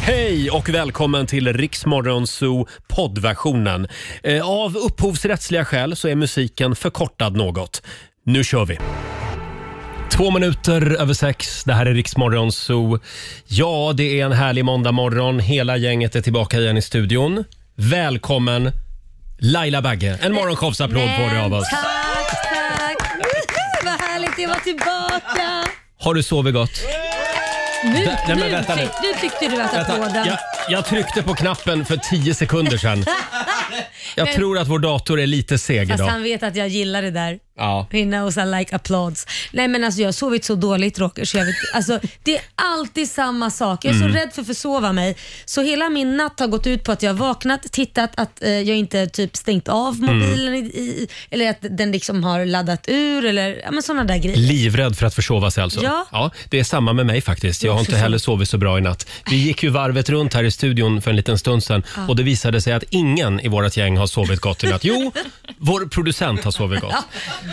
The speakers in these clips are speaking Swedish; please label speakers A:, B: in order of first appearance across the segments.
A: Hej och välkommen till Riksmorgon Zoo poddversionen. Eh, Av upphovsrättsliga skäl så är musiken förkortad något. Nu kör vi! Två minuter över sex. Det här är Riksmorgon Zoo. Ja, det är en härlig måndagmorgon. Hela gänget är tillbaka igen i studion. Välkommen Laila Bagge. En morgonshowsapplåd får du av oss.
B: Tack, tack. Woho, Vad härligt det var tillbaka.
A: Har du sovit gott?
B: Nu,
A: Nej, men
B: nu,
A: vänta nu.
B: tyck, nu tyckte du att
A: Vänta,
B: applåden...
A: jag, jag tryckte på knappen för tio sekunder sedan. Jag tror att vår dator är lite seg
B: Fast
A: idag.
B: han vet att jag gillar det där.
A: Ja.
B: Hinna och så like applauds. Nej men alltså jag har sovit så dåligt Roger så jag vet, alltså, Det är alltid samma sak. Jag är
C: Mm.
B: så rädd för att försova mig. Så hela min natt har gått ut på att jag har vaknat, tittat att eh, jag inte typ stängt av
A: Mm.
B: mobilen i, i, eller att den liksom har laddat ur eller ja, men sådana där grejer.
A: Livrädd för att försova sig alltså?
B: Ja.
A: Det är samma med mig faktiskt. Jag har inte heller sovit så bra i natt. Vi gick ju varvet runt här i studion för en liten stund sedan
B: Ja.
A: och det visade sig att ingen i vårt gäng har sovit gott i natt. Jo, vår producent har sovit gott.
B: Ja,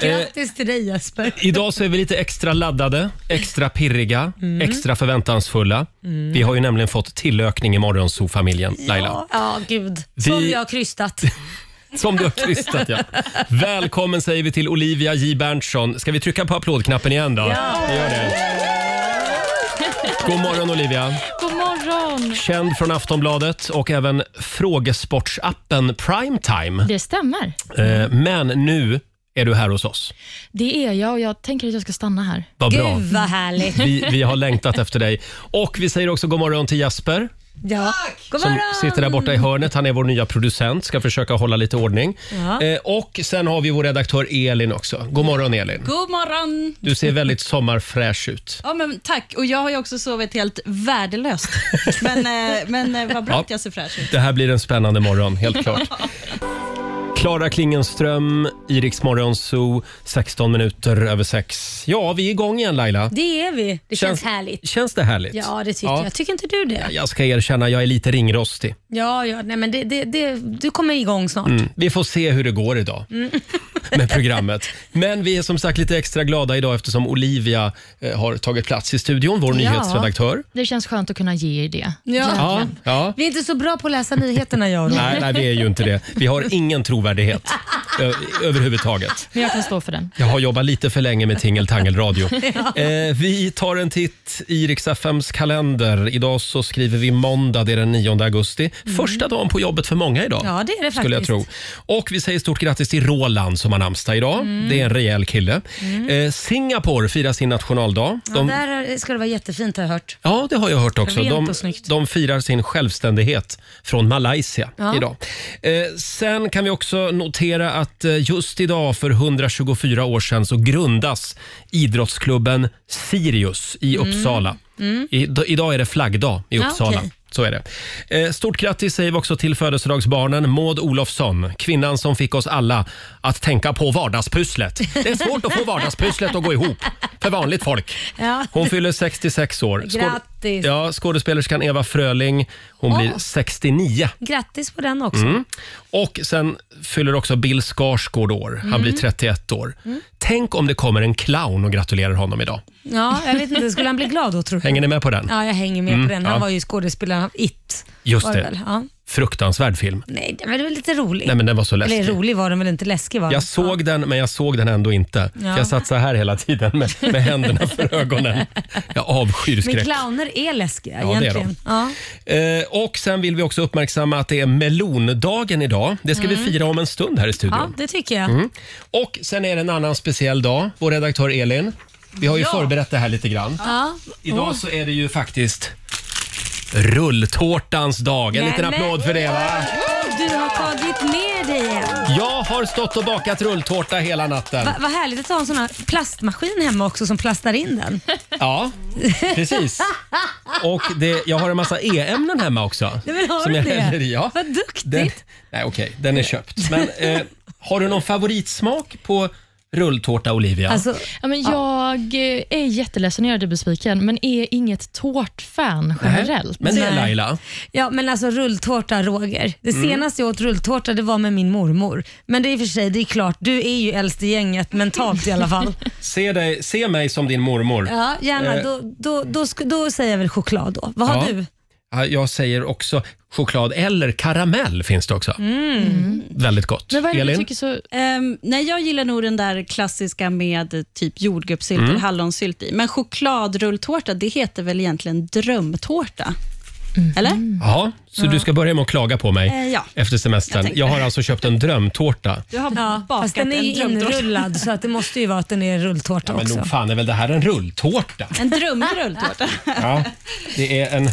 A: Eh,
B: grattis till dig Jesper.
A: Idag så är vi lite extra laddade, extra pirriga,
B: Mm.
A: extra förväntansfulla.
B: Mm.
A: Vi har ju nämligen fått tillökning i morgonsofamiljen, Laila.
B: Ja, gud. Som
A: Vi-
B: jag har krystat.
A: Som du har krystat ja. Välkommen säger vi till Olivia J Berntsson. Ska vi trycka på applådknappen igen då?
D: Ja.
A: Vi gör det. God morgon Olivia.
D: God morgon!
A: Känd från Aftonbladet och även frågesportsappen Primetime.
D: Det stämmer.
A: Eh, Men nu är du här hos oss.
D: Det är jag och jag tänker att jag ska stanna här.
A: Vad bra.
B: härligt.
A: Vi, vi har längtat efter dig. Och vi säger också god morgon till Jasper.
B: Ja. God
A: Som
B: morgon!
A: sitter där borta i hörnet. Han är vår nya producent, ska försöka hålla lite ordning.
E: Ja.
A: Eh, och sen har vi vår redaktör Elin också. God morgon Elin.
E: God morgon!
A: Du ser väldigt sommarfräsch ut.
E: Ja, men tack, och jag har ju också sovit helt värdelöst. Men, eh, men eh, vad bra
A: Ja.
E: att jag ser fräsch ut.
A: Det här blir en spännande morgon, helt klart. Klara Klingenström, Iriks morgonzoo, 16 minuter över sex. Ja, vi är igång igen Laila.
B: Det är vi. Det känns, härligt.
A: Känns det härligt?
B: Ja, det tycker
A: Ja.
B: jag. Tycker inte du det?
A: Jag ska erkänna, jag är lite ringrostig.
B: Ja, ja. Nej, men det, det, det, du kommer igång snart.
A: Mm. Vi får se hur det går idag
B: Mm.
A: med programmet. Men vi är som sagt lite extra glada idag eftersom Olivia eh, har tagit plats i studion, vår nyhetsredaktör.
D: Det känns skönt att kunna ge er det.
A: Ja, ja.
B: Vi är inte så bra på att läsa nyheterna jag och Roger.
A: Nej, nej, vi är ju inte det. Vi har ingen trovärdighet ö- överhuvudtaget.
D: Men jag kan stå för den.
A: Jag har jobbat lite för länge med Tingle Tangle Radio.
D: Ja.
A: Eh, vi tar en titt i Rix FMs kalender. Idag så skriver vi måndag, det är den 9 augusti. Första dagen på jobbet för många idag.
B: Mm. Ja, det är det
A: skulle jag tro.
B: faktiskt.
A: Och vi säger stort grattis till Roland som har namnsdag idag.
B: Mm.
A: Det är en rejäl kille. Eh, Singapore firar sin nationaldag.
B: Ja,
A: De-
B: Där ska det vara jättefint har jag hört.
A: Ja, det har jag hört också.
B: Rent
A: De,
B: och snyggt.
A: de firar sin självständighet från Malaysia
B: Ja.
A: idag. Eh, sen kan vi också notera att eh, just idag för 124 år sedan så grundas idrottsklubben Sirius i
F: Mm.
A: Uppsala.
F: Mm.
A: I, d- idag är det flaggdag i
F: Ja,
A: Uppsala.
F: okej.
A: Så är det. Eh, Stort grattis säger vi också till födelsedagsbarnen Maud Olofsson, kvinnan som fick oss alla att tänka på vardagspusslet. Det är svårt att få vardagspusslet att gå ihop för vanligt folk.
B: Ja.
A: Hon fyller 66 år. Skåd-
B: Grattis.
A: Ja, skådespelerskan Eva Fröling, hon
B: Åh.
A: blir 69.
B: Grattis på den också.
A: Mm. Och sen fyller också Bill Skarsgård år. Han
B: Mm.
A: blir 31 år.
B: Mm.
A: Tänk om det kommer en clown och gratulerar honom idag.
B: Ja, jag vet inte. Skulle han bli glad då tror du?
A: Hänger ni med på den?
B: Ja, jag hänger med
A: Mm,
B: på den. Han
A: ja.
B: var ju skådespelaren av It.
A: Just
B: var det.
A: det.
B: väl? Ja.
A: Fruktansvärd film.
B: Nej, den var väl lite rolig.
A: Nej, men den var så läskig.
B: Eller rolig var den väl inte, läskig var den.
A: Jag såg den, men jag såg den ändå inte.
B: Ja.
A: Jag satt så här hela tiden med, med händerna för ögonen. Jag avskyr
B: Men
A: skräck.
B: clowner är läskiga
A: Ja, det är
B: egentligen.
A: de.
B: Ja.
A: Eh, och sen vill vi också uppmärksamma att det är melondagen idag. Det ska
B: Mm.
A: vi fira om en stund här i studion.
B: ja, det tycker jag.
A: Mm. Och sen är det en annan speciell dag. Vår redaktör Elin, vi har ju
B: Ja.
A: förberett det här lite grann.
B: Ja. Mm.
A: Idag så är det ju faktiskt rulltårtans dag. En liten
B: Nämen.
A: applåd för det va?
B: Du har tagit med dig en.
A: Jag har stått och bakat rulltårta hela natten.
B: Va, vad härligt att ha en sån här plastmaskin hemma också som plastar in den.
A: Ja, precis. Och det, jag har en massa e-ämnen hemma också.
B: Nej, men har
A: som
B: du
A: jag
B: det?
A: häller i. Ja.
B: Vad duktigt.
A: Den, nej, okej. Den är köpt. Men eh, har du någon favoritsmak på rulltårta, Olivia?
B: Alltså-
D: ja, men jag eh, är jätteledsen att göra dig besviken, men är inget tårtfan
A: Nej.
D: generellt.
A: Men det är Laila.
B: Ja, men alltså rulltårta, Roger. Det
A: Mm.
B: senaste jag åt rulltårta det var med min mormor. Men det är i och för sig, det är klart, du är ju äldst i gänget mentalt i alla fall.
A: Se, dig, se mig som din mormor.
B: Ja, gärna.
A: Eh,
B: Då, då, då, sk- då säger jag väl choklad då. Vad har
A: ja.
B: du?
A: Ja, Jag säger också choklad eller karamell finns det
B: Mm.
A: också. Väldigt gott.
D: Mm. Men vad är det du
A: Elin?
D: tycker så...
E: Mm. Ehm, nej, jag gillar nog den där klassiska med typ jordgubbssylt
A: Mm.
E: eller hallonsylt i. Men chokladrulltårta, det heter väl egentligen drömtårta?
D: Mm.
E: Eller?
A: Ja, så du ska börja med att klaga på mig
E: Eh, ja.
A: efter semestern. Jag,
E: Jag
A: har alltså köpt en drömtårta.
E: Du har
B: Ja,
E: bakat
B: fast den är
E: en
B: ju
E: drömtårta.
B: inrullad så att det måste ju vara att den är rulltårta
A: Men
B: också.
A: nog fan är väl det här en rulltårta?
E: En drömrulltårta.
A: Ja, det är en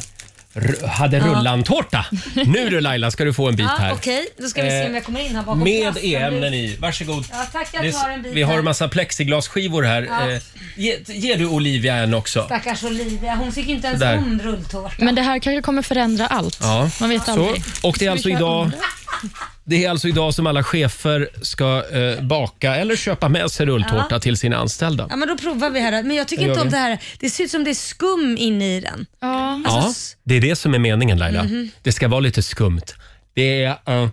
A: r- hade rullantårta. Nu du Laila ska du få en bit
B: Ja,
A: här. Eh,
B: Okej, då ska vi se om jag kommer in här bakom.
A: Med E
B: flaskan.
A: e-ämnen i. Varsågod.
B: Ja, tack, jag
A: Det-
B: tar en bit
A: Vi har
B: här.
A: en massa plexiglasskivor här.
B: Ja.
A: Eh, ge, ge du Olivia en också.
B: Stackars Olivia, hon fick ju inte ens
A: Där.
B: om rulltårta.
D: Men det här kanske kommer förändra allt.
A: Ja.
D: Man vet
A: Så,
D: aldrig.
A: och det är
D: vi
A: alltså
D: köra
A: idag
D: under?
A: det är alltså idag som alla chefer ska eh, baka eller köpa med sig rulltårta till sina anställda.
B: Ja, men då provar vi här. Men jag tycker
A: Då
B: inte
A: gör
B: om
A: vi.
B: det här. Det ser ut som det är skum inne i den. Alltså,
D: Ja.
A: Ja, det är det som är meningen Laila.
B: Mhm.
A: Det ska vara lite skumt. Det är eh,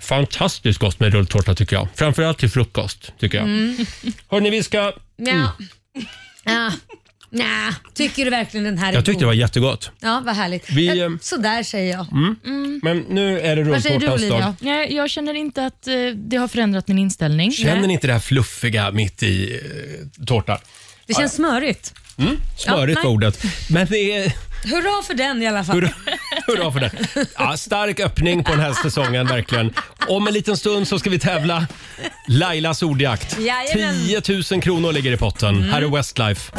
A: fantastiskt gott med rulltårta tycker jag. Framförallt till frukost tycker
B: Mm.
A: jag. Hörni, vi ska...
B: Ja. Ja. Nja, Mm. tycker du verkligen den här är
A: Jag tyckte det
B: god?
A: var jättegott.
B: Ja, vad härligt.
A: Vi,
B: Ja,
A: eh,
B: sådär säger jag.
A: Men nu är det
B: Mm. Vad säger du
A: rulltårtans dag.
B: Olivia?
D: Nej, jag känner inte att eh, det har förändrat min inställning.
A: Känner
D: Nej.
A: ni inte det här fluffiga mitt i eh, tårtan?
B: Det känns smörigt.
A: Smörigt
B: Ja,
A: var
B: nej.
A: ordet. Men det är...
B: Hurra för den i alla fall.
A: Hurra, hurra för det. Ja, stark öppning på den här säsongen verkligen. Om en liten stund så ska vi tävla Lailas ordjakt.
B: Jajamän. Mm.
A: 10 000 kronor ligger i potten. Här är Westlife.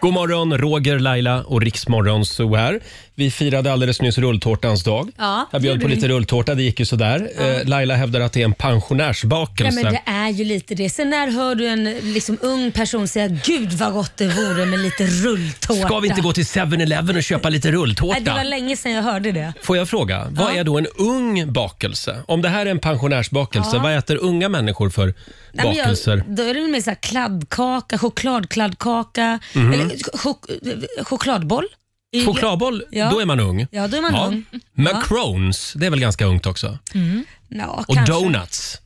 A: God morgon, Roger, Laila och Riksmorgon så här. Vi firade alldeles nyss rulltårtans dag.
B: Ja,
A: Jag bjöd på lite rulltårta, det gick ju sådär. Ja. Laila hävdar att det är en
B: Ja,
A: pensionärsbakelse.
B: men det är ju lite det. Sen när hör du en liksom, ung person säga “Gud vad gott det vore med lite rulltårta”?
A: Ska vi inte gå till 7-Eleven och köpa lite rulltårta?
B: Nej, det var länge sedan jag hörde det.
A: Får jag fråga, vad är då en ung bakelse? Om det här är en pensionärsbakelse, vad äter unga människor för
B: Nej, men
A: bakelser?
B: Jag, då är det väl mer så här kladdkaka, chokladkladdkaka,
A: Mhm.
B: eller chok- chokladboll. I-
A: Chokladboll,
B: Ja.
A: då är man ung.
B: Ja, då är man ung.
A: Macarons, det är väl ganska ungt också.
B: Ja,
A: Och
B: kanske.
A: donuts.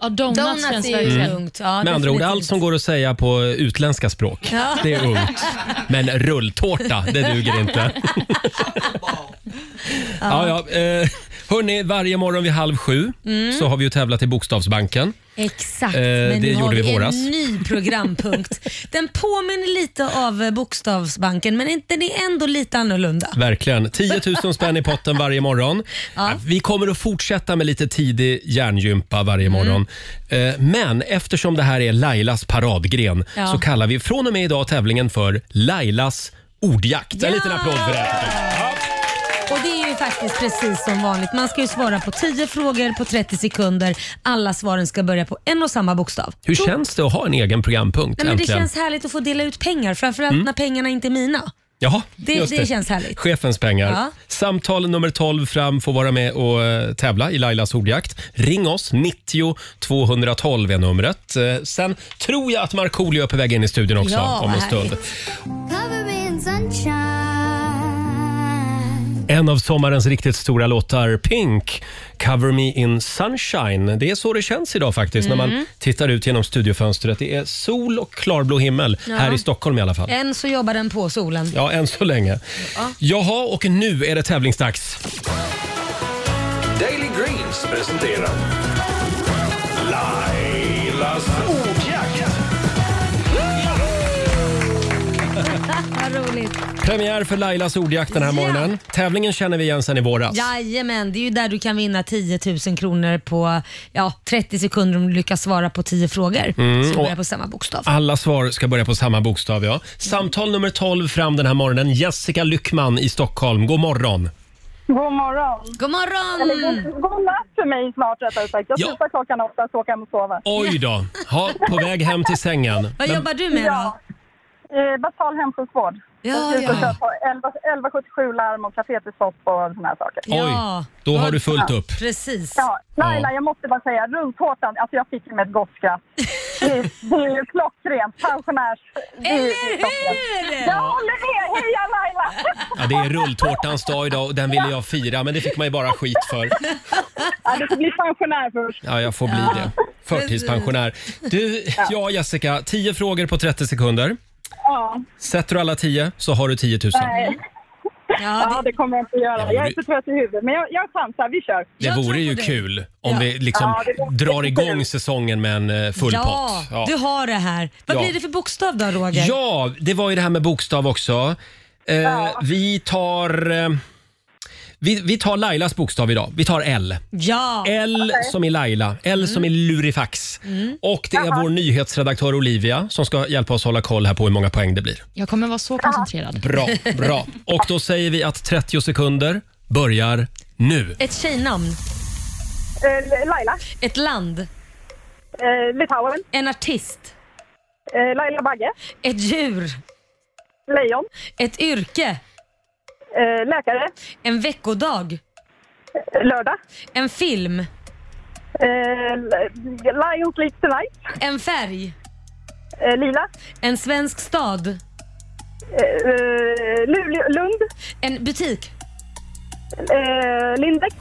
D: Ja, donuts,
B: Donuts
D: känns
B: är ju
D: verkligen.
B: ungt. Ja,
A: Med andra ord,
B: definitivt.
A: allt som går att säga på utländska språk,
B: Ja.
A: det är ungt. Men rulltårta, det duger inte. ja, ja, eh, hörni, varje morgon vid halv sju
B: Mm.
A: så har vi ju tävlat i Bokstavsbanken.
B: Exakt,
A: Eh,
B: men
A: det
B: nu har
A: gjorde
B: vi
A: vi i våras.
B: en ny programpunkt. Den påminner lite av eh, Bokstavsbanken men inte- den är ändå lite annorlunda.
A: Verkligen. 10 000 spänn i potten varje morgon. Ja, Vi kommer att fortsätta med lite tidig hjärngympa
B: Mm.
A: varje morgon. Eh, Men eftersom det här är Lailas paradgren
B: Ja.
A: så kallar vi från och med idag tävlingen för Lailas ordjakt. En
B: Ja!
A: liten applåd för det. här.
B: Och det är ju faktiskt precis som vanligt. Man ska ju svara på 10 frågor på 30 sekunder. Alla svaren ska börja på en och samma bokstav.
A: Hur känns det att ha en egen programpunkt
B: Nej, men det
A: äntligen? Mm.
B: känns härligt att få dela ut pengar, framförallt när pengarna inte är mina.
A: Jaha,
B: Det-
A: just
B: det känns härligt.
A: Chefens pengar.
B: Ja.
A: Samtal nummer 12 fram får vara med och eh, tävla i Lailas ordjakt. Ring oss, 90 212 är numret. Eh, Sen tror jag att Markoolio är på väg in i studion också
B: Ja,
A: om en
B: vad
A: stund.
B: härligt.
C: Covered in sunshine.
A: En av sommarens riktigt stora låtar, Pink, Cover Me In Sunshine. Det är så det känns idag faktiskt när
B: Mm.
A: man tittar ut genom studiofönstret. Det är sol och klarblå himmel här i Stockholm i alla fall.
B: Än så jobbar den på solen.
A: Ja, än så länge. Jaha, och nu är det tävlingsdags.
F: Daily Greens presenterar Lailas ordjakt.
B: Vad roligt.
A: Premiär för Lailas ordjakt den här
B: Ja.
A: morgonen. Tävlingen känner vi igen sen i våras.
B: Jajamän, det är ju där du kan vinna 10 000 kronor på ja, 30 sekunder om du lyckas svara på 10 frågor.
A: Mm,
B: som börjar på samma bokstav. Mm.
A: Alla svar ska börja på samma bokstav. Ja. Samtal nummer 12 fram den här morgonen. Jessica Lyckman i Stockholm. God morgon.
G: God morgon.
B: God morgon!
G: God natt för mig snart rättare sagt. Jag
A: Ja.
G: slutar klockan åtta så åker jag hem och sover.
A: Oj då. Ha, på väg hem till sängen.
B: Vad jobbar du med då?
G: Ja. Eh, basal hemsjukvård.
B: Ja,
G: Jag
B: ja.
G: kör på 11 1177 larm och kateterstopp och såna här saker.
B: Ja.
A: Oj, då har du fullt upp.
B: Precis.
G: Ja, Laila,
A: Ja.
G: jag måste bara säga, rulltårtan, alltså jag fick ju med ett gott skratt. Det, det är ju klockrent, pensionärs... det är- det är
B: Eller
G: klockrent.
B: hur?
G: Jag håller med! Heja Laila!
A: Ja, det är rulltårtans dag idag och den ville jag fira men det fick man ju bara skit för.
G: Ja, du får bli pensionär först.
A: Ja, jag får bli det. Förtidspensionär. Du, ja Jessica, 10 frågor på 30 sekunder.
G: Ja,
A: Sätter du alla tio så har du 10 000.
G: nej.
B: Ja,
G: ja,
B: det,
G: det kommer jag inte
A: Ja,
G: göra.
A: men
G: Jag
A: du-
G: är så trött i huvudet, men jag, jag chansar. Vi kör.
A: Det
B: jag tror
A: vore
B: på
A: ju
B: dig.
A: kul om
B: Ja.
A: vi liksom
G: Ja, det vore
A: drar
G: jättekul.
A: igång säsongen med en eh, full
B: ja,
A: pott. Ja.
B: du har det här. Vad
A: Ja.
B: blir det för bokstav då Roger?
A: ja, det var ju det här med bokstav också. Eh, Vi tar... Eh, vi, vi tar Lailas bokstav idag. Vi tar L.
B: Ja. Mm.
A: L som i Laila, L som i lurifax. Och det är vår nyhetsredaktör Olivia som ska hjälpa oss hålla koll här på hur många poäng det blir.
D: Jag kommer vara så koncentrerad.
A: Bra, bra. Och då säger vi att 30 sekunder börjar nu.
B: Ett tjejnamn,
G: Eh, Laila,
B: ett land,
G: eh, Litauen,
B: en artist,
G: eh, Laila Bagge,
B: ett djur,
G: Lejon,
B: ett yrke,
G: eh, läkare,
B: en veckodag,
G: eh, Lördag,
B: en film,
G: eh, Lions League Tonight,
B: en färg,
G: eh, Lila,
B: en svensk stad,
G: eh, eh, Luleå, Lund,
B: en butik.
G: eh, Lindex.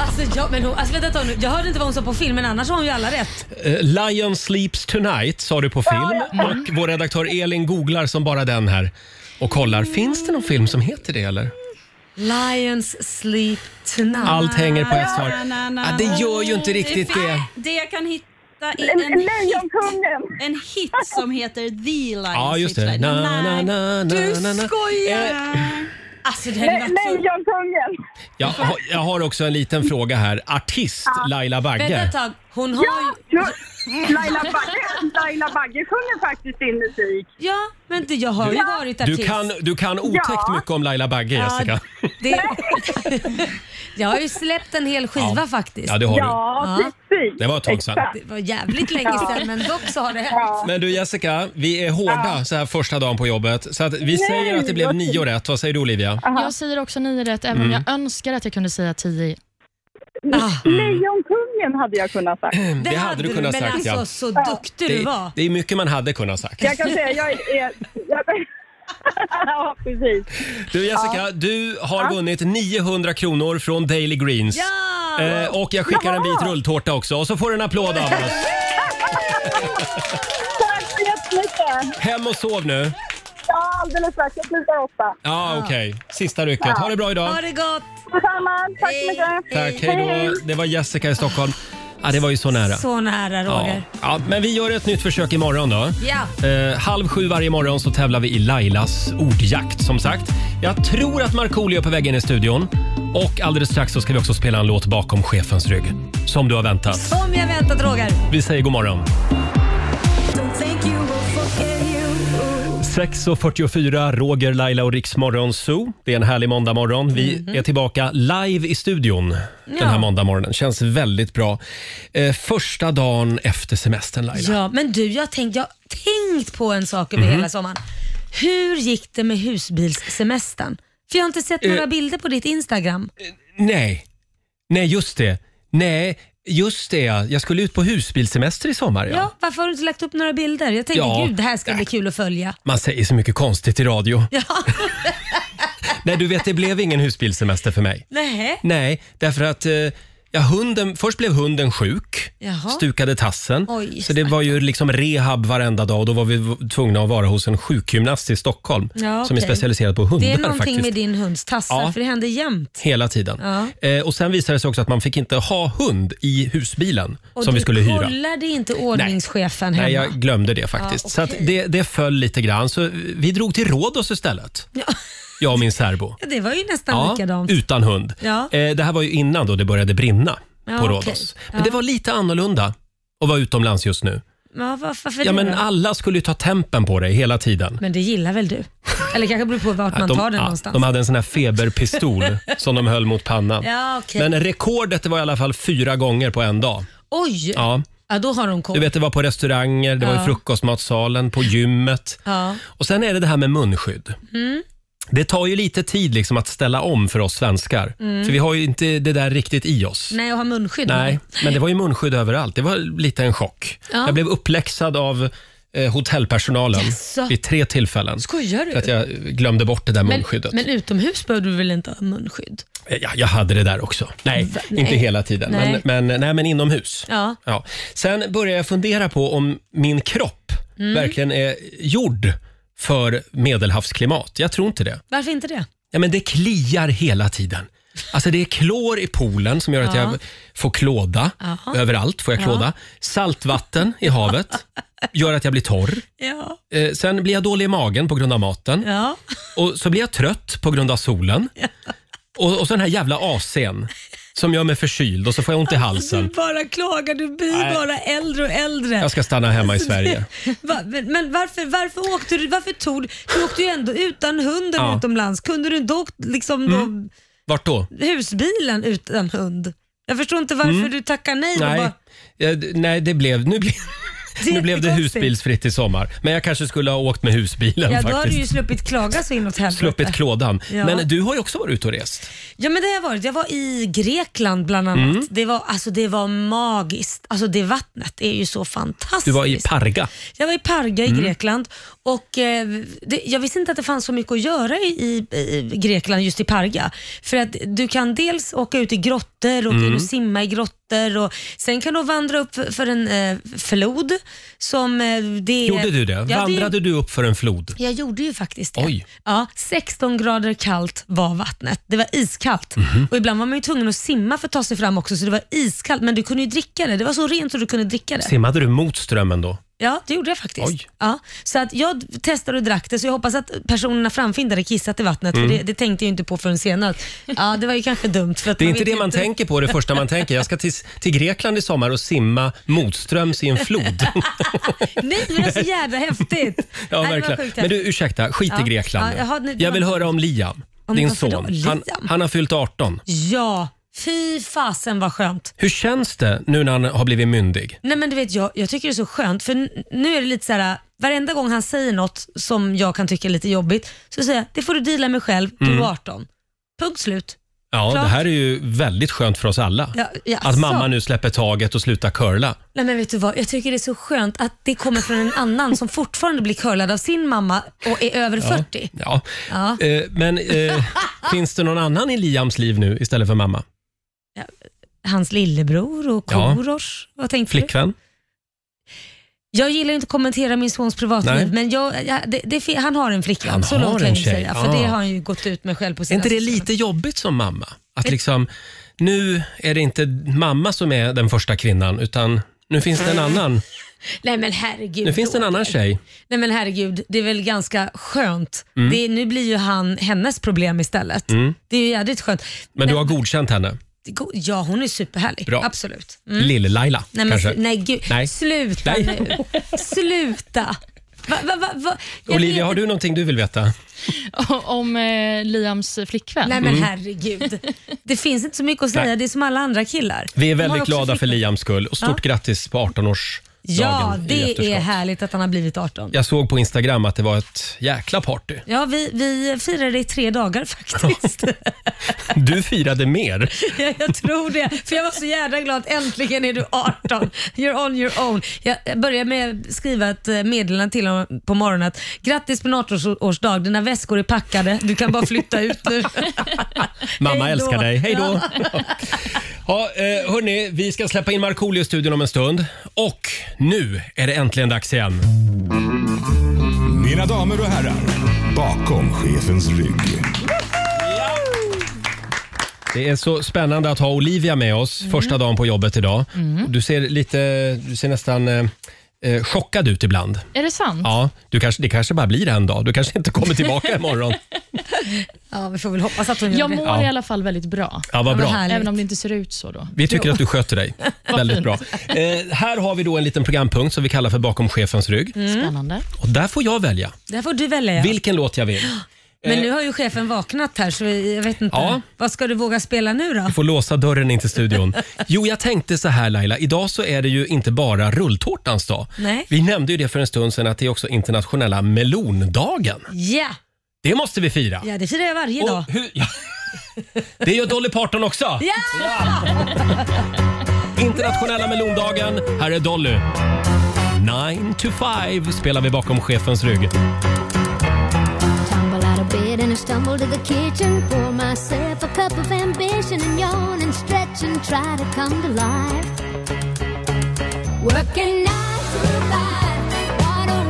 B: Alltså, jag, men hon, alltså vänta ett tag nu. Jag hörde inte vad hon sa på film men annars har hon ju alla rätt.
A: Eh, Lion Sleeps Tonight sa du på film och vår redaktör Elin googlar som bara den här och kollar. Finns det någon film som heter det eller?
B: Lions sleep tonight.
A: Allt hänger på ett svar.
E: Na, na, na,
A: Ja, det gör ju inte riktigt det.
E: Det jag kan hitta är en, hit,
G: Lejonkungen!
E: en hit som heter The Lion.
A: Ja, just det. Na, na, na, na, na, na. Eh.
B: Alltså det
G: Le-
B: hade varit så...
G: Lejonkungen!
A: Jag, har- jag har också en liten fråga här. Artist Laila
B: Vänta
A: Bagge.
B: ett tag. Hon har ju...
G: Nu, Laila Bagge, Laila Bagge sjunger faktiskt sin musik.
B: Ja, men du, jag har ju varit
A: Du
B: artist.
A: kan, du kan otäckt
G: Ja.
A: mycket om Laila Bagge, Jessica.
B: Det... jag har ju släppt en hel skiva
A: Ja.
B: faktiskt.
A: Ja, det har du.
G: Ja,
B: Ja.
G: precis.
A: Det var ett tag sedan.
G: Exakt.
B: Det var jävligt länge sedan men dock så har det hänt.
G: Ja.
A: Men du Jessica, vi är hårda så här första dagen på jobbet. Så att vi säger att det blev nio rätt. Vad säger du Olivia?
D: Jag säger också nio rätt, även
A: Mm.
D: om jag önskar att jag kunde säga tio.
B: Ah,
G: Lejonkungen hade jag kunnat sagt.
A: Det, hade du kunnat sagt
B: Men
A: ja.
B: alltså så duktig du
A: Det,
B: var.
A: det är mycket man hade kunnat sagt.
G: Jag kan säga, jag är... är jag, ja, precis.
A: Du Jessica, du har vunnit 900 kronor från Daily Greens.
B: Ja!
A: Eh, och jag skickar en bit rulltårta också och så får du en applåd av oss.
G: Tack så jättemycket!
A: Hem och sov nu.
G: Ja, alldeles strax. Jag slutar åtta.
A: Ja, okej. Sista rycket. Ha det bra idag.
B: Ha det gott!
G: Detsamma. Tack så mycket.
A: Tack, hej då. Det var Jessica i Stockholm. Ja, det var ju så nära.
B: Så nära
A: Ja.
B: Roger.
A: ja, men vi gör ett nytt försök imorgon då.
B: Ja.
A: Eh, halv sju varje morgon så tävlar vi i Lailas ordjakt som sagt. Jag tror att Markoolio är på väg in i studion. Och alldeles strax så ska vi också spela en låt bakom chefens rygg. Som du har väntat.
B: Som jag väntat Roger.
A: Vi säger god morgon. 6.44, Roger, Laila och Riksmorgon Zoo. Det är en härlig måndagmorgon. Vi är tillbaka live i studion den här
B: Mhm. Ja.
A: måndagmorgonen. Känns väldigt bra. Eh, första dagen efter semestern, Laila. Mhm.
B: Ja, men du jag har tänkt, jag har tänkt på en sak över hela sommaren. Hur gick det med husbilssemestern? För jag har inte sett
A: Eh,
B: några bilder på ditt Instagram.
A: Nej. Nej, just det. Nej, just det. ja. Jag skulle ut på husbilsemester i sommar. Ja.
B: Ja, varför har du inte lagt upp några bilder? Jag tänker
A: Ja. Äh.
B: gud, det här ska bli kul att följa.
A: Man säger så mycket konstigt i radio. Nej, du vet, det blev ingen husbilsemester för mig.
B: Nej.
A: Nej, därför att eh, ja, hunden, först blev hunden sjuk,
B: Jaha.
A: stukade tassen.
B: Oj,
A: så det var ju liksom rehab varenda dag och då var vi v- tvungna att vara hos en sjukgymnast i Stockholm
B: Ja,
A: som är
B: okej.
A: specialiserad på hundar
B: Det är någonting
A: faktiskt.
B: med din hunds tassar,
A: Ja.
B: för det händer jämt.
A: Hela tiden.
B: Ja.
A: Eh, och Sen visade det sig också att man fick inte ha hund i husbilen
B: Och
A: som
B: du
A: vi skulle hyra.
B: kollade inte ordningschefen
A: Nej,
B: hemma?
A: jag glömde det faktiskt.
B: Ja,
A: Så att
B: okej.
A: det, det föll lite grann. Så vi drog till Rhodos istället, jag och min särbo.
B: Ja, det var ju nästan likadant.
A: utan hund.
B: Ja.
A: Eh, det här var ju innan då det började brinna
B: Ja,
A: på
B: okej.
A: Rhodos. Men
B: Ja.
A: det var lite annorlunda att vara utomlands just nu.
B: Ja, var- varför
A: Ja,
B: det
A: men
B: då?
A: alla skulle ju ta tempen på dig hela tiden.
B: men det gillar väl du? Eller kanske beror på vart man
A: de,
B: tar den
A: ja,
B: någonstans.
A: de hade en sån här feberpistol som de höll mot pannan.
B: Ja, okej.
A: Men rekordet det var i alla fall fyra gånger på en dag.
B: Oj! Ja.
A: Ja.
B: då har de koll.
A: Du vet, det var på restauranger, det var i
B: Ja.
A: frukostmatsalen, på gymmet.
B: Ja. Mm.
A: Och sen är det det här med munskydd. Det tar ju lite tid liksom att ställa om för oss svenskar.
B: Mm.
A: För vi har ju inte det där riktigt i oss.
B: Nej, och har munskydd.
A: Nej, men det var ju munskydd överallt. Det var lite en chock.
B: Ja.
A: Jag blev uppläxad av eh, hotellpersonalen
B: Jaså?
A: vid tre tillfällen.
B: Skojar
A: För att
B: du?
A: jag eh, glömde bort det där
B: Men,
A: munskyddet.
B: men utomhus behöver du väl inte ha munskydd?
A: Eh, Ja, jag hade det där också. Nej, inte hela tiden.
B: Nej.
A: Men, men, nej, men inomhus.
B: Ja.
A: Ja. Sen började jag fundera på om min kropp
B: Mm.
A: verkligen är gjord för medelhavsklimat. Jag tror inte det.
B: Varför inte det?
A: Ja, men det kliar hela tiden. Alltså det är klor i poolen som gör att jag får klåda. Överallt får jag klåda. Saltvatten i havet gör att jag blir torr.
B: Ja.
A: Eh, sen blir jag dålig i magen på grund av maten.
B: ja.
A: Och så blir jag trött på grund av solen. Och, och så den här jävla AC'n som gör mig förkyld och så får jag ont i halsen.
B: bara klagar, du blir
A: Nej.
B: bara äldre och äldre.
A: Jag ska stanna hemma i
B: Alltså,
A: Sverige.
B: Va, men men varför, varför åkte du? Varför tog du? Du åkte ju ändå utan hunden
A: Ja. Mm.
B: utomlands. Kunde du inte åkt liksom då,
A: Vart då?
B: husbilen utan hund? Jag förstår inte varför du tackar nej. och
A: Mm. Nej,
B: Bara,
A: Eh, d- nej det blev, nu, blev,
B: är
A: nu blev det
B: jättekonstigt.
A: husbilsfritt i sommar. Men jag kanske skulle ha åkt med husbilen
B: Ja, då har du
A: faktiskt.
B: ju sluppit klaga så inåt helvete.
A: Sluppit klådan.
B: Ja.
A: Men du har ju också varit ute och rest.
B: Ja men det har jag varit. Jag var i Grekland bland annat.
A: Mm.
B: Det, var, alltså, det var magiskt. Alltså det vattnet är ju så fantastiskt.
A: Du var i Parga.
B: Jag var i Parga
A: Mm.
B: i Grekland och eh, det, jag visste inte att det fanns så mycket att göra i, i, i Grekland just i Parga. För att du kan dels åka ut i grottor och
A: Mm.
B: gå in och simma i grottor och sen kan du vandra upp för- för en eh, flod som eh, det är-
A: Gjorde du det?
B: Ja, det är-
A: Vandrade du upp för en flod?
B: jag gjorde ju faktiskt det.
A: Oj.
B: Ja, 16 grader kallt var vattnet. Det var iskallt.
A: Mhm.
B: Och Ibland var man ju tvungen att simma för att ta sig fram också, så det var iskallt. Men du kunde ju dricka det. Det var så rent så du kunde dricka det.
A: Simmade du mot strömmen då?
B: Ja, det gjorde jag faktiskt.
A: Oj.
B: Ja, så att jag testade och drack det, så jag hoppas att personerna framför inte hade kissat i vattnet,
A: Mm.
B: för det, det tänkte jag ju inte på förrän senare. Ja, det var ju kanske dumt. För att
A: Det är inte
B: vet
A: det
B: ju
A: man tänker på, det första man tänker. Jag ska till, till Grekland i sommar och simma motströms i en flod.
B: Nej, men det var så jävla häftigt.
A: Ja,
B: Nej, det var
A: verkligen.
B: sjukt
A: Men du,
B: häftigt.
A: ursäkta, skit
B: Ja,
A: i Grekland
B: ja, jaha,
A: nu.
B: nej, det
A: Jag
B: var-
A: vill höra om Liam,
B: men
A: din
B: varför då?
A: son. Han,
B: Liam?
A: han har fyllt 18.
B: Ja, fy fasen vad skönt.
A: Hur känns det nu när han har blivit myndig?
B: Nej men du vet, jag, jag tycker det är så skönt för n- nu är det lite så här. varenda gång han säger något som jag kan tycka är lite jobbigt så säger jag, det får du deala med själv, du
A: Mm.
B: är 18. Punkt slut.
A: Ja,
B: Klart.
A: det här är ju väldigt skönt för oss alla.
B: Ja, ja,
A: Att mamma
B: så.
A: nu släpper taget och slutar curla.
B: Nej men vet du vad, jag tycker det är så skönt att det kommer från en annan som fortfarande blir curlad av sin mamma och är över 40.
A: Ja.
B: Ja.
A: Eh, men eh, finns det någon annan i Liams liv nu istället för mamma?
B: Hans lillebror och
A: Ja.
B: Korosh. Vad tänkte du?
A: Flickvän?
B: Jag gillar ju inte att kommentera min sons privatliv
A: Nej.
B: men jag, jag, det, det, fin- han har en flickvän,
A: Han
B: så
A: har
B: långt
A: en
B: kan jag ju
A: tjej.
B: säga. För det
A: Ja.
B: har han ju gått ut med själv på
A: Är
B: sina
A: inte det
B: sociala-
A: lite jobbigt som mamma? Att liksom, nu är det inte mamma som är den första kvinnan, utan nu finns det en annan.
B: Nej men herregud.
A: Nu finns det en
B: Roger.
A: annan tjej.
B: Nej men herregud, det är väl ganska skönt.
A: Mm.
B: Det, är- nu blir ju han hennes problem istället. Det är ju jädrigt skönt.
A: Men du har godkänt henne?
B: Go- Ja, hon är superhärlig.
A: Bra.
B: Absolut. Mm.
A: Lill-Laila,
B: Nej, men,
A: kanske?
B: sl- nej, gud.
A: Nej.
B: Sluta
A: Nej.
B: nu. Sluta. Va, va, va, va? Jag
A: Olivia,
B: vet-
A: har du någonting du vill veta?
D: Om eh, Liams flickvän.
B: Nej men herregud. Det finns inte så mycket att säga.
A: Mm. Nej.
B: Det är som alla andra killar.
A: Vi är
B: De har
A: väldigt
B: också
A: glada för
B: flickor.
A: Liams skull och stort grattis på 18-årsdagen
B: Ja,
A: i
B: det är
A: efterskott.
B: härligt att han har blivit 18. Ja,
A: Jag såg på Instagram att det var ett jäkla party.
B: vi, vi firade det i tre dagar faktiskt.
A: Du firade mer.
B: Ja, jag tror det. För jag var så jävla glad. Äntligen är du 18. You're on your own. Jag började med att skriva ett eh, meddelande till honom på morgonen att grattis på din 18-årsdag. Dina väskor är packade. Du kan bara flytta ut nu.
A: Mamma
B: Hej då.
A: älskar dig. Hej då! Ja, eh, hörni, vi ska släppa in Markoolio i studion om en stund. Och nu är det äntligen dags igen.
F: Mina damer och herrar, bakom chefens rygg.
A: Det är så spännande att ha Olivia med oss
B: Mm.
A: första dagen på jobbet idag. Du ser lite, du ser nästan eh, eh, chockad ut ibland.
D: Är det sant?
B: Mm.
A: Ja, du kanske, det kanske bara blir en dag. Du kanske inte kommer tillbaka imorgon.
B: Ja, vi får väl hoppas att hon gör
D: Jag
B: det.
D: mår
A: Ja.
D: i alla fall väldigt bra.
A: Ja, vad
B: Ja, vad
A: bra.
B: härligt.
D: Även om det inte ser ut så då.
A: Vi tycker att du sköter dig väldigt bra. Eh, här har vi då en liten programpunkt som vi kallar för Bakom chefens rygg.
D: Mm. Spännande.
A: Och där får jag välja
B: Där får du välja. Mm. ja.
A: vilken låt jag vill.
B: Men nu har ju chefen vaknat här så vi- jag vet inte.
A: Eh. Ja.
B: Vad ska du våga spela nu då?
A: Får låsa dörren in till studion. Jo, jag tänkte så här Laila. Idag så är det ju inte bara rulltårtans dag.
B: Nej.
A: Vi nämnde ju det för en stund sedan att det är också internationella melondagen.
B: Ja,
A: Det måste vi fira.
B: ja det firar jag varje dag.
A: Och hur, ja. Det gör Dolly Parton också. Ja. Internationella melondagen. Här är Dolly. 9 to 5 spelar vi bakom chefens rygg.
C: Tumble out of bed and I stumble to the kitchen. Pour myself a cup of ambition and yawn and stretch and try to come to life. Working nine to five. What a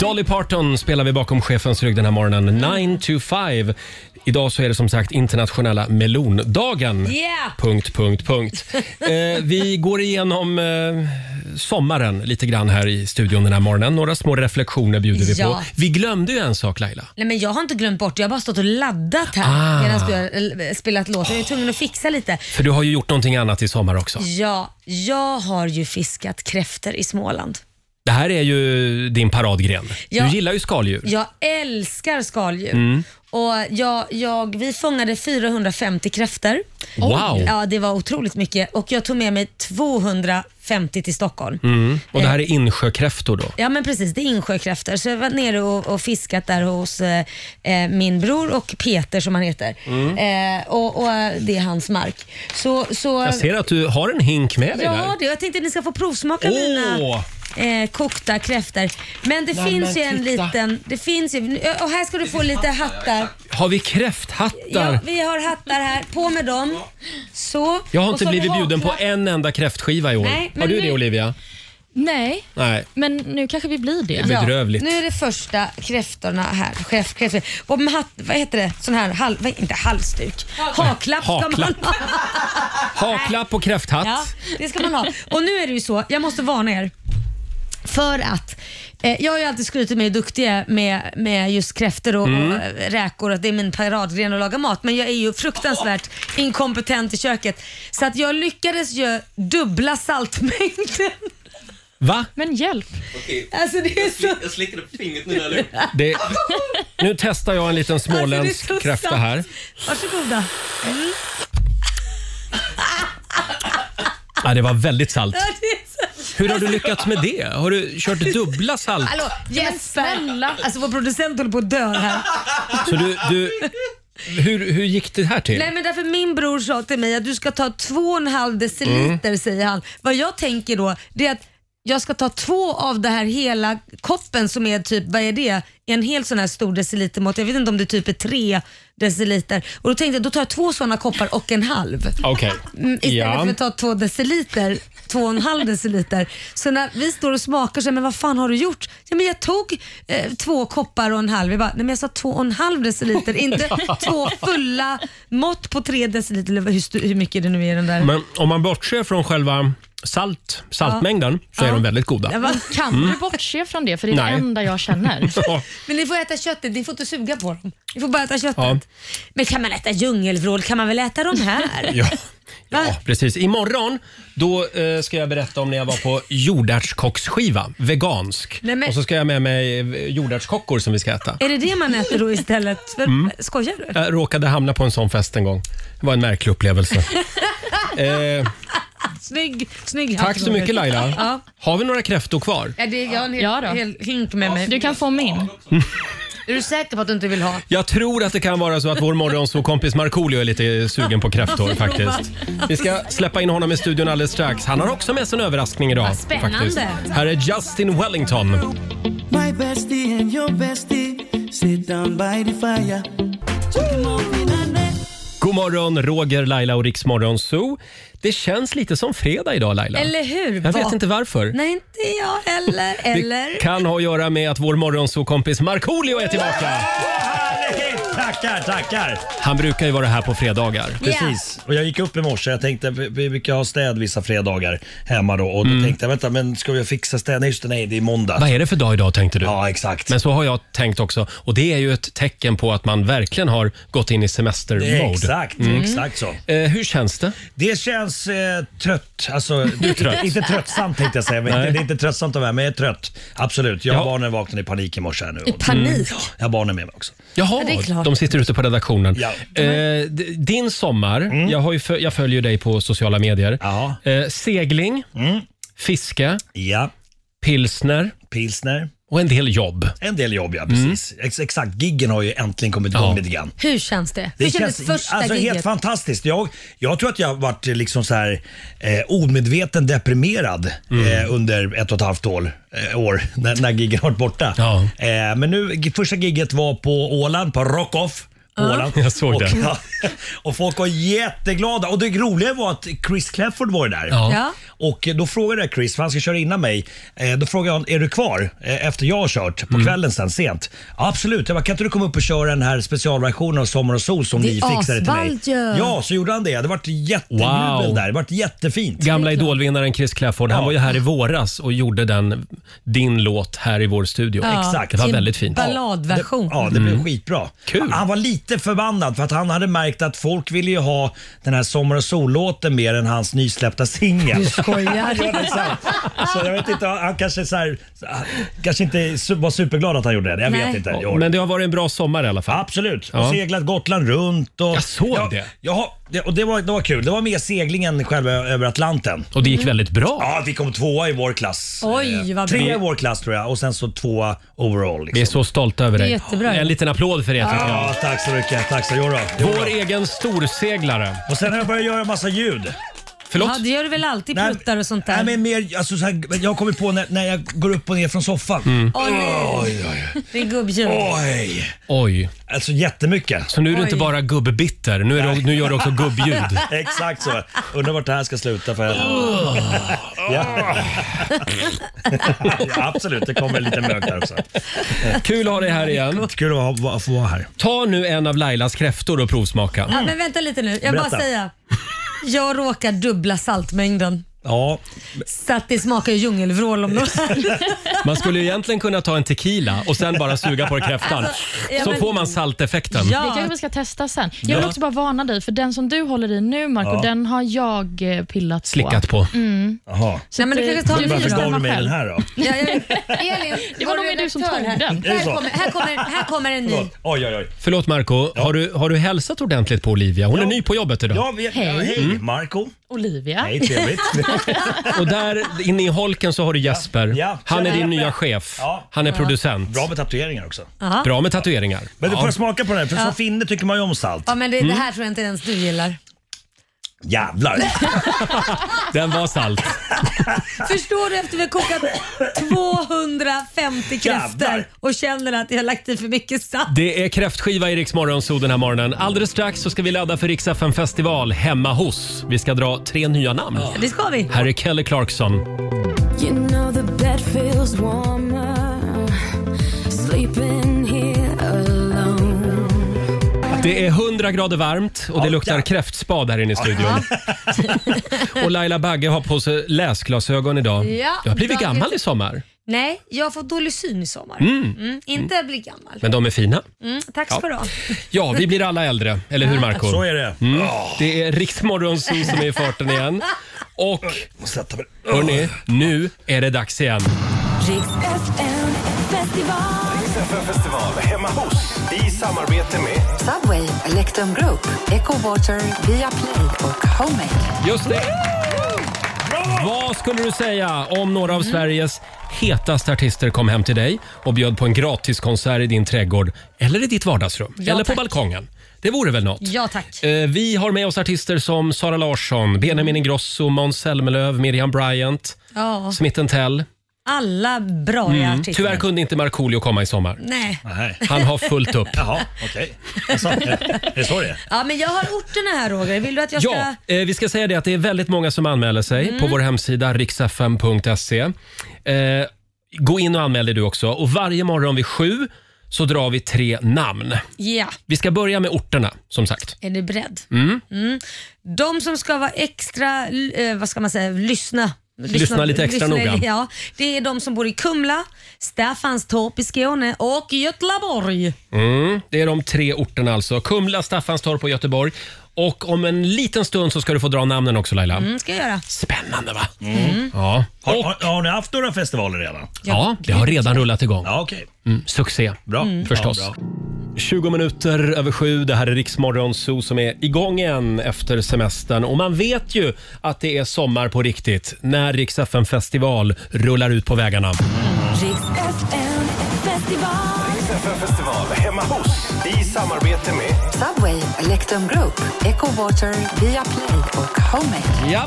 A: Dolly Parton spelar vi bakom chefens rygg den här morgonen. 9 to 5. Idag så är det som sagt internationella melondagen.
B: Yeah!
A: Punkt, punkt, punkt. Eh, vi går igenom eh, sommaren lite grann här i studion den här morgonen. Några små reflektioner bjuder vi
B: Ja.
A: på. Vi glömde ju en sak Laila.
B: Nej, men jag har inte glömt bort, jag har bara stått och laddat här
A: Ah.
B: medan du har eh, spelat låten. Jag är tvungen att fixa lite.
A: För du har ju gjort någonting annat i sommar också.
B: Ja, jag har ju fiskat kräftor i Småland.
A: Det här är ju din paradgren.
B: Ja.
A: Du Mm. gillar ju skaldjur.
B: Jag älskar skaldjur. Och jag, jag, vi fångade 450 kräftor.
A: Wow.
B: Ja, det var otroligt mycket. Och jag tog med mig 250 till Stockholm.
A: Mm. Och
B: Eh.
A: det här är insjökräftor då.
B: Ja men precis, det är insjökräftor. Så jag var nere och, och fiskat där hos eh, eh, min bror och Peter som han heter.
A: Mm.
B: Eh, och, och eh, det är hans mark. Så, så,
A: Jag ser att du har en hink med dig där.
B: ja, det, jag tänkte att ni ska få provsmaka
A: Åh!
B: mina eh, kokta kräftor. Men det
A: Nej,
B: finns ju
A: men
B: en
A: titta.
B: liten... Det finns ju, och här ska du få lite hattar.
A: Har vi kräfthattar?
B: Ja, vi har hattar här. På med dem. Så.
A: Jag har
B: Och
A: inte
B: så
A: blivit
B: haklar-
A: bjuden på en enda kräftskiva i år.
B: Nej,
A: har
B: men
A: du
B: nu-
A: det Olivia?
D: Nej,
A: Nej.
D: men nu kanske vi blir det.
A: blir- Bedrövligt.
B: Ja, nu är det första kräftorna här. Chef, kräftor. Och med hat, vad heter det? Sån här, hal, vad- inte halsduk. Haklapp ska man
A: Haklapp.
B: ha.
A: Haklapp och kräfthatt.
B: Ja, det ska man ha. Och nu är det ju så, jag måste varna er. För att eh, jag har ju alltid skrutit mig duktig med, med just kräftor och, och eh, räkor, att det är min paradgren att laga mat. Men jag är ju fruktansvärt inkompetent i köket. Så att jag lyckades ju dubbla saltmängden.
A: Va?
D: Men hjälp.
B: Alltså det är så
H: Jag slickade på fingret nu när jag luktar.
A: Det... Nu testar jag en liten småländsk
B: Alltså, det är så
A: kräfta
B: sant.
A: här.
B: Varsågoda.
A: Ja, det var väldigt salt.
B: Ja, det är så-
A: Hur
B: Alltså-
A: har du lyckats med det? Har du kört dubbla salt?
B: Hallå Jesper! Alltså vår producent håller på att dö här. Alltså-
A: Så du, du... Hur, hur gick det här till?
B: Nej men därför min bror sa till mig att du ska ta två och en halv deciliter säger han. Vad jag tänker då det är att jag ska ta två av det här hela koppen som är typ, vad är det? En hel sån här stor decilitermått. Jag vet inte om det typ är tre deciliter. Och då tänkte jag, då tar jag två såna koppar och en halv.
A: Okej.
B: Mm, Istället
A: Ja.
B: för att ta två deciliter, två och en halv deciliter. Så när vi står och smakar så här, men vad fan har du gjort? Ja, men jag tog eh, två koppar och en halv. Vi bara, nej men jag sa två och en halv deciliter, inte två fulla mått på tre deciliter. Eller hur, stu- hur mycket det nu är i den där.
A: Men om man bortser från själva salt, saltmängden så är de väldigt goda.
B: Ja, va?
D: Kan du bortse från det? För det är
A: Mm. Nej.
D: det enda jag känner.
A: Ja.
B: Men ni får äta köttet, ni får inte suga på dem. Ni får bara äta köttet.
A: Ja.
B: Men kan man äta djungelvrål kan man väl äta de här?
A: Ja.
B: Va?
A: ja, precis. Imorgon då eh, ska jag berätta om när jag var på jordärtskocksskiva, vegansk.
B: Nej, men-
A: Och så ska jag med mig eh, jordärtskockor som vi ska äta.
B: Är det det man äter då istället? För,
A: Mm.
B: Skojar du?
A: Jag råkade hamna på en sån fest en gång. Det var en märklig upplevelse. eh,
B: Snygg, snygg
A: tack så mycket Laila.
B: Ja.
A: Har vi några kräftor kvar?
B: Ja, det, jag har en hel,
D: Ja då.
B: hel hink med mig.
D: Du kan få min.
B: Är du säker på att du inte vill ha?
A: Jag tror att det kan vara så att vår morgonsåkompis Markoolio är lite sugen på kräftor
B: Alltså,
A: faktiskt. Vi ska släppa in honom i studion alldeles strax. Han har också med sig en överraskning idag.
B: Vad spännande.
A: Faktiskt. Här är Justin Wellington.
I: My bestie and your bestie sit down by the fire.
A: God morgon, Roger, Laila och Riksmorgon Zoo. Det känns lite som fredag idag Laila.
B: Eller hur?
A: Jag vet
B: Va?
A: inte varför.
B: Nej, inte jag heller. Eller?
A: Det kan ha att göra med att vår morgonsokompis Markoolio är tillbaka.
J: Härligt! Tackar, tackar!
A: Han brukar ju vara här på fredagar.
J: Precis. Och jag gick upp i morse. Jag tänkte, vi vi brukar ha städ vissa fredagar hemma då. Och
A: Mm.
J: då tänkte jag, vänta, men ska jag fixa städ? Nej, just det, nej, det är måndag.
A: Vad är det för dag idag tänkte du?
J: Ja, exakt.
A: Men så har jag tänkt också och det är ju ett tecken på att man verkligen har gått in i semestermode.
J: Exakt, exakt så.
A: Eh, hur känns det?
J: Det känns eh, trött. Alltså,
A: trött.
J: Inte tröttsamt tänkte jag säga, men
A: Nej.
J: det är inte tröttsamt att vara här, men jag är trött. Absolut. Jag
A: Ja.
J: och barnen vaknade i panik i morse här nu.
B: I panik.
J: Jag har barnen med mig också.
A: Jaha,
B: det är klart.
A: de sitter ute på redaktionen.
J: Ja. Mm.
A: Eh, d- din sommar, jag, har ju fö- jag följer dig på sociala medier.
J: Ja. Mm.
A: Eh, segling, fiske,
J: Ja,
A: pilsner
J: pilsner.
A: och en del jobb. Mm.
J: En del jobb ja, precis. Ex- exakt, giggen har ju äntligen kommit igång
A: Ja.
J: lite grann.
B: Hur känns det? Hur kändes första
J: alltså,
B: giget?
J: helt fantastiskt. Jag, jag tror att jag har varit liksom så här, eh, omedveten deprimerad
A: Mm.
J: eh, under ett och ett halvt år, eh, år när, när giggen har varit borta.
A: Ja.
J: Eh, men nu, g- första gigget var på Åland, på Rockoff. Åland.
A: Jag såg
J: och,
A: det.
J: Ja, och folk var jätteglada. Och det roliga var att Chris Clafford var ju där.
A: Ja.
B: Ja.
J: Och då frågade jag Chris, för han ska köra innan mig. Eh, Då frågade jag, är du kvar eh, efter jag har kört på
A: Mm.
J: kvällen sen sent? Ja, absolut. Jag bara, kan inte du komma upp och köra den här specialversionen av Sommar och sol som
B: Det är
J: ni fixade till mig?
B: asballt ju.
J: Ja, så gjorde han det. Det vart jättejubel
A: Wow.
J: där. Det vart jättefint.
A: Gamla idolvinnaren Chris Clafford, han
J: Ja.
A: var ju här i våras och gjorde den, din låt här i vår studio.
J: Exakt.
A: Det var
J: Till
A: väldigt fint. Mm.
B: Balladversion.
J: Det, ja, det blev skitbra.
A: Kul.
J: Han var lite förbannad för att han hade märkt att folk ville ju ha den här Sommar och sol-låten mer än hans nysläppta singel. Ja, det är sant. Så Alltså, jag vet inte, han kanske, så här, kanske inte su- var superglad att han gjorde det. Jag vet
B: Nej.
J: inte.
A: Ja,
J: Jag-
A: Men det har varit en bra sommar i alla fall.
J: Absolut.
A: Ja.
J: Och seglat Gotland runt. Och,
A: Jag såg det.
J: Ja, det, och det, var, det var kul. Det var mer seglingen själva över Atlanten. Mm.
A: Och det gick väldigt bra.
J: Ja, vi kom tvåa i vår klass.
B: Oj, vad bra.
J: Trea i vår klass tror jag och sen så tvåa overall. Liksom.
A: Vi är så stolta över
B: Det är
A: dig.
B: jättebra.
A: En liten applåd för det. tycker jag.
J: Ja, tack så mycket. Tack så mycket. Jodå.
A: Vår egen storseglare.
J: Och sen har jag börjat göra massa ljud.
A: Förlåt?
B: Ja, det gör du väl alltid,
J: Nej,
B: pluttar och sånt där?
J: Nej, men mer, alltså, så här, men jag har kommit på när, när jag går upp och ner från soffan.
A: Mm.
B: Åh nej,
J: Oj, oj,
B: det är gubbljud.
J: oj.
A: Oj,
J: Alltså jättemycket.
A: så nu är du inte bara gubbbitter. Nu, är du, nu gör du också gubbljud.
J: Exakt så. Undrar vart det här ska sluta för
A: Oh.
J: ja. ja, absolut. Det kommer lite mög där också.
A: Kul att ha dig här igen.
J: Kul att ha- att få vara här.
A: Ta nu en av Lailas kräftor och provsmaka.
B: Ja, men vänta lite nu, jag bara
J: Berätta.
B: säga. Jag råkar dubbla saltmängden.
J: Ja,
B: Så att det smakar ju djungelvrål om något.
A: Man skulle ju egentligen kunna ta en tequila och sen bara suga på kräftan.
B: ja,
A: Så
B: men-
A: får man salteffekten.
D: Det
B: Ja,
D: kanske vi ska testa sen. Jag vill också bara varna dig, för den som du håller i nu Marco, den har jag eh, pillat Mm. på.
A: Slickat på.
J: jaha.
D: Så
B: Nej, men
D: att,
B: du
D: eh,
B: kanske tar
D: du
B: en Fyra
J: Varför
D: får
J: gav
D: bestämma
J: du mig
D: själv.
J: den här då?
B: ja, ja. Elin,
D: Det var
B: har
D: nog
B: du
D: mer du som
B: redaktör
D: tog
B: här?
D: den.
J: Är det
B: Här
J: så?
B: kommer, här, kommer, här kommer en ny.
J: Förlåt. Oj, oj, oj.
A: Förlåt Marco, har, du, har du hälsat ordentligt på Olivia? Hon är ny på jobbet idag. Mm.
J: Ja, vi, hej. hej Marco.
D: Olivia.
J: Hej, trevligt.
A: Och där inne i holken så har du Jesper.
J: Ja.
A: Han är din
J: Tjena,
A: nya
J: Jesper.
A: chef.
J: Ja.
A: Han är producent.
J: Bra med tatueringar också.
A: Bra med tatueringar.
J: Men du får
A: Ja.
J: jag smaka på den här, för som finne tycker man ju om salt.
B: Ja, men det, det
A: Mm.
B: här tror jag inte ens du gillar.
J: Jävlar.
A: Den var salt.
B: Förstår du efter vi har kokat 250 kräftor
J: Jävlar.
B: och känner att jag har lagt i för mycket salt?
A: Det är kräftskiva i Rix Morgonzoo den här morgonen. Alldeles strax så ska vi ladda för Rix FM festival hemma hos. Vi ska dra tre nya namn.
B: Det ska vi.
A: Här är Kelly Clarkson.
I: You know the bed feels warmer sleeping here alone.
A: Det är 100 grader varmt och det luktar kräftspad här inne i studion. Och Laila Bagge har på sig läsglasögon idag.
B: Ja,
A: Du har blivit
B: dagens-
A: gammal i sommar,
B: Nej, jag har fått dålig syn i sommar. Mm. inte bli gammal.
A: men de är fina.
B: Mm, tack ska du ha.
A: Ja, vi blir alla äldre, eller hur Marco? Mm.
J: Så är det. Ja,
A: Det är Riksmorgonzoo som är i farten igen. Och
J: måste sätta mig.
A: hörni, nu är det dags igen.
I: Riks FM festival.
F: festival hemma hos i samarbete med
H: Subway, Electrum Group, Echo Water, Viaplay och Homemade.
A: Just det! Vad skulle du säga om några
F: Mm.
A: av Sveriges hetaste artister kom hem till dig och bjöd på en gratiskonsert i din trädgård eller i ditt vardagsrum eller på
B: tack.
A: balkongen? Det vore väl något?
B: Ja tack.
A: Eh, Vi har med oss artister som Sara Larsson, Benjamin Ingrosso, Måns Zelmerlöw, Miriam Bryant,
B: Ja,
A: Smith Tell.
B: alla bra mm. artister.
A: Tyvärr kunde inte Markoolio komma i sommar.
B: Nej.
J: Nej.
A: Han har fullt upp.
J: Jaha, okej. Alltså, är det så det är?
B: Ja, men jag har orterna här Roger. Vill du att jag ska... Mm.
A: Ja, eh, vi ska säga det att det är väldigt många som anmäler sig på vår hemsida riksfm.se. Eh, gå in och anmäl dig du också. Och varje morgon vid sju så drar vi tre namn.
B: Ja.
A: Vi ska börja med orterna, som sagt.
B: Är du beredd? Mm. De som ska vara extra, eh, vad ska man säga, lyssna. Lyssna,
A: lite extra noga.
B: Ja, det är de som bor i Kumla, Staffanstorp i Skåne och Göteborg.
A: Mm, det är de tre orterna alltså. Kumla, Staffanstorp och Göteborg. Och om en liten stund så ska du få dra namnen också Laila.
B: Mm, ska jag göra. Mm.
A: Spännande va? Ja.
J: Har, har, har ni haft några festivaler redan?
A: ja, det har redan rullat igång.
J: Ja, okej.
A: Mm, succé.
J: Bra.
A: förstås.
J: Ja, bra.
A: 20 minuter över sju, det här är Riksmorgon Zoo som är igång igen efter semestern. Och man vet ju att det är sommar på riktigt när Rix FM festival rullar ut på vägarna.
I: Riks FM festival.
F: festival hemma hos i samarbete med
H: Subway, Electrum Group, Echo Water, Viaplay och Homemade.
A: Ja.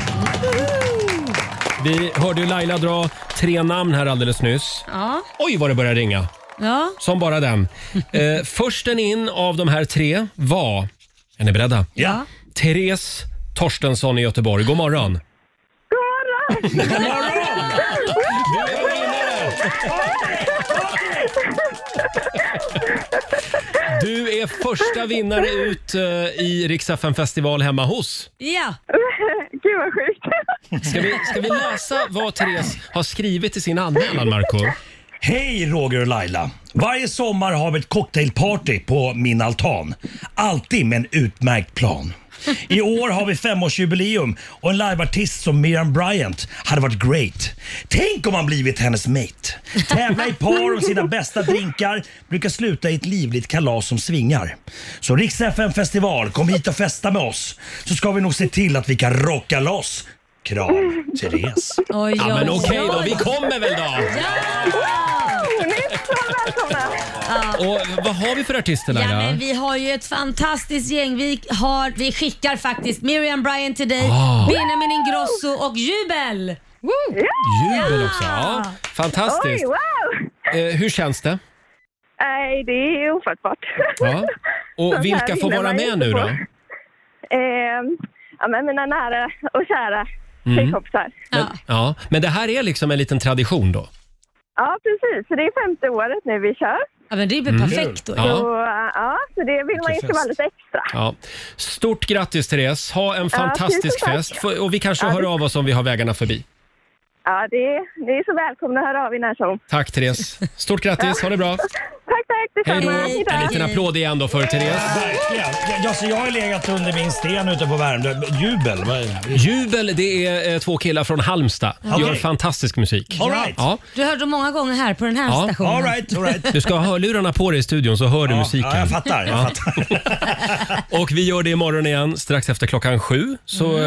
A: Vi hörde ju Laila dra tre namn här alldeles nyss.
B: Ja.
A: Oj, vad det börjar ringa.
B: Ja.
A: Som bara den. Eh, försten in av de här tre var... Är ni beredda?
J: Ja.
A: Therese Torstensson i Göteborg. God morgon.
G: God morgon!
A: Du är första vinnare ut eh, i Riksaffen festival hemma hos.
B: Ja.
G: Gud vad sjukt.
A: Ska vi, ska vi läsa vad Therese har skrivit i sin anmälan, Marco?
J: Hej Roger och Laila. Varje sommar har vi ett cocktailparty på min altan. Alltid med en utmärkt plan. I år har vi femårsjubileum och en liveartist som Miriam Bryant hade varit great. Tänk om man blivit hennes mate. Tävla i par om sina bästa drinkar brukar sluta i ett livligt kalas som svingar. Så Rix FM festival, kom hit och festa med oss så ska vi nog se till att vi kan rocka loss. Kram, Therese.
B: Oj,
A: Ja, men
B: oj,
A: okej då,
B: oj.
A: vi kommer väl då! Och vad har vi för artister
B: Ja,
A: Laila?
B: men vi har ju ett fantastiskt gäng. Vi, har, vi skickar faktiskt Miriam Bryant till dig,
A: Ah.
B: Benjamin Ingrosso och Jubel.
A: Jubel också. Ja,
G: Oj,
A: fantastiskt.
G: wow!
A: Eh, hur känns det?
G: Nej, det är ofattbart.
A: Ja.
G: Sånt
A: Och
G: här
A: vilka får
G: vinner
A: vara
G: man
A: med
G: inte
A: nu
G: på.
A: då?
G: Ehm, ja, men mina nära och kära tjejkompisar.
A: Men, Mm. ja. men det här är liksom en liten tradition då?
G: Ja, precis. Så det är femte året nu vi kör.
B: Ja, men det är väl perfekt då.
A: Mm. Ja.
G: Så, äh, ja, så det vill man ju
J: fest.
G: vara lite extra.
A: Ja. Stort grattis Therese, ha en fantastisk
G: tusen tack.
A: fest Får- och vi kanske
G: Ja,
A: hör
G: det-
A: av oss om vi har vägarna förbi.
G: Ja, det, ni är så välkomna att höra av er när som.
A: Tack Therese, stort grattis, ha det bra.
G: Tack, tack
A: Hej då.
G: detsamma.
A: En liten applåd igen då för Therese.
J: Verkligen. Jag, jag, så jag har ju legat under min sten ute på Värmdö. Jubel. vad är det?
A: Jubel, det är eh, två killar från Halmstad. Gör
J: Okej.
A: fantastisk musik.
J: All right.
A: Ja.
B: Du hörde dem många gånger här på den här
A: Ja.
B: stationen.
J: All right, all right.
A: Du ska ha hörlurarna på dig i studion så hör du
J: Ja,
A: musiken.
J: ja, jag fattar. Jag fattar.
A: Och vi gör det imorgon igen strax efter klockan sju. Så eh,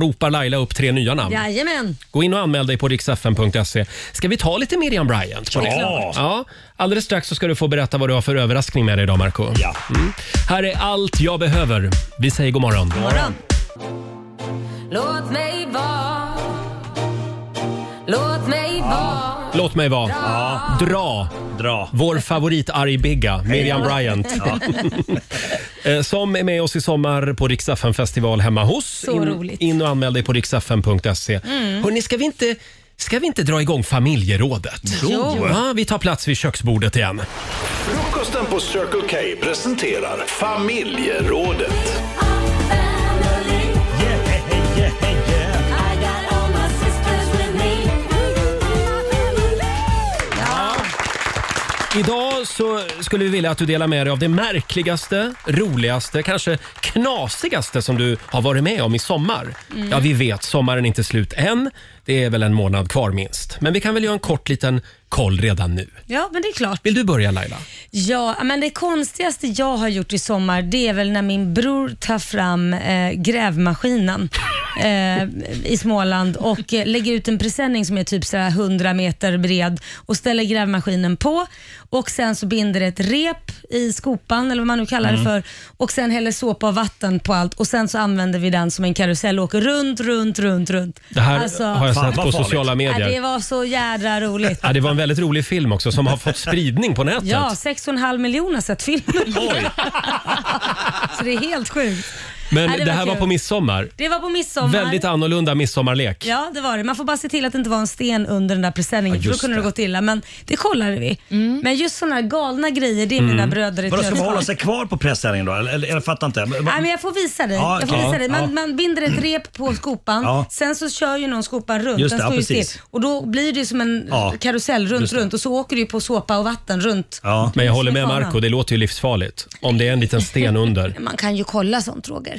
A: ropar Laila upp tre nya namn.
B: Mm. Jajamän.
A: Gå in och anmäl dig på riksfn.se. Ska vi ta lite Miriam Bryant? På det?
J: Ja.
A: ja! Alldeles strax så ska du få berätta vad du har för överraskning med dig idag, Marco.
J: Ja.
A: Mm. Här är allt jag behöver. Vi säger god morgon.
B: Morgon.
H: Låt mig vara Låt mig vara
A: Låt mig vara. Dra.
J: Dra.
A: Vår favorit argbigga, Miriam Bryant. Eh, Som är med oss i sommar på Riksdagen festival hemma hos.
B: Så
A: in,
B: roligt. Mm.
A: in och anmäl dig på riksdagen.se. Hörrni, ska vi inte Ska vi inte dra igång familjerådet? Jo. Ja, vi tar plats vid köksbordet igen.
F: Frukosten på Circle K presenterar Familjerådet.
J: Yeah, yeah, yeah.
A: Idag så skulle vi vilja att du delar med dig av det märkligaste, roligaste, kanske knasigaste som du har varit med om i sommar.
B: Mm.
A: Ja, vi vet, sommaren är inte slut än. Det är väl en månad kvar minst. Men vi kan väl göra en kort liten koll redan nu.
B: Ja, men det är klart.
A: Vill du börja Laila?
B: Ja, men det konstigaste jag har gjort i sommar det är väl när min bror tar fram eh, grävmaskinen eh, i Småland och eh, lägger ut en presenning som är typ sådär 100 meter bred och ställer grävmaskinen på och sen så binder ett rep i skopan eller vad man nu kallar
A: Mm.
B: det för och sen häller såpa och vatten på allt och sen så använder vi den som en karusell och åker runt, runt, runt, runt. Alltså-
A: Det här har jag
J: Fan,
A: sett
J: vad
A: på
J: farligt.
A: sociala
B: ja,
A: medier.
B: det var så jädra roligt.
A: Ja, det var en väldigt rolig film också som har fått spridning på nätet.
B: Ja, 6,5 miljoner har sett filmen. Så det är helt sjukt.
A: Men
B: Ja, det
A: det,
B: var
A: här var
B: kul.
A: på midsommar.
B: Det var på midsommar.
A: Väldigt annorlunda midsommarlek.
B: Ja, det var det. Man får bara se till att det inte var en sten under den där presenningen
A: Ja,
B: för då
A: just
B: kunde det
A: det.
B: gått illa. Men det kollade vi. Men just sådana galna grejer, det är mina bröder i ett
J: Mm. Vadå, ska man
B: nötskal.
J: hålla sig kvar på pressändningen då? Eller, eller, jag fattar inte.
B: Nej, men jag får visa dig.
J: Ja,
B: jag får
J: ja,
B: visa dig. Man,
J: ja.
B: man binder ett rep på skopan,
J: Ja.
B: sen så kör ju någon skopan runt.
J: Just
B: den
J: det, ja,
B: står ju
J: precis.
B: still. Och då blir det ju som en
J: Ja,
B: karusell runt,
J: just det.
B: runt och så åker du ju på såpa och vatten runt.
J: Ja.
A: Men jag håller
B: Som
A: med
B: fan.
A: Marco, det låter ju livsfarligt. Om det är en liten sten under.
B: Man kan ju kolla sånt Roger.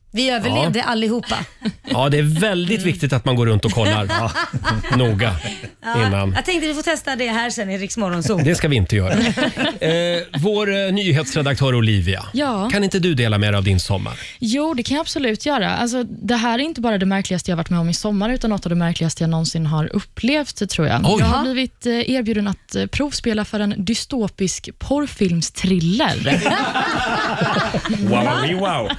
B: Vi överlevde allihopa.
A: Ja, det är väldigt viktigt att man går runt och kollar noga
B: Ja,
A: innan.
B: Jag tänkte vi får testa det här sen i Rix Morgonzoo.
A: Det ska vi inte göra. Eh, vår eh, nyhetsredaktör Olivia,
D: Ja.
A: kan inte du dela med dig av din sommar?
D: Jo, det kan jag absolut göra. Alltså, det här är inte bara det märkligaste jag varit med om i sommar, utan något av det märkligaste jag någonsin har upplevt, tror jag.
A: Oj.
D: Jag har blivit eh, erbjuden att eh, provspela för en dystopisk porrfilmsthriller.
J: Wow, wow.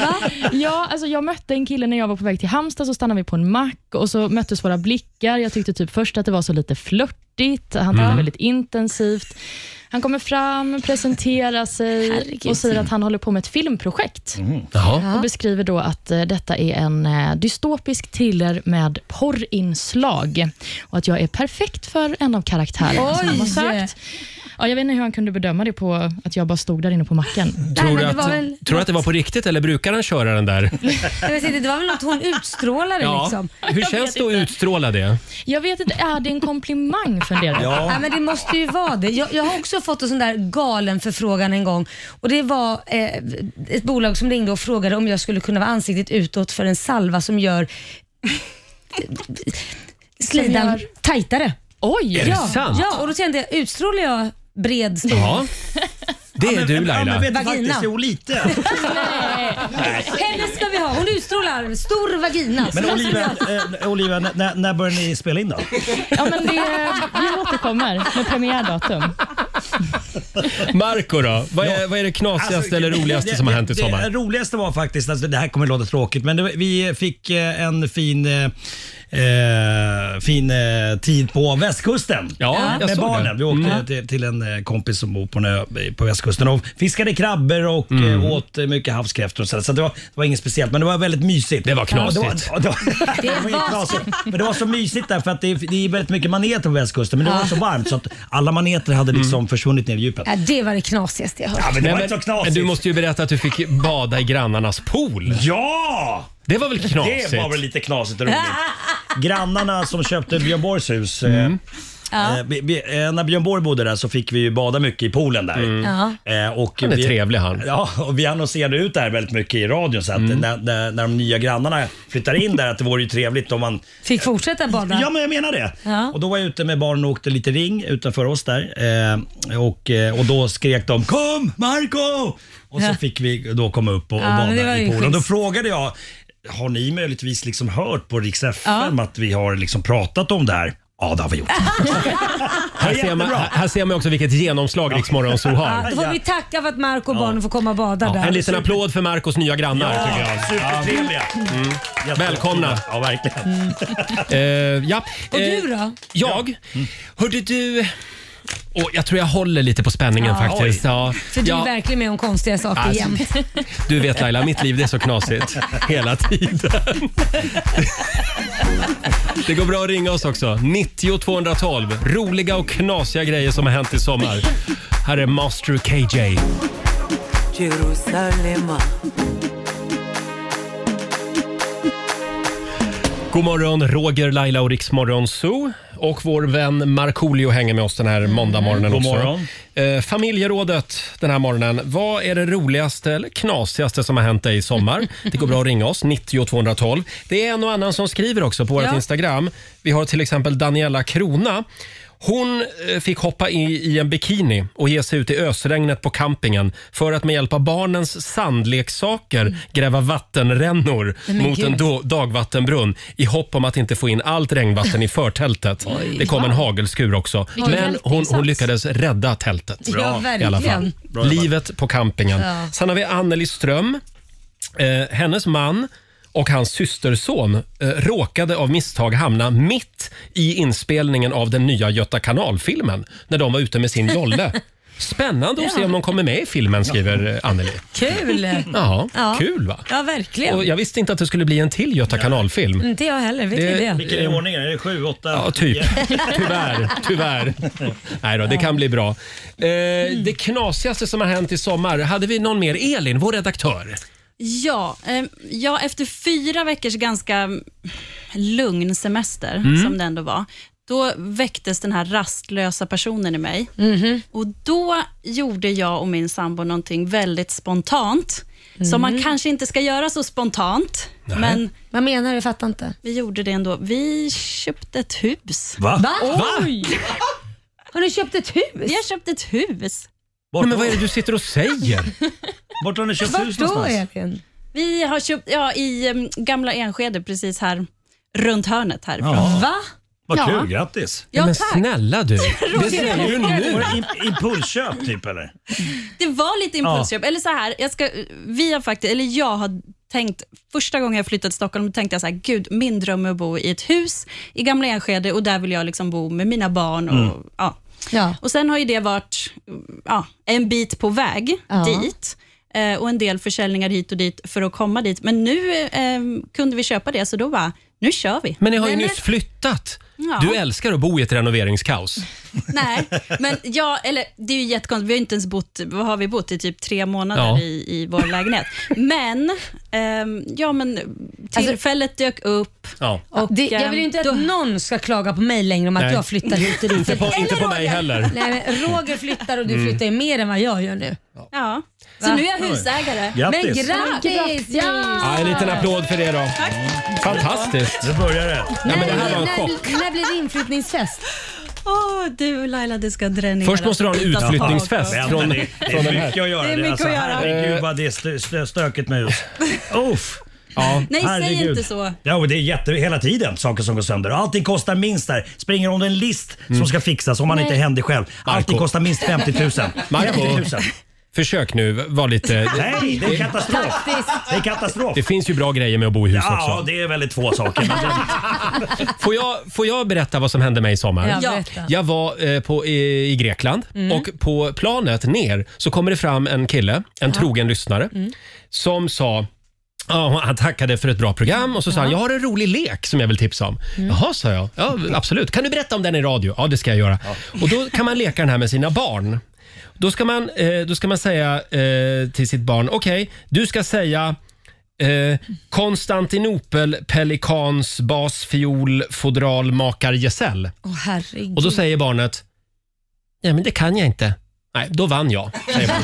B: Va?
D: Ja, alltså jag mötte en kille när jag var på väg till Halmstad, så stannade vi på en mack och så möttes våra blickar. Jag tyckte typ först att det var så lite flörtigt, han pratade
K: Mm.
D: väldigt intensivt. Han kommer fram, presenterar sig och säger att han håller på med ett filmprojekt.
K: Jaha.
D: Och beskriver då att eh, detta är en eh, dystopisk thriller med porrinslag och att jag är perfekt för en av karaktärerna som han har
B: Oj.
D: sökt. Ja, jag vet inte hur han kunde bedöma det på att jag bara stod där inne på macken.
B: Nej,
A: Tror du
B: men det
A: att,
B: var väl
A: tror du att det var på riktigt eller brukar han köra den där?
B: Jag vet inte, det var väl något hon utstrålade liksom.
A: Hur känns det att utstråla det?
D: Jag vet inte, är det en komplimang funderar
A: Ja.
B: Ja, men det måste ju vara det. Jag, jag har också fått en sån där galen förfrågan en gång och det var eh, ett bolag som ringde och frågade om jag skulle kunna vara ansiktet utåt för en salva som gör slidan
D: gör-
B: tajtare.
D: Oj!
A: Är det
B: ja,
A: sant?
B: ja, och då kände jag, utstrålar jag bred stor?
A: Ja. Det är du
J: Ja, men
A: Laila.
J: vet du
B: Vagina.
J: faktiskt, jo lite. Nej.
B: Henne ska vi ha, hon utstrålar stor vagina.
J: Men
B: Så-
J: Olivia, eh, Olivia n- när, när börjar ni spela in då?
D: Ja, men det, vi återkommer med premiärdatum.
A: Marco då? Vad är, vad är det knasigaste eller roligaste
J: Alltså, Det-
A: som har
J: det-
A: hänt i
J: Det
A: sommar?
J: roligaste var faktiskt, alltså, det här kommer låta tråkigt, men det, vi fick eh, en fin, eh, eh, fin eh, tid på västkusten.
A: Ja, jag
J: med
A: såg
J: barnen.
A: det.
J: Vi åkte
A: Mm.
J: till, till en eh, kompis som bor på, en ö på västkusten och fiskade krabbor och
A: Mm.
J: eh, åt eh, mycket havskräftor och sådär. Så det var, det var inget speciellt, men det var väldigt mysigt. Det var
A: knasigt.
J: Ja, det var, det var,
B: Det var-
J: knasigt. Men det var så mysigt där för att det, det är väldigt mycket maneter på västkusten, men det var så varmt så att alla maneter hade liksom
A: Mm.
J: försvunnit ner i djupet.
B: Ja, det var det knasigaste jag hört.
J: men det var
A: Nej,
J: inte så
A: men,
J: knasigt.
A: du måste ju berätta att du fick bada i grannarnas pool.
J: Ja!
A: Det var väl knasigt?
J: Det var väl lite knasigt och roligt. Grannarna som köpte Björn Borgs hus.
A: Mm.
J: eh,
B: Ja.
J: Eh, vi, vi, eh, när Björn Borg bodde där så fick vi ju bada mycket i poolen där.
B: Mm. Ja.
J: Eh, och
A: Han är
J: vi,
A: trevlig, han. Mm.
J: Ja, och vi annonserade ut det här väldigt mycket i radion så att när, när, när de nya grannarna flyttar in där att det vore ju trevligt om man
B: Fick fortsätta bada.
J: Ja, men jag menar det.
B: Ja.
J: Och då var jag ute med barnen och åkte lite ring utanför oss där. Eh, och, eh, och då skrek de “Kom, Marco!” Och så
B: Ja.
J: fick vi då komma upp och, och
B: Ja, men det var
J: bada
B: ju
J: i poolen. Då
B: schysst.
J: frågade jag “Har ni möjligtvis liksom hört på Rix FM
B: Ja. Äh,
J: att vi har liksom pratat om det här?” Ja, det har vi gjort.
A: Här ser, man, här ser man också vilket genomslag Rix Morgonzoo
B: Ja,
A: har.
B: då får vi tacka för att Marco och barnen får komma och bada där.
A: En liten applåd för Marcos nya grannar tycker jag.
J: Supertrevliga. Mm.
A: Välkomna.
J: Ja, verkligen.
A: Eh, ja.
B: Och
A: Eh,
B: du då?
A: Jag?
J: Mm.
A: Hörde du... Åh, jag tror jag håller lite på spänningen
B: Ja.
A: faktiskt. Ja.
B: För du är
A: Ja.
B: verkligen med om konstiga saker
A: Alltså,
B: jämt.
A: Du vet Laila, mitt liv det är så knasigt hela tiden. Det går bra att ringa oss också. 90 212. Roliga och knasiga grejer som har hänt i sommar. Här är Master KJ. God morgon, Roger, Laila och Riksmorgon Zoo. Och vår vän Markoolio hänger med oss den här måndagmorgonen
J: God
B: Mm,
A: också.
J: morgon.
A: Eh, familjerådet den här morgonen. Vad är det roligaste eller knasigaste som har hänt dig i sommar? Det går bra att ringa oss, 90 212. Det är en och annan som skriver också på vårt
B: Ja.
A: Instagram. Vi har till exempel Daniela Krona. Hon eh, fick hoppa i, i en bikini och ge sig ut i ösregnet på campingen för att med hjälp av barnens sandleksaker gräva vattenrännor
B: Mm. Nej, men
A: mot en
B: gud.
A: då dagvattenbrunn i hopp om att inte få in allt regnvatten i förtältet. det kom en hagelskur också.
D: Vilken
A: Men hon, hon
D: hjälteinsats.
A: lyckades rädda tältet.
B: Ja,
A: I alla fall.
B: verkligen.
J: Bra jobbat.
A: Livet på campingen.
B: Ja.
A: Sen har vi Anneli Ström. Eh, hennes man och hans systerson eh, råkade av misstag hamna mitt i inspelningen av den nya Göta kanalfilmen när de var ute med sin jolle. Spännande att se om de kommer med i filmen, skriver eh, Anneli.
B: Kul!
A: Ja,
B: Ja.
A: kul va?
B: Ja, verkligen.
A: Och jag visste inte att det skulle bli en till Göta kanalfilm.
B: Inte jag heller, vet
A: Det-
B: ni det?
J: Vilken är ordningen? Är det sju, åtta?
A: Ja, typ. Tyvärr. tyvärr. Nej då, det kan bli bra. Eh,
B: Mm.
A: det knasigaste som har hänt i sommar, hade vi någon mer? Elin, vår redaktör.
E: Ja, eh, ja, efter fyra veckors ganska lugn semester, som det ändå var, då väcktes den här rastlösa personen i mig. Och Då gjorde jag och min sambo någonting väldigt spontant, som man kanske inte ska göra så spontant, men
B: Vad menar du? Jag fattar inte.
E: vi gjorde det ändå. Vi köpte ett hus.
J: Va?
B: Va? Har ni köpt ett hus?
E: Vi har köpt ett hus.
J: Vart,
A: Nej, men vad är det du sitter och säger?
J: vart har ni köpt hus
B: Vart då
J: någonstans?
B: Elin?
E: Vi har köpt ja, i em, gamla Enskede, precis här runt hörnet härifrån.
J: Ja,
B: Va?
J: vad kul,
E: Ja.
J: grattis.
E: Ja,
A: men
E: tack.
A: snälla du. Det säger du
J: Var
A: nu.
J: det im- impulsköp typ eller?
E: Det var lite impulsköp. Eller så här, jag, ska, vi har faktiskt, eller jag har tänkt, första gången jag flyttade till Stockholm tänkte jag så här, gud, min dröm är att bo i ett hus i Gamla Enskede och där vill jag liksom bo med mina barn. Och,
K: Mm.
E: ja. och Sen har ju det varit ja, en bit på väg
K: Ja.
E: dit eh, och en del försäljningar hit och dit för att komma dit. Men nu eh, kunde vi köpa det, så då bara, nu kör vi.
A: Men ni har ju
E: Eller-
A: nyss flyttat.
E: Ja.
A: Du älskar att bo i ett renoveringskaos.
E: Nej, men ja, eller det är ju jättekonstigt. Vi har inte ens bott, vad har vi bott i? Typ tre månader
A: Ja.
E: i, i vår lägenhet. Men, ehm, ja men tillfället dök upp.
A: Ja.
E: Och,
B: Alltså,
E: ehm,
B: det, jag vill ju inte att någon ska klaga på mig längre om att
A: Nej.
B: jag flyttar hit och dit.
A: Inte på-
B: Eller
A: inte på
B: Roger.
A: mig heller.
B: Nej, men Roger flyttar och du
A: Mm.
B: flyttar ju mer än vad jag gör nu.
E: Ja. Så
B: Va?
E: nu är jag husägare.
A: Grattis.
B: Men grattis! Ja!
A: Ja, en liten applåd för det då. Fantastiskt.
J: Nu börjar det.
A: Ja, men det här var en chock.
B: när, när blir det inflyttningsfest?
E: Åh, du Laila, det ska dränera.
A: Först måste du ha en utflyttningsfest
J: Ja,
A: från,
J: det är- det
A: från den
J: är
A: här.
J: mycket att göra.
E: Det är mycket
J: alltså,
E: att göra.
J: Herregud vad det är stö- stö- stökigt med hus. Uff.
A: Ja.
E: Nej, säg inte så.
J: Ja, och det är jätte, hela tiden saker som går sönder. Allting kostar minst där. Springer om en list
A: Mm.
J: som ska fixas om man
E: Nej.
J: inte händer själv. Allting kostar minst 50 000. 50
A: Marco,
J: 000.
A: försök nu. Var lite...
J: Nej, det är katastrof. Det är katastrof.
A: Det finns ju bra grejer med att bo i hus
J: Ja,
A: också.
J: det är väldigt få saker. Men
A: Får jag, får jag berätta vad som hände mig i sommar?
J: Ja, berätta.
A: Jag var eh, på, i, i Grekland
J: Mm.
A: och på planet ner så kommer det fram en kille, en trogen lyssnare, som sa Ja, han tackade för ett bra program och så sa han “Jag har en rolig lek som jag vill tipsa om”. Jaha, sa jag. Ja, absolut. Kan du berätta om den i radio? Ja, det ska jag göra. Och då kan man leka den här med sina barn. Då ska man, eh, då ska man säga eh, till sitt barn, okej, du ska säga eh, Konstantinopel, pelikans, bas, fiol, fodral, makar, gesell.
B: Åh herregud.
A: Och då säger barnet, nej men det kan jag inte. Nej, då vann jag, säger man.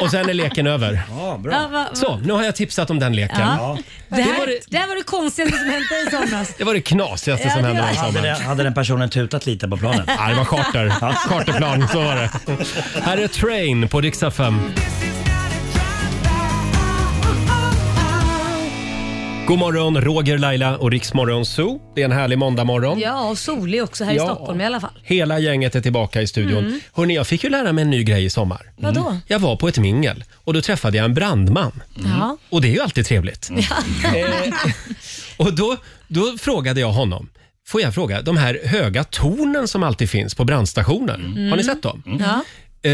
A: Och sen är leken över.
J: Ja,
B: bra. Ja, va- va-
A: Så, nu har jag tipsat om den leken.
B: Ja. Det,
A: Det
B: här,
A: var
B: det... här var det konstigaste som hände i somras.
A: Det var det knasigaste
B: Ja,
A: som
B: det
A: hände
B: var
A: den
B: det.
J: hade, den,
A: sommaren.
J: hade den personen tutat lite på planen?
A: Ja, det var charter. Charterplan, så var det. Här är Train på riksdag 5. God morgon, Roger, Laila och Riksmorgon Zoo. Det är en härlig måndagmorgon.
B: Ja, och solig också här i
A: Ja.
B: Stockholm i alla fall.
A: Hela gänget är tillbaka i studion.
B: Mm.
A: Hörrni, jag fick ju lära mig en ny grej i sommar. Mm.
B: Vadå?
A: Jag var på ett mingel och då träffade jag en brandman.
B: Mm. Ja.
A: Och det är ju alltid trevligt. Eh, och då, då frågade jag honom, får jag fråga, de här höga tornen som alltid finns på brandstationer, har ni sett dem?
B: Mm. Ja.
A: Eh,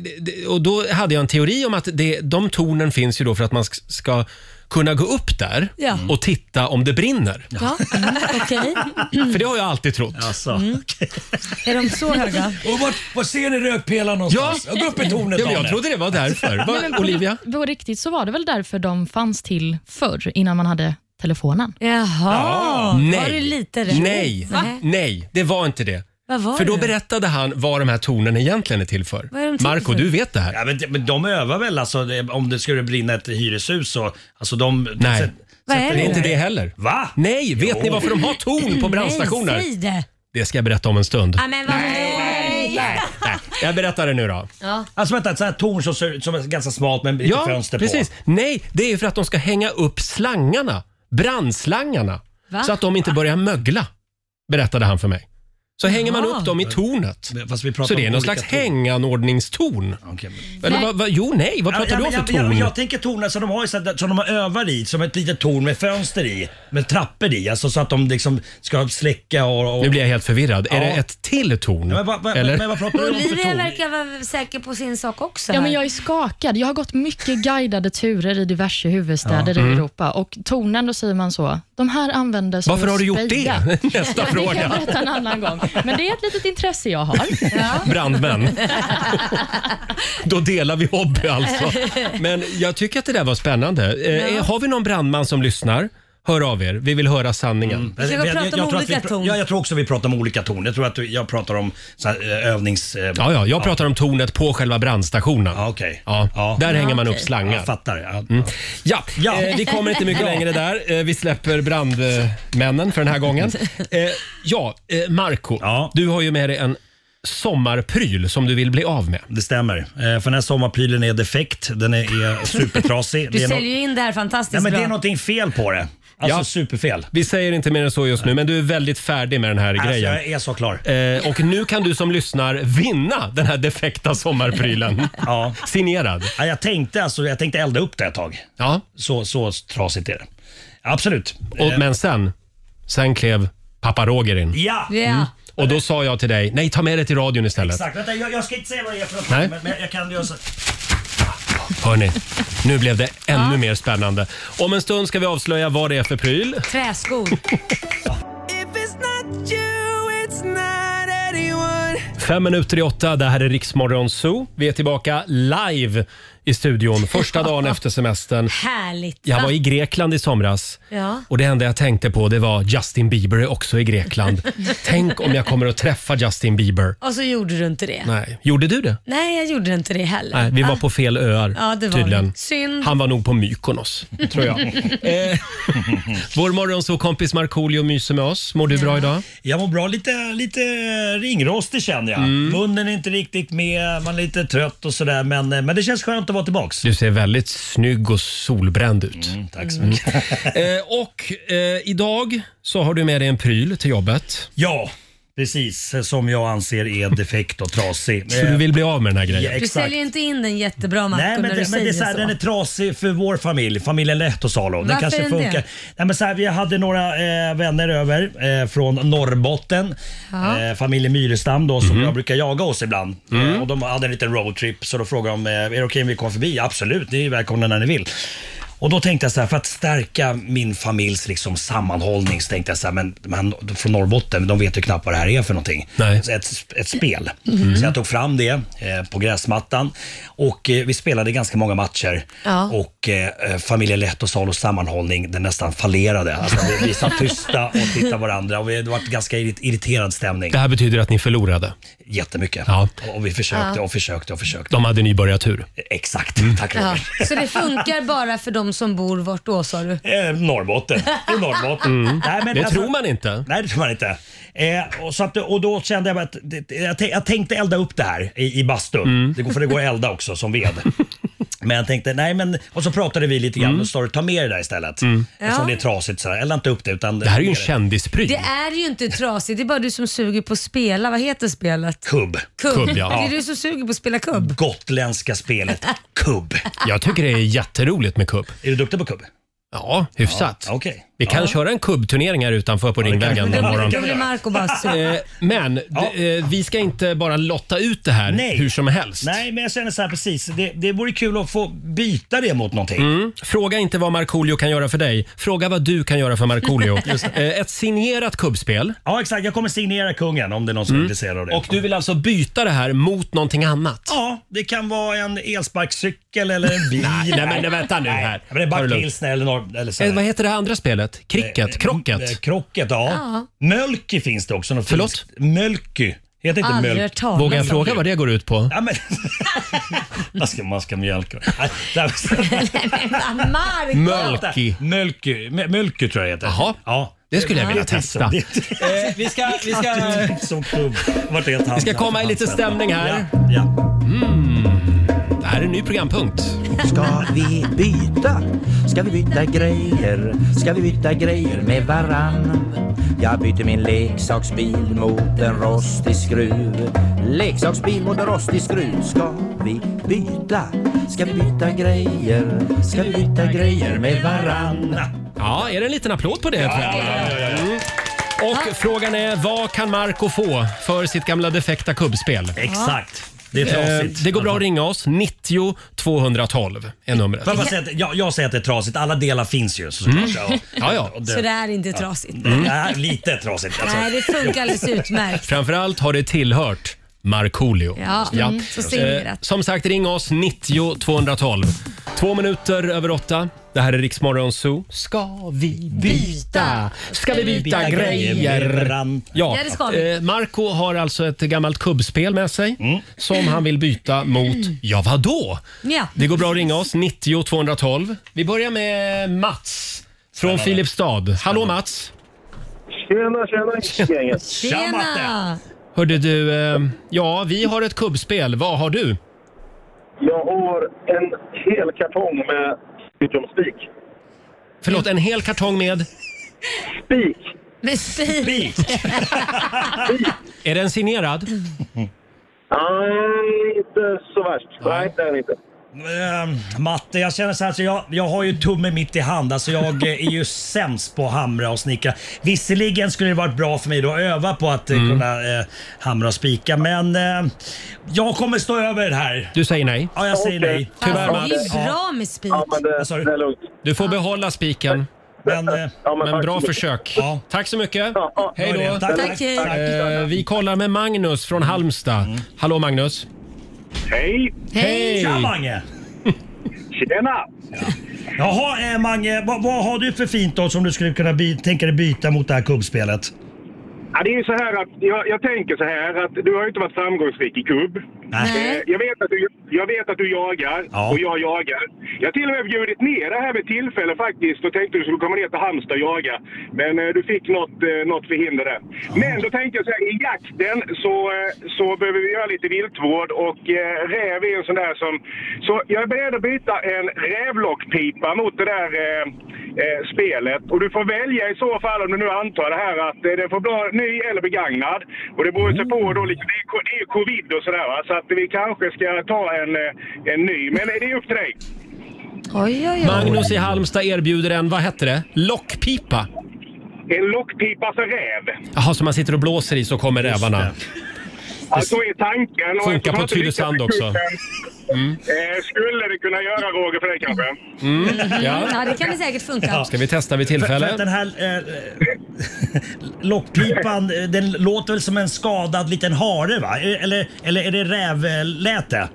A: det- det- och då hade jag en teori om att det, de tornen finns ju då för att man sk- ska kunna gå upp där Mm.
B: Ja.
A: och titta om det brinner.
B: Ja, mm, okej. Mm.
A: För det har jag alltid trott.
B: Är de så höga?
J: Och vart, var ser ni rökpelaren någonstans? Ja, gå upp i tornet
A: Ja, men jag
J: Daniel.
A: trodde det var därför. Va,
D: Nej, men på,
A: Olivia?
D: ri- på riktigt så var det väl därför de fanns till förr, innan man hade telefonen.
B: Jaha,
A: Ah, nej.
B: var det lite rätt?
A: Nej.
B: Va?
A: Nej, det var inte det.
B: Vad var
A: för då
B: det?
A: berättade han vad de här tornen egentligen är till för.
B: Vad är de till
A: Marco,
B: för?
A: du vet det här.
J: Ja, men, de- men de övar väl alltså, det- om det skulle brinna ett hyreshus så, alltså de...
A: Nej.
J: sätt-
B: Vad är
J: sätter
A: det?
J: ihop-
A: Det är inte det heller.
J: Va?
A: Nej, vet
J: Jo.
A: ni varför de har torn på brandstationer?
B: Nej, säg det.
A: Det ska jag berätta om en stund.
B: Ja, men vad nej, nej.
A: Nej, jag berättar det nu då.
B: Ja.
J: Alltså vänta, ett sånt här torn som, ser ut som är ganska smalt med lite
A: Ja,
J: fönster
A: precis.
J: på.
A: Nej, det är ju för att de ska hänga upp slangarna. Brandslangarna.
J: Va?
A: Så att de inte börjar mögla. Berättade han för mig. Så hänger man
J: Jaha.
A: upp dem i tornet.
J: Eh, Fast vi pratar
A: Så det är
J: om
A: någon
J: olika
A: slags
J: torn.
A: hänganordningstorn.
J: Okej, men-
A: Eller vad, vad, jo, nej, vad
J: Ja,
A: pratar
J: ja,
A: du om
J: men
A: för
J: jag,
A: torn?
J: Jag, jag tänker tornen som de har, i så här- som de övar i, som ett litet torn med fönster i. Med trappor i, alltså så att de liksom ska släcka och... och
A: Nu blir jag helt förvirrad. Är
J: Ja.
A: det ett till torn?
J: Ja, men vad- vad-
A: Eller?
J: men vad pratar du om för
B: Olivia
J: torn?
B: verkar vara säker på sin sak också.
D: Ja,
B: här.
D: men jag är skakad. Jag har gått mycket guidade turer i diverse huvudstäder
A: Ja.
D: i
A: Mm.
D: Europa och tornen, då säger man så. De här användes
A: Varför
D: för
A: har du gjort
D: speja.
A: det? Nästa
D: Det kan jag
A: fråga.
D: berätta en annan gång. Men det är ett litet intresse jag har.
A: Brandmän. Då delar vi hobby alltså. Men jag tycker att det där var spännande. Eh,
B: Ja.
A: Har vi någon brandman som lyssnar? Hör av er. Vi vill höra sanningen.
B: Mm. Vi ska gå och prata om
J: tror att
B: olika
J: vi, pr-
B: torn.
J: Ja, jag tror också vi pratar om olika torn. Jag tror att du- jag pratar om så här, eh, övnings... eh,
A: Ja, ja, jag pratar om tornet på själva brandstationen.
J: Ja, okej.
A: Ja, där
J: Ja,
A: hänger man upp
J: okej.
A: slangar.
J: Jag fattar. Ja.
A: Mm. Ja,
J: Ja.
A: Eh, vi kommer inte mycket
J: Ja.
A: längre där. Eh, vi släpper brandmännen för den här gången. Eh, ja, eh, Marco, du har ju med dig en sommarpryl som du vill bli av med.
J: Det stämmer. Eh, För den här sommarprylen är defekt. Den är, är supertrasig.
B: Du
J: det är nå-
B: säljer ju in det här
J: Nej,
B: fantastiskt
J: men det är
B: bra.
J: någonting fel på det. Alltså superfel.
A: Vi säger inte mer än så just nu, men du är väldigt färdig med den här
J: Alltså,
A: grejen.
J: jag är så klar.
A: Eh, och nu kan du som lyssnar vinna den här defekta sommarprylen.
J: Ja.
A: Signerad.
J: Ja, jag, tänkte, alltså, jag tänkte elda upp det ett tag.
A: Ja.
J: Så, så trasigt är det. Absolut. Eh,
A: Och, men sen, sen klev pappa Roger in.
J: Ja!
B: Ja.
A: Och då sa jag till dig, nej ta med det till radion istället.
J: Exakt. Vänta, jag, jag ska inte säga vad det är för något,
A: Nej.
J: men, men jag kan göra så.
A: Hörni, nu blev det ännu mer spännande. Om en stund ska vi avslöja vad det är för pryl.
B: Träskor.
A: Fem minuter i åtta, det här är Riksmorgon Zoo. Vi är tillbaka live i studion första dagen efter semestern.
B: Härligt.
A: Jag
B: va?
A: var i Grekland i somras.
B: Ja.
A: Och det enda jag tänkte på det var Justin Bieber är också i Grekland. Tänk om jag kommer att träffa Justin Bieber.
B: Och så gjorde du inte det. Nej,
A: Nej, gjorde du det?
B: jag gjorde inte det heller.
A: Nej, vi var
B: Ah.
A: på fel öar
B: Ja, det var
A: tydligen.
B: vi. Synd.
A: Han var nog på Mykonos, tror jag. eh, vår morgonsåkompis Markoolio myser med oss. Mår du bra idag?
J: Jag mår bra. Lite, lite ringrostig känner jag.
A: Mm.
J: Munnen är inte riktigt med, man är lite trött och sådär. Men, eh, men det känns skönt att vara tillbaks.
A: Du ser väldigt snygg och solbränd ut.
J: Mm, Tack så mycket.
A: Eh, och eh, idag så har du med dig en pryl till jobbet.
J: Ja, precis. Som jag anser är defekt och trasig.
A: Så du vill bli av med den här grejen.
J: Ja,
B: Du
J: exakt.
B: säljer inte in den jättebra Marco
J: Nej, men,
B: när du
J: det, men
B: säger
J: det är så här,
B: så.
J: den är trasig för vår familj, familjen Lehtosalo. Den
B: Varför
J: kanske
B: är den
J: funkar.
B: det?
J: Nej, men så här, vi hade några eh, vänner över eh, från Norrbotten.
B: Ja.
J: Eh, familjen Myrestam då, som jag brukar jaga oss ibland. Eh, och de hade en liten roadtrip så då frågade de, eh, är det okej om vi kommer förbi? Absolut, ni är välkomna när ni vill. Och då tänkte jag så här, för att stärka min familjs liksom sammanhållning så tänkte jag så här, men, men från Norrbotten, de vet ju knappt vad det här är för någonting.
A: Nej.
J: Så ett, ett spel. Så jag tog fram det eh, på gräsmattan och eh, vi spelade ganska många matcher.
B: Ja.
J: Och eh, familjen Lett och Salos sammanhållning, den nästan fallerade. Alltså, vi, vi satt tysta och tittade varandra och vi, det var ganska irrit- irriterad stämning.
A: Det här betyder att ni förlorade.
J: Jättemycket.
A: Ja.
J: Och, och vi försökte och försökte och försökte.
A: De hade nybörjartur. Mm.
J: Exakt, tack
B: Ja.
J: Roger.
B: Så det funkar bara för de som bor vart då sa du?
J: Eh, Norrbotten. I Norrbotten. Nej, men
A: Mm. Det
J: alltså-
A: tror man inte.
J: Nej, det tror man inte. Eh, och, så att, och då kände jag bara att det- det- jag, tän- jag tänkte elda upp det här i, i bastun.
A: Mm.
J: Det går, för det går att elda också som ved. Men jag tänkte, nej men, och så pratade vi lite grann
A: Mm.
J: och så sa du, ta med det där istället. Eftersom
B: Ja.
J: det är trasigt så här, elda inte upp det. Utan,
A: Det här är ju en kändispryl.
B: Det är ju inte trasigt, det är bara du som suger på att spela. Vad heter spelet?
J: Kubb.
B: Kubb.
A: Kubb, ja.
B: Det
A: Ja.
B: är du som suger på att spela kubb.
J: Gotländska spelet kubb.
A: Jag tycker det är jätteroligt med kubb.
J: Är du duktig på kubb?
A: Ja, hyfsat.
J: Ja, Okej.
A: Vi kan köra en kubbturnering här utanför på Ringvägen
J: vi.
A: någon morgon.
B: Då blir Marco bara sur.
A: Eh, Men d-
J: Ja.
A: eh, vi ska inte bara lotta ut det här
J: Nej.
A: hur som helst.
J: Nej, men jag känner så här precis. Det, det vore kul att få byta det mot någonting.
A: Mm. Fråga inte vad Markoolio kan göra för dig. Fråga vad du kan göra för Markoolio. Eh, Ett signerat kubbspel. Mm.
J: Ja, exakt. Jag kommer signera kungen om det är någon som är intresserad av det.
A: Och du vill alltså byta det här mot någonting annat?
J: Ja, det kan vara en elsparkcykel eller en bil.
A: Nej, men nej, vänta nu här.
J: Men det är
A: Ta
J: bara
A: det lugnt.
J: pilsner eller, norr, eller så.
A: Eh, Vad heter det andra spelet? Cricket?
J: Eh,
A: Krocket?
J: Krocket, ja. Mölky finns det också. Något
A: Förlåt?
J: finskt. Mölky. Heter inte
B: Aldrig
J: mölk.
B: hört talas
A: Vågar jag
B: om.
A: fråga vad det går ut på?
J: Ja, men... man, ska, man ska mjölka. Nej, där-
B: Men Marco!
A: Mölky.
J: Mölky. M- Mölky tror jag det heter.
A: Jaha.
J: Ja.
A: Det skulle jag vilja
J: Det är
A: testa.
J: så- det-
A: Eh, Vi ska... Vi ska...
J: det är Som klubb. Vart är det
A: Vi ska komma i lite stämning här. Mm.
J: Ja, ja.
A: Det här är en ny programpunkt.
I: Ska vi byta? Ska vi byta grejer? Ska vi byta grejer med varann? Jag byter min leksaksbil mot en rostig skruv. Leksaksbil mot en rostig skruv. Ska vi byta? Ska vi byta grejer? Ska vi byta grejer med varann?
A: Ja, är det en liten applåd på det? tror jag? Mm. Och frågan är, vad kan Marco få för sitt gamla defekta kubbspel?
J: Exakt. Det är
A: Eh,
J: trasigt.
A: Det går bra att ringa oss. 90 212 är numret.
J: Får jag, bara säga att, jag, jag säger att det är trasigt. Alla delar finns ju så, såklart. Ja.
A: Mm. Ja, ja.
J: Och
B: Så det
J: Det, Mm.
B: är inte trasigt.
A: Mm.
J: Nej, lite trasigt. Alltså.
B: Nej, det funkar alldeles utmärkt.
A: Framförallt har det tillhört Markoolio.
B: Ja, mm, så
A: Eh,
B: signerat.
A: Som sagt, ring oss 90 212. Två minuter över åtta. Det här är Riksmorgon Zoo. Ska vi byta? Ska vi byta grejer? Ja,
B: Ja, det ska vi.
A: eh, Marco har alltså ett gammalt kubbspel med sig
J: Mm.
A: som han vill byta mot,
B: Mm.
A: ja vadå?
B: Ja.
A: Det går bra att ringa oss, 90 212. Vi börjar med Mats från Filipstad. Hallå Mats!
F: Tjena, tjena gänget.
J: Tja, Matte.
B: Tjena!
A: Hörde du, eh, ja vi har ett kubbspel, vad har du?
F: Jag har en hel kartong med styckomspik.
A: Förlåt, en hel kartong med? Spik.
B: Med spik.
A: Är den signerad?
J: Nej, inte så värst. Nej, det är inte. Ehm, Matte, jag känner så här, så jag, jag har ju tummen mitt i hand. Alltså jag eh, är ju sämst på att hamra och snickra. Visserligen skulle det varit bra för mig då att öva på att eh,
A: Mm.
J: kunna eh, hamra och spika, men eh, jag kommer stå över det här.
A: Du säger nej?
J: Ja, jag säger
A: Okej.
J: nej.
A: Tyvärr,
B: Alltså, det är ju bra med spik.
A: det är lugnt. Du får behålla spiken. Men,
J: men eh, tack så
A: bra
J: mycket.
A: försök. Tack så mycket. Hej
J: Hör
A: då.
J: det. Tack, Tack, tack. hej. tack. Mm.
A: Eh, Vi kollar med Magnus från Halmstad. Hallå Magnus.
K: Hej!
A: Hej!
J: Tja Mange!
K: Tjena!
J: Jaha eh, Mange, vad, vad har du för fint då som du skulle kunna by- tänka dig byta mot det här kubbspelet?
K: Ja, det är ju så här att jag, jag tänker så här att du har ju inte varit framgångsrik i kubb. Eh, Jag vet att du, jag vet att du jagar
J: Ja.
K: och jag jagar. Jag har till och med bjudit ner det här med tillfälle faktiskt och tänkte du skulle komma ner till Halmstad och jaga. Men eh, du fick något, eh, något förhinder där. Men då tänkte jag så här, i jakten så, eh, så behöver vi göra lite viltvård och eh, räv är en sån där som... Så jag är beredd att byta en rävlockpipa mot det där eh, eh, spelet. Och du får välja i så fall om du nu antar det här att eh, den får vara ny eller begagnad. Och det
A: Mm.
K: beror ju sig på då liksom, det är co- det är ju covid och sådär va. Så att vi kanske ska ta en, eh, en ny. Men det är upp till dig.
B: Oj, oj, oj.
A: Magnus i Halmstad erbjuder en, vad hette det? Lockpipa.
K: En lockpipa för räv.
A: Jaha, som man sitter och blåser i så kommer rävarna.
K: Ja, så Alltså, är tanken. Och eftersom
A: Funkar på
K: jag inte lyckas
A: Tylösand
K: med
A: också.
K: kuppen, Eh, skulle det kunna göra Roger för dig kanske?
A: Mm,
B: Ja.
A: ja.
B: det kan det säkert funka.
A: Ska vi testa vid
J: För, för att
A: tillfälle?
J: den här eh, lockpipan, eh, den låter väl som en skadad liten hare va? Eh, Eller, eller är det rävläte?
B: Mm,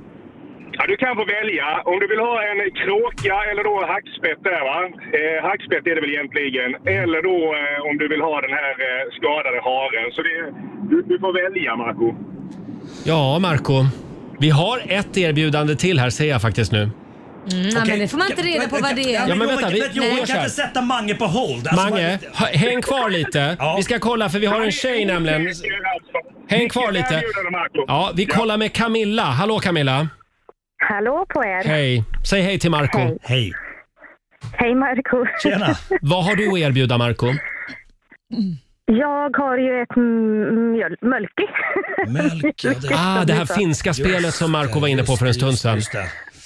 K: Ja, du kan få välja. Om du vill ha en kråka eller då hackspett där va? Eh, hackspett är det väl egentligen. Eller då eh, om du vill ha den här eh, skadade haren. Så det, du, du får välja Marco.
A: Ja, Marco. Vi har ett erbjudande till här ser jag faktiskt nu.
B: Mm, ja, Men det får man inte reda på vad det är.
A: Ja, men vänta, vi-
J: Jo,
A: Nej.
J: jag kan inte sätta Mange på hold. Alltså,
A: Mange,
J: man-
A: ha- häng kvar lite. Vi ska kolla för vi har en tjej nämligen. Häng kvar lite. Ja, vi kollar med Camilla. Hallå Camilla.
L: Hallå på er.
A: Hej. Säg hej till Marco.
J: Hej.
L: Hej Marco.
A: Vad har du att erbjuda Marco?
L: Jag har ju ett mm, mjöl- mölke.
A: Ah, det här finska spelet som Marco var inne på för en stund sedan.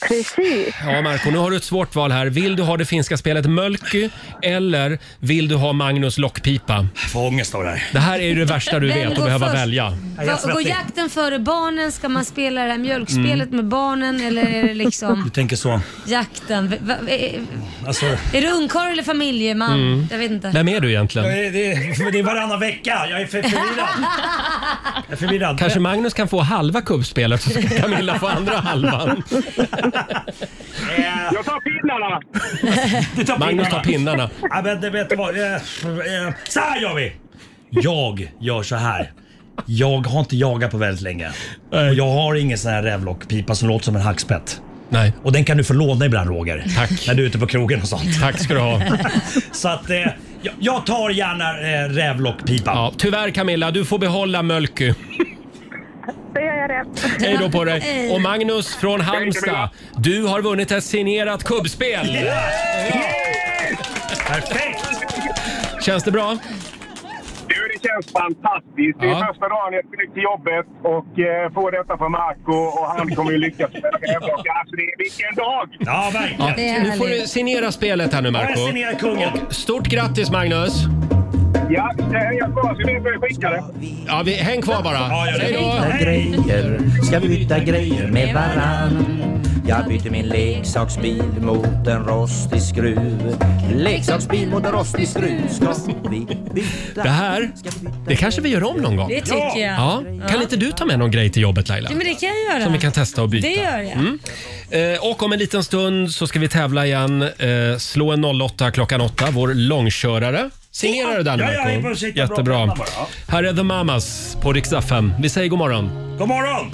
L: Precis.
A: Ja, Marco, nu har du ett svårt val här. Vill du ha det finska spelet Mölky eller vill du ha Magnus lockpipa?
J: Jag får ångest av det här.
A: Det här är ju det värsta du
B: Vem
A: vet, att
B: går
A: behöva
B: först?
A: välja.
B: Va, går jakten före barnen? Ska man spela det här
A: Mm.
B: mjölkspelet med barnen eller är det
J: Du
B: liksom
J: tänker så.
B: jakten? Va, va, är,
J: Alltså,
B: är du ungkarl eller familjeman?
A: Mm.
B: Jag vet inte.
A: Vem är du
J: jag
A: egentligen?
J: är- det, är, det är varannan vecka. Jag är för förvirrad. Jag är förvirrad.
A: Kanske Magnus kan få halva kubbspelet så ska Camilla få andra halvan.
K: Jag tar pinnarna!
J: Du tar
A: Magnus
J: pinnarna.
A: tar pinnarna.
J: Ja, men det vet du vad. Eh, eh, Så här gör vi! Jag gör så här. Jag har inte jagat på väldigt länge. Och jag har ingen sån här rävlockpipa som låter som en hackspett.
A: Nej.
J: Och den kan du få låna ibland Roger.
A: Tack.
J: När du är ute på krogen och sånt.
A: Tack ska du ha.
J: så att eh, jag, jag tar gärna eh, rävlockpipan.
A: Ja, tyvärr Camilla, du får behålla Mölky.
L: Då gör jag det.
A: Hej då på dig. Och Magnus från Halmstad, du har vunnit ett signerat kubbspel.
J: Perfekt!
A: Känns det bra?
K: Du, det känns fantastiskt. Det är
A: Ja.
K: första dagen jag skulle till jobbet och eh, få detta från Marco och han kommer ju lyckas med det här. Alltså, det är vilken dag!
J: Ja, verkligen.
A: Ja, nu får du signera spelet här nu Marco.
J: Jag signerar kungen.
A: Och Stort grattis Magnus!
K: Ja, det är jag kvar så vi får skicka det.
A: Ja, vi, häng kvar bara. Hej då!
I: byta grejer, ska vi byta grejer med varann? Jag byter min leksaksbil mot en rostig skruv. Leksaksbil mot en rostig skruv ska vi byta.
A: Det här, det kanske vi gör om någon gång.
B: Det tycker jag.
A: Ja. Kan inte du ta med någon grej till jobbet Laila?
B: Ja, men det kan jag göra.
A: Som vi kan testa och byta.
B: Det gör jag.
A: Mm. Eh, Och om en liten stund så ska vi tävla igen. Eh, Slå en 08 klockan 8, vår långkörare. Signerar du den
J: Ja, ja, jag
A: Marco?
J: får sitta bra
A: Jättebra.
J: framme bara, ja.
A: Här är The Mamas på Rix FM. Vi säger god morgon.
J: God morgon!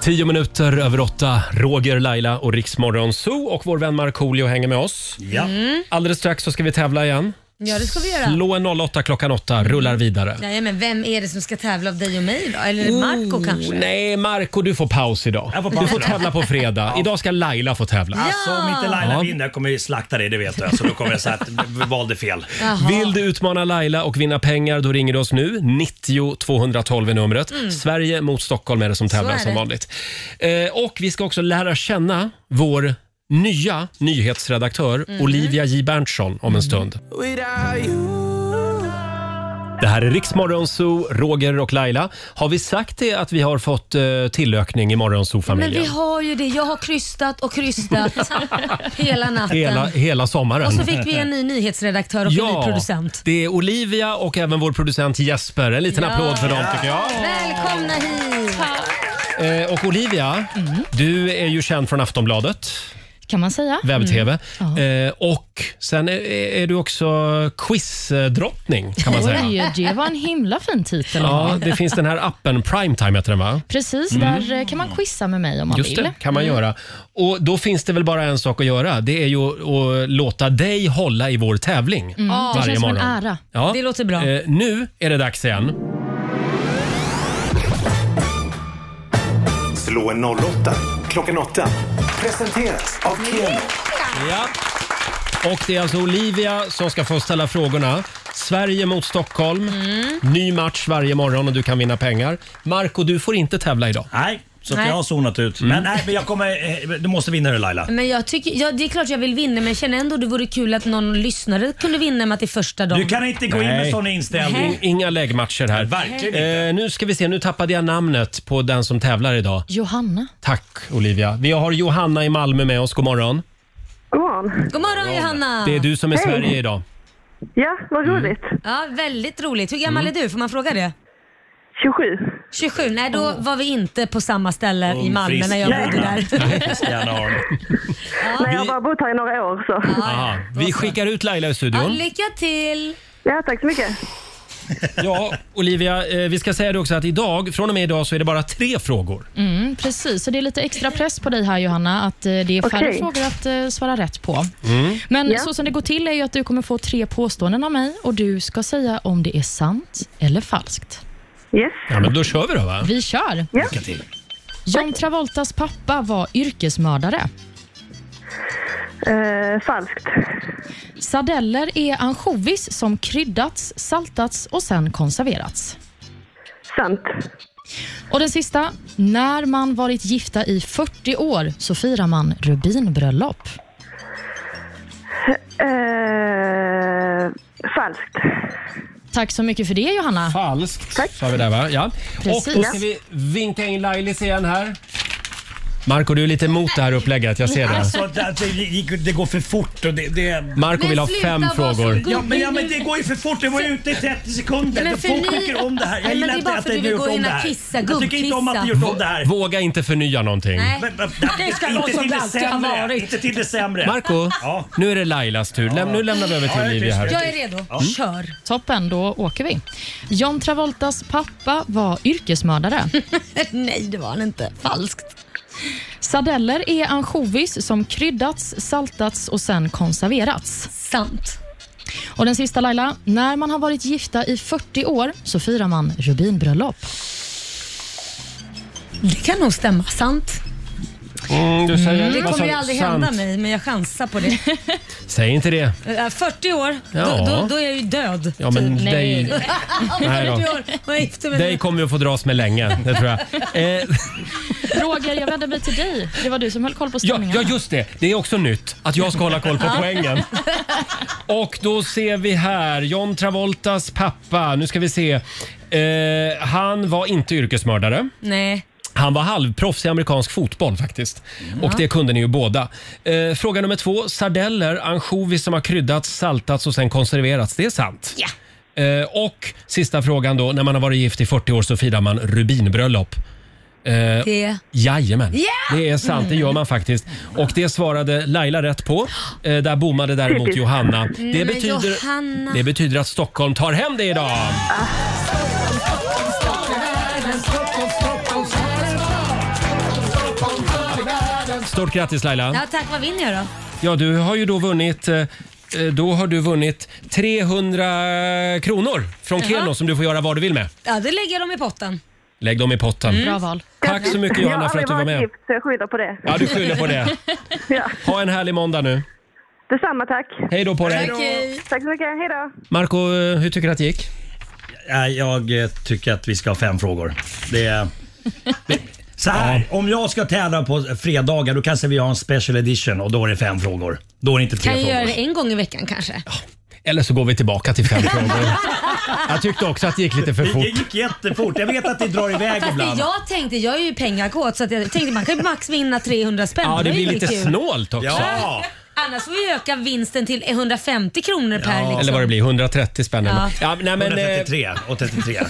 A: Tio minuter över åtta, Roger, Laila och Riksmorgon Zoo och vår vän Markoolio hänger med oss.
J: Ja.
A: Alldeles strax så ska vi tävla igen.
B: Mm. Ja, Mm. det ska vi göra.
A: Slå en 08 klockan 8, rullar vidare.
B: Nej, men vem är det som ska tävla av dig och mig då? Eller Marco kanske?
A: Oh, Nej, Marco du får paus idag.
J: får paus
A: du får
J: idag.
A: tävla på fredag. Idag ska Laila få tävla.
J: Alltså om inte Laila
A: Ja.
J: vinner jag kommer jag slakta dig, det vet jag. Så då kommer jag säga att vi valde fel.
B: Jaha.
A: Vill du utmana Laila och vinna pengar då ringer du oss nu. 90 212 är numret.
J: Mm.
A: Sverige mot Stockholm är det som
J: Så
A: tävlar
J: är
A: som
J: det.
A: vanligt. Eh, och vi ska också lära känna vår nya nyhetsredaktör
B: Mm.
F: Mhm.
A: Olivia J Berntsson om en stund. Det här är Riksmorgonzoo, Roger och Laila. Har vi sagt det att vi har fått eh, tillökning i
B: Men
A: Morgonzoo-familjen?
B: vi har ju det. Jag har krystat och krystat hela natten.
A: Hela, hela sommaren.
B: Och så fick vi en ny nyhetsredaktör och en ny producent.
A: det är Olivia och även vår producent Jesper. En liten
B: Ja.
A: applåd för dem tycker jag.
B: Välkomna hit!
A: Eh, och Olivia, du är ju känd från Aftonbladet,
D: Kan man säga.
A: webb-tv.
D: Mm. Ja.
A: Eh, och sen är, är du också quizdrottning kan man säga.
D: Mm. Oj, det var en himla fin titel.
A: Ja, det finns den här appen, Primetime heter den va?
D: Precis,
A: Mm.
D: där eh, kan man quizza med mig om man
A: Just
D: vill. Mm.
A: det, kan man göra. Och då finns det väl bara en sak att göra. Det är ju att, att låta dig hålla i vår tävling
D: Mm, det
A: varje
D: känns som en
A: morgon.
D: ära.
A: Ja.
D: Det låter bra.
A: Eh, nu är det dags igen.
F: Slå en 08 klockan 8. Presenteras av Keno.
A: Ja. Och det är alltså Olivia som ska få ställa frågorna. Sverige mot Stockholm.
B: Mm.
A: Ny match varje morgon och du kan vinna pengar. Marco, du får inte tävla idag. Mm.
J: Nej, Så att
B: Nej.
J: jag har zonat ut. Men nej, men jag kommer... eh, Du måste vinna nu Laila.
B: Men jag tycker, ja, det är klart jag vill vinna men jag känner ändå det vore kul att någon lyssnare kunde vinna med att det är första dagen.
J: Du kan inte gå in med sån inställning.
A: Nej. Inga läggmatcher här.
J: Verkligen
A: eh, Nu ska vi se, nu tappade jag namnet på den som tävlar idag.
D: Johanna.
A: Tack Olivia. Vi har Johanna i Malmö med oss. God morgon.
B: God morgon. God morgon Johanna.
A: Det är du som är Sverige idag. Mm.
B: Ja, vad roligt. Ja, väldigt roligt. Hur gammal är du? Får man fråga det? 27. 27, nej då var vi inte på samma ställe i Malmö när jag bodde där.
L: Nej, jag har bara bott här i några år så.
A: Aha. Vi skickar ut Laila i
B: Ja,
A: studion.
B: Mm. lycka till! Ja, tack så mycket.
A: Ja, Olivia, eh, vi ska säga det också att idag, från och med idag så är det bara tre frågor.
D: Mm, precis, så det är lite extra press på dig här Johanna, att eh, det är färre
L: Okej.
D: frågor att eh, svara rätt på.
A: Mm.
D: Men
L: Ja.
D: så som det går till är ju att du kommer få tre påståenden av mig och du ska säga om det är sant eller falskt.
L: Yes.
A: Ja, men då kör vi då va?
D: Vi kör!
A: Lycka till.
D: John Travoltas pappa var yrkesmördare.
L: Eh, falskt.
D: Sardeller är ansjovis som kryddats, saltats och sen konserverats.
L: Sant.
D: Och den sista. När man varit gifta i 40 år så firar man rubinbröllop.
L: Eh, falskt.
D: Tack så mycket för det Johanna.
A: Falskt Sa vi där va? Ja.
D: Precis.
A: Och då ska vi vinka in Lailis igen här. Marco, du är lite emot det här upplägget. Jag ser
J: Alltså,
A: det.
J: det, det, gick- det går för fort och det... det...
A: Marco vill ha fem frågor.
J: Ja men, ja men det går ju för fort. Det var ju ute i 30 sekunder.
B: Men
J: Men
B: för
J: Folk
B: ni-
J: tycker om det här. Jag
B: Nej, men
J: gillar
B: det är
J: inte
B: bara
J: att
B: för
J: ni
B: att du
J: gjort
B: vill gå
J: om
B: in
J: det
B: och
J: här.
B: kissa,
J: Jag tycker inte om att ni
B: gubbkissa.
J: gjort om det här.
A: Våga inte förnya någonting.
B: Nej.
J: Men- men-
B: Det ska
J: Inte
B: vara som
J: till
B: det
J: det
B: alltid har
J: sämre.
B: varit.
J: Inte till det sämre.
A: Marco,
J: Ja.
A: nu är det Lailas tur. Läm, nu lämnar vi över till
J: Ja, jag är
A: Olivia här.
D: tyst.
B: Jag är redo.
A: Ja.
B: Kör.
D: Toppen, då åker vi. John Travoltas pappa var yrkesmördare.
B: Nej, det var han inte. Falskt.
D: Sardeller är ansjovis som kryddats, saltats och sen konserverats.
B: Sant.
D: Och den sista Laila. När man har varit gifta i 40 år så firar man rubinbröllop.
B: Det kan nog stämma. Sant.
A: Mm, du säger,
B: Det
A: vad sa
B: kommer ju
A: du?
B: aldrig
A: Sant.
B: hända mig, men jag chansar på det.
A: Säg inte det.
B: Eh, 40 år,
A: Ja.
B: då, då, då är jag ju död.
A: Ja, men
B: typ.
A: dig- Nej då.
B: 40 år och jag gifte mig
A: Dig
B: med-
A: kommer vi att få dras med länge, det tror jag. Eh,
D: Roger, jag vänder mig till dig. Det var du som höll koll på
A: ja,
D: ställningen.
A: ja, just det. Det är också nytt att jag ska hålla koll på
D: Ja.
A: poängen. Och då ser vi här John Travoltas pappa. Nu ska vi se. Eh, han var inte yrkesmördare.
B: Nej.
A: Han var halvproffs i amerikansk fotboll faktiskt. Och det kunde ni ju båda. Eh, fråga nummer två. Sardeller, ansjovis som har kryddats, saltats och sen konserverats. Det är sant. Eh, och sista frågan då. När man har varit gift i 40 år så firar man rubinbröllop. Eh,
B: Det-
A: Jajamän,
B: Ja!
A: det är sant. Det gör man faktiskt. Och det svarade Laila rätt på. Eh, där bommade däremot
B: Typiskt.
A: Johanna. Det
B: Mm, Men
A: betyder,
B: Johanna.
A: det betyder att Stockholm tar hem det idag. Stort grattis Laila.
B: Ja, tack. Vad vinner jag då?
A: Ja, du har ju då vunnit eh, Eh, Då har du vunnit 300 kronor från
B: Jaha.
A: Keno som du får göra vad du vill med.
B: Ja, det lägger jag dem i potten. Mm.
A: Lägg dem i potten.
B: val.
A: Tack så mycket Johanna för att du
L: Jag har
A: var
L: aldrig
A: med.
L: varit gift så jag skyller på det.
A: Ja, du skyller på det. Ha en härlig måndag nu.
L: Detsamma tack.
A: Hej då på dig.
L: Tack så mycket, hej då.
A: Marco, eh, hur tycker du att det gick?
J: Nej, jag eh, tycker att vi ska ha fem frågor. Det är... Så här, om jag ska tävla på fredagar då kanske vi har en special edition och då är det fem frågor. Då är det inte tre
B: Kan jag
J: frågor.
B: göra det en gång i veckan kanske?
A: Eller så går vi tillbaka till fem frågor. Jag tyckte också att det gick lite för fort.
J: Det gick jättefort. Jag vet att det drar iväg
B: Fast det
J: ibland.
B: jag tänkte, jag är ju pengakåt så att jag tänkte man kan ju max vinna 300 spänn.
A: Ja, det
B: var ju
A: blir lite
B: kul.
A: snålt också.
B: Ja. Annars får vi öka vinsten till 150 kronor per liksom.
A: Eller vad det blir, 130 spänn.
B: Ja.
A: Ja. Ja, nej, men, eh,
J: 133 och 33.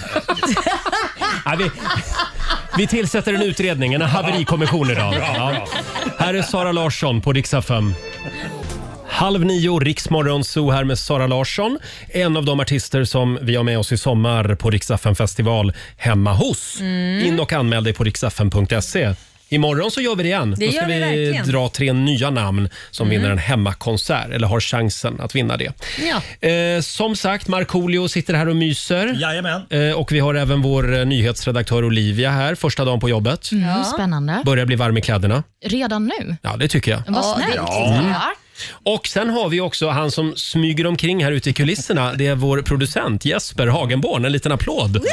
A: ja, vi, vi tillsätter en utredning, en haverikommission idag.
J: Bra,
A: Ja.
J: bra.
A: Här är Sara Larsson på Riksa 5. Halv nio, Riksmorgon Zoo här med Sara Larsson. En av de artister som vi har med oss i sommar på Riksaffen festival hemma hos.
B: Mm.
A: In och anmäl dig på riksaffen.se. Imorgon så gör vi det igen.
B: Det
A: Då ska
B: gör vi
A: vi
B: verkligen.
A: dra tre nya namn som
B: Mm.
A: vinner en hemmakonsert eller har chansen att vinna det.
B: Ja.
A: Eh, som sagt, Markoolio sitter här och myser.
J: Jajamän.
A: Eh, och vi har även vår eh, nyhetsredaktör Olivia här, första dagen på jobbet.
D: Mm, Ja. spännande.
A: Börjar bli varm i kläderna.
D: Redan nu?
A: Ja, det tycker jag.
D: Vad snällt.
A: Mm. Och sen har vi också han som smyger omkring här ute i kulisserna. Det är vår producent Jesper Hagenborn. En liten applåd.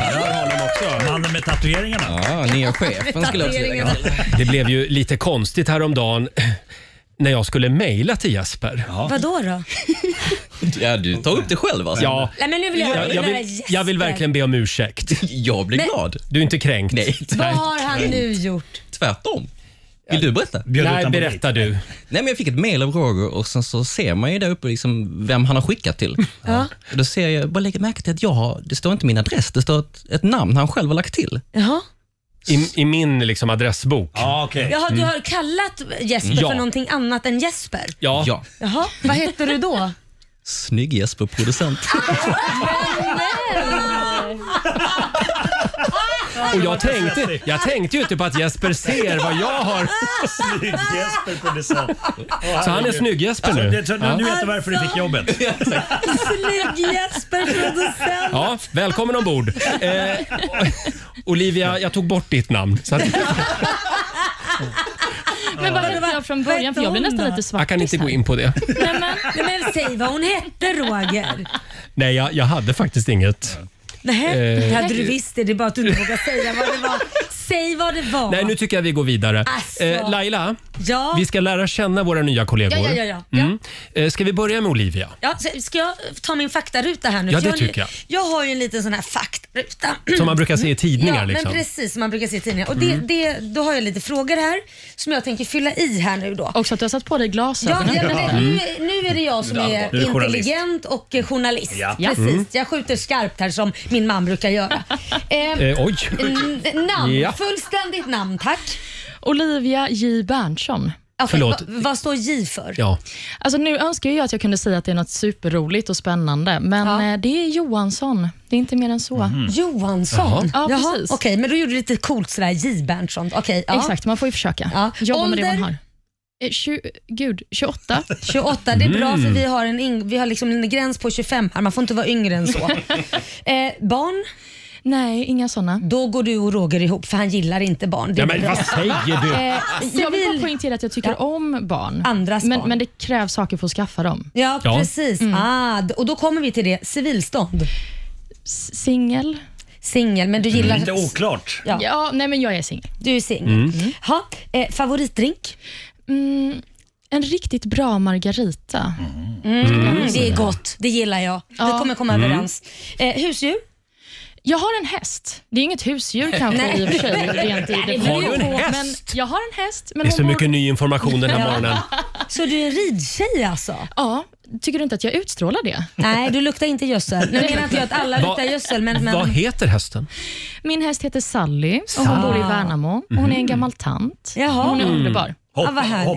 J: Mannen med tatueringarna.
M: Ja, nya chefen skulle jag också lägga till.
A: Det blev ju lite konstigt häromdagen när jag skulle mejla till Jesper.
B: Vadå då?
M: Ja, du tar upp det själv alltså.
A: Ja.
B: Nej, men nu vill jag-
A: jag, jag,
B: vill
A: vill,
B: höra
A: jag vill
B: Jesper.
A: verkligen be om ursäkt. Jag
B: blir Men-
M: glad.
A: Du är inte kränkt?
B: Vad har han nu gjort?
M: Tvärtom. Vill du berätta?
A: Bjöd Nej, ut honom på berätta du. Nej,
M: men jag fick ett mail av Roger och sen så ser man ju där uppe liksom vem han har skickat till.
B: Ja.
M: Och Då ser jag, bara lägger märke till att jag har, det står inte min adress, det står ett, ett namn han själv har lagt till.
B: Jaha.
A: I, i min liksom adressbok.
J: Ja,
A: Eh,
J: okej.
B: Jaha, du har kallat Jesper
M: Ja.
B: för någonting annat än Jesper?
A: Ja.
B: Jaha, vad heter du då?
M: Snygg Jesper, producent.
A: Och jag tänkte, jag tänkte ju inte på att Jesper ser vad jag har.
J: Snygg Jesper producent. Åh,
A: Så han är
J: herregud.
A: snygg Jesper nu?
J: Ja, Alltså, det- så nu-
A: Ja.
J: Nu vet du varför du fick
B: Alltså.
J: jobbet.
B: Snygg Jesper producent.
A: Ja, välkommen ombord. Eh, Olivia, jag tog bort ditt namn. Så att
D: Men vad hette jag från början? För jag blir nästan lite svart.
A: jag kan inte gå in på det.
B: Nej, men, nej, men säg vad hon hette Roger.
A: Nej, jag, jag hade faktiskt inget.
B: Nej, det
A: Eh.
B: hade du visst det. Det är bara att du inte vågar säga vad det var. Säg vad det var.
A: Nej, nu tycker jag vi går vidare.
B: Alltså.
A: Eh, Laila,
B: Ja.
A: vi ska lära känna våra nya kollegor.
B: Ja, ja, ja, ja.
A: Mm. Eh, Ska vi börja med Olivia?
B: Ja, så- ska jag ta min faktaruta här nu?
A: Ja,
B: För
A: det
B: jag, har ju-
A: tycker jag.
B: Jag har ju en liten sån här faktaruta.
A: Som man brukar se i tidningar,
B: Ja,
A: liksom.
B: men precis som man brukar se i tidningar. Och det,
A: Mm.
B: det, då har jag lite frågor här som jag tänker fylla i här nu då.
D: Också att du har satt på dig
B: Ja,
D: glasögonen.
B: ja, men det, nu,
D: Mm.
B: nu är det jag som
D: Nu är det
B: är
D: allvar. Nu är du journalist.
B: intelligent och eh, journalist.
D: Ja. Ja.
B: Precis.
D: Mm.
B: Jag skjuter skarpt här som min man brukar göra. Eh,
D: Eh, oj.
B: n- Namn.
D: Ja.
B: Fullständigt namn, tack.
D: Olivia J Berntsson.
B: Okej, va- vad står J för?
D: Alltså, nu önskar jag att jag kunde säga att det är något superroligt och spännande, men eh, det är Johansson. Det är inte mer än så.
A: Mhm.
B: Johansson?
D: Ja,
B: Jaha,
D: precis.
B: Okej, men du gjorde lite coolt sådär J. Berntsson. Okej, ja.
D: Exakt, man får ju försöka.
B: Ja.
D: Jobba med det
B: Ålder?
D: man har. Eh, tju- gud, 28.
B: 28, det är bra för
D: Mm.
B: vi har, en, ing- vi har liksom en gräns på 25 här. Man får inte vara yngre än så. eh, barn?
D: Nej, inga sådana.
B: Då går du och Roger ihop för han gillar inte barn. Det
A: Ja,
B: är
A: men
B: bra.
A: vad säger du?
D: Eh, jag vill bara
B: Civil-
D: poängtera att jag tycker om barn.
B: Andras
D: men,
B: barn.
D: men det krävs saker för att skaffa dem. Mm.
B: Ja,
D: Ja.
B: precis. Ah, d- och då kommer vi till det. Civilstånd?
D: Singel.
B: Singel, men du
A: Mm.
B: gillar...
J: Lite oklart.
B: Ja.
D: nej men jag är singel.
B: Du är singel.
J: Mm.
B: Ha, eh, favoritdrink?
D: Mm, en riktigt bra margarita.
B: Mm.
D: Mm.
B: Det är gott. Det gillar jag. Vi kommer komma
D: Mm.
B: överens. Eh, husdjur?
D: Jag har en häst. Det är inget husdjur kanske
B: Nej.
D: i och för sig. Rent i
B: Har
D: definition,
A: du en
D: Men
A: häst?
D: jag har en häst. Men
A: Det är så
D: hon
A: mycket ny information den här morgonen.
B: Så du är en ridtjej alltså?
D: Ja. Tycker du inte att jag utstrålar det?
B: Nej, du luktar inte gödsel. Nu menar inte jag att alla
A: Vad-
B: luktar gödsel, men... men...
A: Vad heter hästen?
D: Min häst heter Sally och
A: Sally.
D: hon bor i Värnamo. Och
B: Mhm.
D: hon är en gammal tant. Hon är
B: Mm.
D: underbar.
J: Hopp,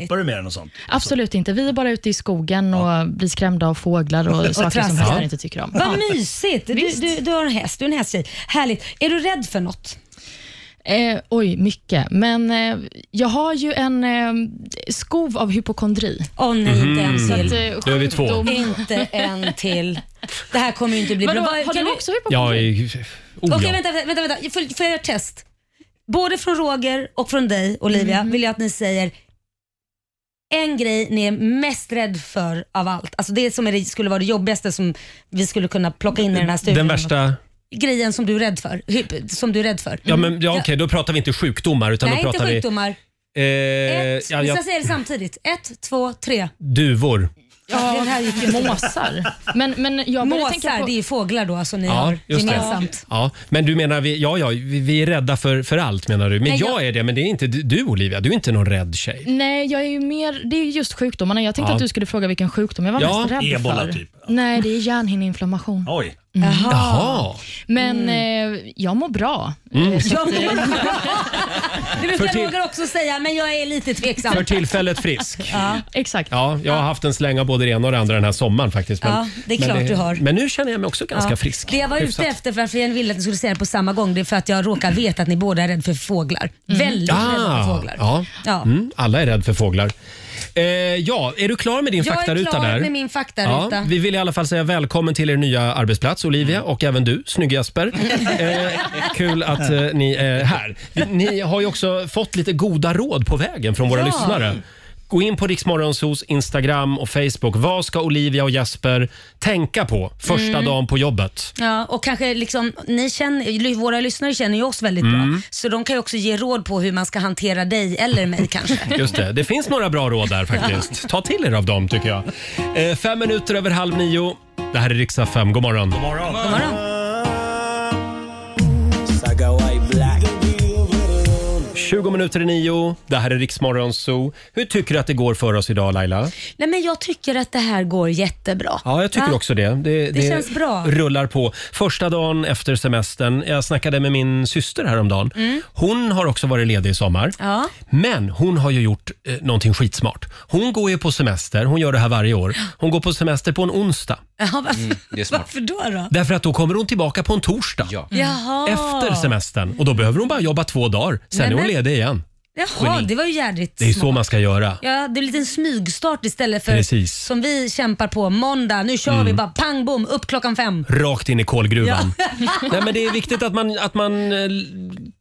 J: hoppar du med den och sånt?
D: Absolut inte. Vi är bara ute i skogen och blir skrämda av fåglar och,
B: Och
D: saker som
B: trassel.
D: hästar inte tycker om.
B: Vad
D: Ja.
B: mysigt! Du, du, du har en häst, du är en hästtjej. Härligt. Är du rädd för något?
D: Eh, oj, mycket. Men eh, jag har ju en eh, skov av hypokondri.
B: Åh
A: Mm-hmm.
B: nej,
D: Mm,
B: inte en till.
A: Mhm. eh, Då är vi två.
B: Inte en till. Det här kommer ju inte bli
D: Vadå,
B: bra.
D: har
B: Kan
D: du
B: vi-
D: också
A: Jag är... Oh,
B: Okej,
A: ja.
B: vänta, vänta, vänta. Får, får jag göra ett test? Både från Roger och från dig, Olivia,
D: Mm-hmm.
B: vill jag att ni säger en grej ni är mest rädd för av allt. Alltså det som är det, skulle vara det jobbigaste som vi skulle kunna plocka in i den här studien.
A: Den värsta...
B: Grejen som du är rädd för. Hy- Som du är rädd för.
A: Ja, men, ja, okej, då pratar vi inte sjukdomar utan
B: Mm. Nej,
A: då
B: inte
A: pratar vi...
B: sjukdomar.
A: Eh,
B: Ett,
A: ja,
B: vi
A: ja,
B: ska säga det samtidigt. Ett, två, tre.
A: duvor.
D: Ja,
B: den här gick ju
D: måsar. Men, men jag började
B: Måsar,
D: tänka på...
B: det är ju fåglar då som ni
A: Ja,
B: har
A: just
B: gemensamt.
A: det. Ja, men du menar, vi, ja, ja, vi vi är rädda för, för allt menar du. Men
D: Nej,
A: jag
D: jag-
A: är det, men det är inte du- du Olivia. Du är inte någon rädd tjej.
D: Nej, jag är ju mer, det är ju just sjukdomarna. Jag tänkte
A: Ja.
D: att du skulle fråga vilken sjukdom jag var
A: Ja,
D: mest rädd
A: ebola
D: för.
A: typ.
D: Nej, det är hjärnhinneinflammation.
J: Oj.
D: Mm.
A: Jaha.
D: Men
B: Mm.
D: eh, jag mår bra.
A: Mm.
D: Eh, så
B: Jag
D: att, eh,
B: mår Det
A: För
B: brukar
A: till-
B: Roger också säga, men jag är lite tveksam.
A: För tillfället frisk.
B: Ja.
D: Exakt.
A: Ja, jag har haft en släng av både det ena och det andra den här sommaren faktiskt. Men,
B: Ja, det är
A: men
B: klart du har.
A: Men nu känner jag mig också ganska
B: Ja.
A: frisk.
B: Det jag var
A: Hyfsat.
B: ute efter, varför jag ville att ni skulle säga det på samma gång, det är för att jag råkar veta att ni båda är rädda för fåglar.
D: Mm.
B: Väldigt
A: Ah.
B: rädda för fåglar.
A: Mm. Ja.
B: Ja.
A: Mm, alla är rädda för fåglar. Eh, ja, är du klar med din
B: jag är
A: faktaruta
B: klar
A: där?
B: med min faktaruta. Mm.
A: Ja, vi vill i alla fall säga välkommen till er nya arbetsplats, Olivia, och även du, snygg Jesper. eh, kul att eh, ni är här. Ni har ju också fått lite goda råd på vägen från våra
N: Ja.
A: lyssnare. Gå in på Riksmorgonsos Instagram och Facebook. Vad ska Olivia och Jesper tänka på första
B: Mm.
A: dagen på jobbet?
B: Ja, och kanske liksom, ni känner, våra lyssnare känner ju oss väldigt
A: Mm.
B: bra, så de kan ju också ge råd på hur man ska hantera dig eller mig kanske.
A: Just det, det finns några bra råd där faktiskt. Ta till er av dem tycker jag. Eh, fem minuter över halv nio. Det här är riksdag 5. God morgon. God
J: morgon.
B: God morgon.
I: Saga White Black.
A: 20 minuter i nio. Det här är Riksmorgon Zoo. Hur tycker du att det går för oss idag Laila?
B: Nej, men jag tycker att det här går jättebra.
A: Ja, jag tycker
B: Va?
A: också det. Det,
B: känns bra.
A: rullar på. Första dagen efter semestern. Jag snackade med min syster häromdagen.
B: Mm.
A: Hon har också varit ledig i sommar.
B: Ja.
A: Men hon har ju gjort eh, någonting skitsmart. Hon går ju på semester. Hon gör det här varje år. Hon går på semester på en onsdag.
B: Ja, varför,
A: Mm, det är smart.
B: varför då? då?
A: Därför att då kommer hon tillbaka på en torsdag.
B: Mm. Jaha.
A: Efter semestern. Och då behöver hon bara jobba två dagar. Sen
B: Nej,
A: är hon
B: men-
A: ledig igen.
B: Jaha,
A: Geni.
B: det var ju jädrigt
A: Det är så
B: smart.
A: man ska göra.
B: Ja, det är en liten smygstart istället för
A: Precis.
B: som vi kämpar på måndag. Nu kör
A: Mm.
B: vi bara pang bom upp klockan fem.
A: Rakt in i kolgruvan.
B: Ja.
A: Nej, men det är viktigt att man, att man eh,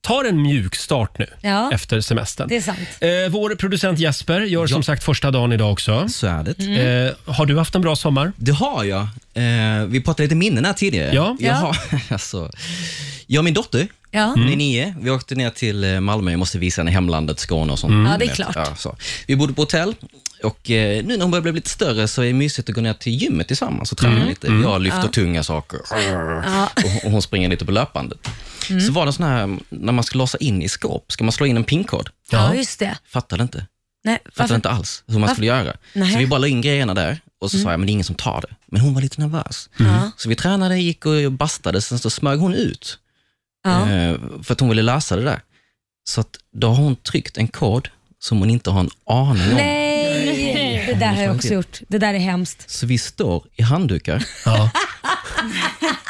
A: tar en mjuk start nu
B: Ja.
A: efter semestern.
B: Det är sant.
A: Eh, vår producent Jesper gör som sagt första dagen idag också.
M: Så är det.
A: Mm. har du haft en bra sommar?
M: Det har jag. Eh, vi pratade lite minnen här tidigare.
A: Ja.
M: Jag,
A: Ja.
M: har, alltså, jag och min dotter,
B: Ja.
M: hon
A: Mm.
M: är nio. Vi åkte ner till eh, Malmö. Jag måste visa henne hemlandet Skåne och sånt.
B: Mm. Ja, det är
M: Ni vet.
B: klart.
M: Ja, så. Vi bodde på hotell. Och eh, nu när hon börjar bli lite större så är det mysigt att gå ner till gymmet tillsammans och träna
N: Mm.
M: lite.
N: Mm.
M: Jag lyfter
N: Ja.
M: tunga saker och, och hon springer lite på löpbandet.
B: Mm.
M: Så var det sån här, när man ska låsa in i skåp, ska man slå in en pinkod?
B: Ja, just det.
M: Fattade inte.
B: Nej,
M: Fattade
B: varför?
M: inte alls hur man skulle göra.
B: Nej. Mm.
M: Så vi bara la in grejerna där och så sa jag, men det är ingen som tar det. Men hon var lite nervös. Mm.
B: Ja.
M: Så vi tränade, gick och bastade, sen så smög hon ut.
B: Ja.
M: Eh, för att hon ville lösa det där. Så att då har hon tryckt en kod som hon inte har en aning om.
B: Nej, det där har jag också gjort. Det där är hemskt.
M: Så vi står i handdukar.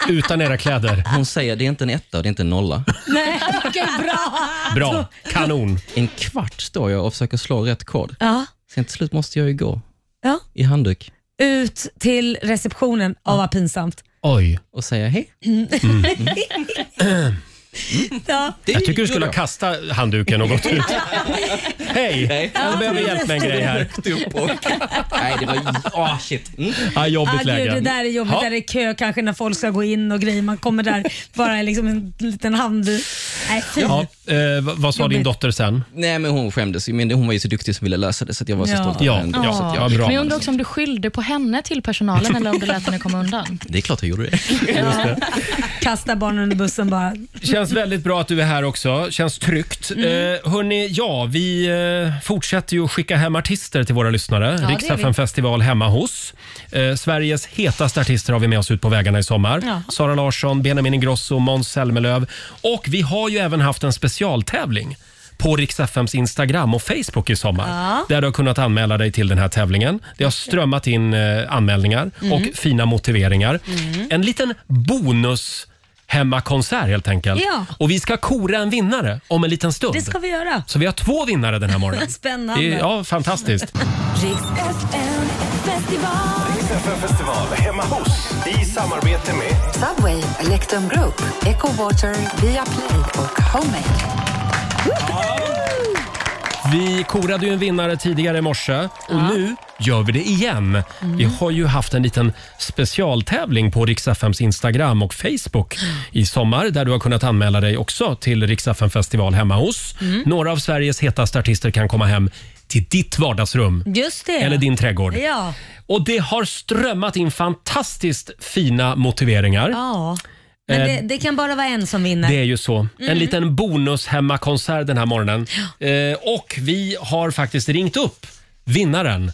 A: Utan era kläder.
M: Hon säger, det är inte en etta och det är inte en nolla.
B: Nej, vilken bra!
M: Bra,
A: kanon.
M: En kvart står jag och försöker slå rätt kod.
B: Ja.
M: Sen till slut måste jag ju gå
B: Ja.
M: i handduk
B: Ut till receptionen. Ja, vad pinsamt.
A: Oj.
M: och säga hej.
B: Mm.
M: Mm.
B: ja.
A: Mm. Jag tycker du skulle ha kastat handduken och gått ut. Hej, jag behöver hjälp med en grej här.
M: Nej, det var... Åh, shit. Mm.
A: Ja, jobbigt
B: Ah,
A: läge.
B: gud, det där är jobbigt.
A: Ja.
B: Där är kö kanske när folk ska gå in och grejer. Man kommer där bara liksom en liten handduk. Nej, fy.
A: Ja, eh, vad- vad sa din
B: Jobbigt.
A: dotter sen?
M: Nej, men hon skämdes ju. Men hon var ju så duktig som ville lösa det, så att jag var så
D: Ja.
M: stolt över
D: Ja,
M: henne.
D: ja.
M: Så att
A: Ja, bra.
D: Men jag undrar också om du skyllde på henne till personalen eller om du lät henne komma undan.
M: Det är klart jag gjorde det.
B: Kasta barnen under bussen bara.
A: Känns väldigt bra att du är här också. Känns tryggt.
B: Mm.
A: Eh, hörni, ja, vi eh, fortsätter ju att skicka hem artister till våra lyssnare.
N: det
A: Ja,
N: är vi.
A: festival hemma hos. Eh, Sveriges hetaste artister har vi med oss ut på vägarna i sommar.
N: Ja.
A: Sara Larsson, Benjamin Ingrosso, Måns Zelmerlöw. Och vi har ju även haft en specialtävling på Rix FMs Instagram och Facebook i sommar.
N: Ja.
A: Där du har kunnat anmäla dig till den här tävlingen. Det har strömmat in eh, anmälningar
N: Mm.
A: och fina motiveringar. En liten bonus hemmakonsert helt enkelt.
B: Ja.
A: Och vi ska kora en vinnare om en liten stund.
B: Det ska vi göra.
A: Så vi har två vinnare den här morgonen.
B: Spännande.
A: Det är- Ja, fantastiskt.
F: Riks FM festival. Riks FM festival hemma hos i samarbete med
H: Subway, Electrum Group, Echo Water, Viaplay och Homemade.
A: Vi korade ju en vinnare tidigare i morse och nu gör vi det igen.
B: Mm.
A: Vi har ju haft en liten specialtävling på Riks-FMs Instagram och Facebook i sommar där du har kunnat anmäla dig också till Riks-FM festival hemma hos.
B: Mm.
A: Några av Sveriges hetaste artister kan komma hem till ditt vardagsrum
B: Just det.
A: eller din trädgård.
B: Ja.
A: Och det har strömmat in fantastiskt fina motiveringar.
B: ja. Men
A: Eh,
B: det, det kan bara vara en som vinner.
A: Det är ju så. En
B: Mm.
A: liten bonushemmakonsert den här morgonen. Eh, och vi har faktiskt ringt upp vinnaren.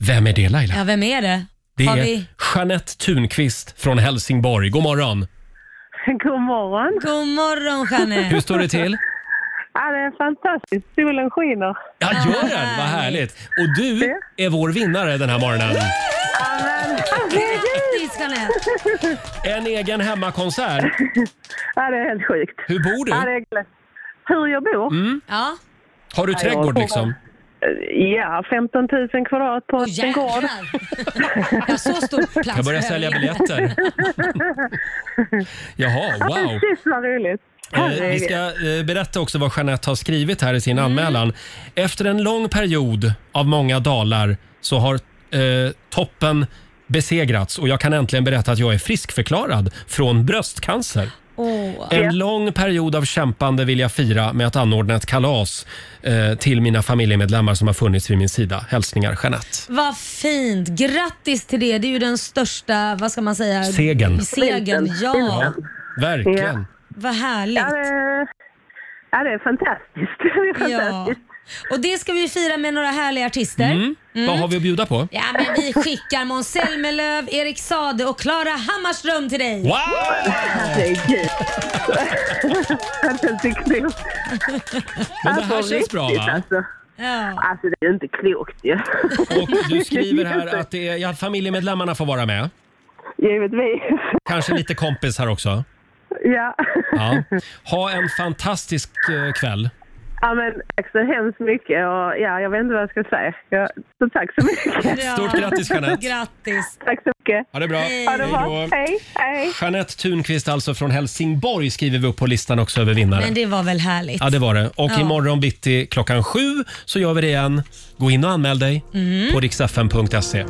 A: Vem är det Laila?
B: Ja, vem är det?
A: Det
B: Har
A: är
B: vi...
A: Jeanette Thunqvist från Helsingborg. God morgon!
L: God morgon.
B: God morgon Jeanette.
A: Hur står det till?
L: Ja, det är fantastiskt. Solen skiner.
A: Ja, gör den! Vad härligt! Och du är vår vinnare den här morgonen.
B: Grattis Jeanette!
A: En egen hemmakonsert.
L: Ja, det är helt sjukt.
A: Hur bor du? Mm.
L: Ja, det är glätt. Hur jag bor?
B: Ja.
A: Har du
L: Ja,
A: trädgård
L: jag-
A: liksom?
L: Ja, 15 000 kvadrat på en gård.
B: Ja, så stor plats.
A: Jag börjar sälja biljetter. Jaha,
L: Ja,
A: wow!
L: precis vad roligt.
A: Eh, vi ska eh, berätta också vad Jeanette har skrivit här i sin anmälan. Efter en lång period av många dalar så har eh, toppen besegrats och jag kan äntligen berätta att jag är friskförklarad från bröstcancer.
B: Åh.
A: En lång period av kämpande vill jag fira med att anordna ett kalas eh, till mina familjemedlemmar som har funnits vid min sida. Hälsningar Jeanette.
B: Vad fint! Grattis till det. Det är ju den största, vad ska man säga?
A: Segern.
B: Segern, ja.
A: Verkligen.
B: Vad härligt. Ja, det,
L: är fantastiskt. Det är fantastiskt.
B: Och det ska vi fira med några härliga artister.
A: Mm. Vad har vi att bjuda på?
B: Ja, men vi skickar Måns Zelmerlöw, Erik Sade och Klara Hammarström till dig.
A: Wow!
L: Herregud. Det är inte klokt.
A: Men det
L: Alltså,
A: här känns bra
L: riktigt,
A: va?
L: Alltså. alltså, det är inte klokt ju.
A: Och du skriver här att det är, ja, familjemedlemmarna får vara med.
L: Givetvis.
A: Kanske lite kompis här också.
L: Ja.
A: Ja. Ha en fantastisk eh, kväll.
L: ja, men tack så hemskt mycket. Och, ja, jag vet inte vad jag ska säga. Ja, så tack så mycket.
A: Stort grattis, Jeanette.
B: Grattis.
L: Tack så mycket.
A: Ha det bra.
L: Ha det bra.
A: Hej då.
L: Hej. Hej.
A: Jeanette Thunqvist alltså från Helsingborg skriver vi upp på listan också över vinnare.
B: Men det var väl härligt?
A: Ja, det var det. Och
B: Ja.
A: imorgon bitti klockan sju så gör vi det igen. Gå in och anmäl dig
B: Mm.
A: på riksfn.se.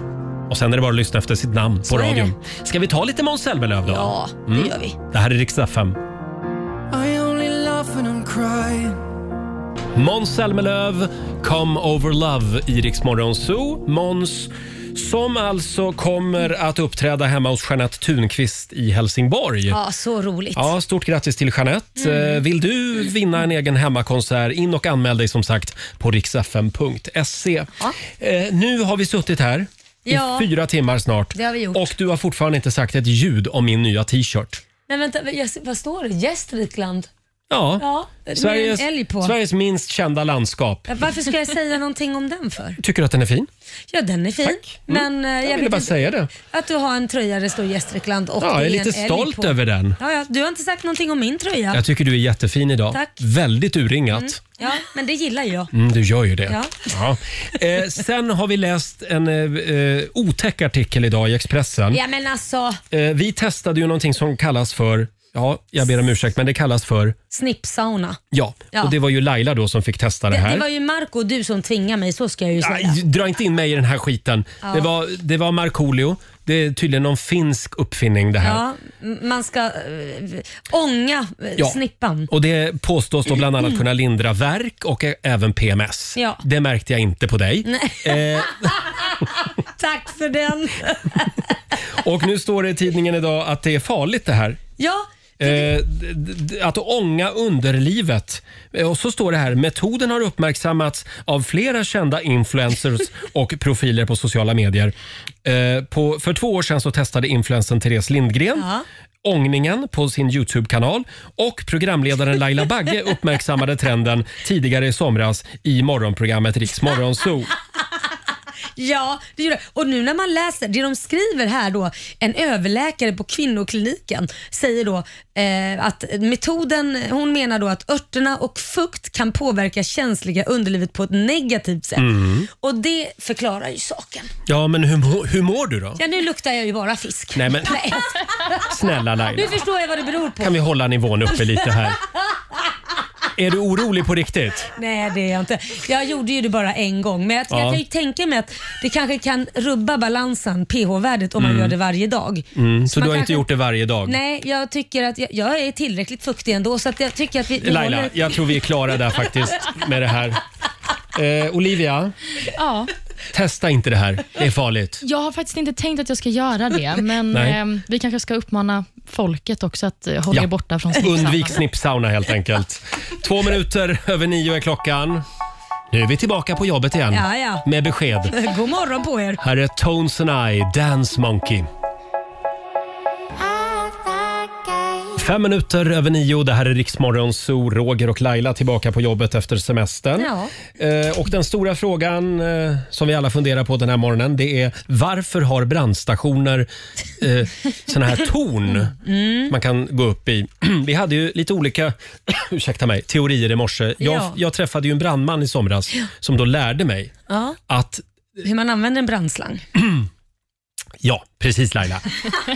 A: Och sen är det bara att lyssna efter sitt namn på
B: Så är
A: radion. Ska vi ta lite Måns Zelmerlöw då? Mm.
B: Ja, det gör vi.
A: Det här är riksfn.
N: I only laugh when I'm crying.
A: Måns Zelmerlöw, Come Over Love i Rix Morgon Zoo. Måns som alltså kommer att uppträda hemma hos Jeanette Thunqvist i Helsingborg.
B: Ja, Mm. så roligt.
A: Ja, stort grattis till Jeanette. Eh, Vill du vinna en egen hemmakonsert, in och anmäl dig som sagt på riksfm.se. Eh, Nu har vi suttit här
B: Ja.
A: i fyra timmar snart.
B: Det har vi gjort.
A: Och du har fortfarande inte sagt ett ljud om min nya t-shirt.
B: Nej, vänta, jag ser- vad står det? Gästrikland?
A: Ja,
B: Ja, med
A: Sveriges,
B: en älg på.
A: Sveriges minst kända landskap.
B: Varför ska jag säga någonting om den för?
A: Tycker du att den är fin?
B: Ja, den är fin. Men eh, jag,
A: Mm. Jag
B: vet
A: ville bara
B: inte
A: säga det.
B: att du har en tröja där det står Gästrikland och
A: Ja, jag är
B: det
A: lite
B: en älg
A: stolt
B: på.
A: över den.
B: Ja, ja, du har inte sagt någonting om min tröja.
A: Jag tycker du är jättefin idag.
B: Tack.
A: Väldigt urringat.
B: Mm, ja, men det gillar jag.
A: Mm, du gör ju det.
B: Ja.
A: Ja. Eh, sen har vi läst en eh, eh, otäck artikel idag i Expressen.
B: Ja, men alltså,
A: Eh, vi testade ju någonting som kallas för, ja, jag ber om ursäkt, men det kallas för,
B: snippsauna.
A: ja,
B: Ja.
A: och det var ju Laila då som fick testa det
B: Det,
A: här.
B: det var ju Marco och du som tvingade mig, så ska jag ju säga.
A: Aj, dra inte in mig i den här skiten.
B: Ja.
A: Det var, det var Markoolio. Det är tydligen någon finsk uppfinning det här.
B: Ja, m- man ska äh, ånga eh,
A: Ja.
B: snippan.
A: Och det påstås då bland annat kunna lindra värk och ä- även PMS.
B: Ja.
A: Det märkte jag inte på dig.
B: Nej.
A: Eh,
B: Tack för den.
A: och nu står det i tidningen idag att det är farligt det här.
B: Ja,
A: Eh, d- d- att ånga underlivet. Eh, Och så står det här, metoden har uppmärksammats av flera kända influencers och profiler på sociala medier. Eh, på, för två år sedan så testade influencern Therese Lindgren ångningen på sin Youtube-kanal och programledaren Laila Bagge uppmärksammade trenden tidigare i somras i morgonprogrammet Riks Morgonzoo.
B: Ja, det gjorde det. Och nu när man läser, det de skriver här då, en överläkare på kvinnokliniken säger då eh, att metoden, hon menar då att örterna och fukt kan påverka känsliga underlivet på ett negativt sätt.
A: Mm.
B: Och det förklarar ju saken.
A: Ja, men hur, mår- hur mår du då?
B: Ja, nu luktar jag ju bara fisk.
A: Nej, men- Snälla Laila.
B: Nu förstår jag vad det beror på.
A: Kan vi hålla nivån uppe lite här? Är du orolig på riktigt?
B: Nej, det är jag inte. Jag gjorde ju det bara en gång, men jag,
A: Ja.
B: jag kan ju tänka mig att det kanske kan rubba balansen, pH-värdet, om man
A: Mm.
B: gör det varje dag.
A: Mm, så
B: man
A: du har
B: kanske-
A: inte gjort det varje dag?
B: Nej, jag tycker att jag, jag är tillräckligt fuktig ändå så att jag tycker att vi, vi
A: Laila,
B: håller...
A: jag tror vi är klara där faktiskt med det här. Eh, Olivia,
D: Ja.
A: testa inte det här. Det är farligt.
D: Jag har faktiskt inte tänkt att jag ska göra det, men
A: Nej.
D: eh, vi kanske ska uppmana folket också att eh, hålla er borta från smittsamma.
A: Undvik snippsauna helt enkelt. Två minuter över nio är klockan. Nu är vi tillbaka på jobbet igen
B: Ja, ja.
A: med besked.
B: God morgon på er.
A: Här är Tones and I, Dance Monkey. Fem minuter över nio, det här är Riksmorgon Zoo. Roger och Laila tillbaka på jobbet efter semestern. Eh, och den stora frågan eh, som vi alla funderar på den här morgonen det är varför har brandstationer eh, såna här torn
B: Mm.
A: man kan gå upp i? vi hade ju lite olika ursäkta mig, teorier i morse. Jag,
B: Ja.
A: jag träffade ju en brandman i somras som då lärde mig
B: Ja,
A: att
B: hur man använder en brandslang.
A: Ja, precis Laila.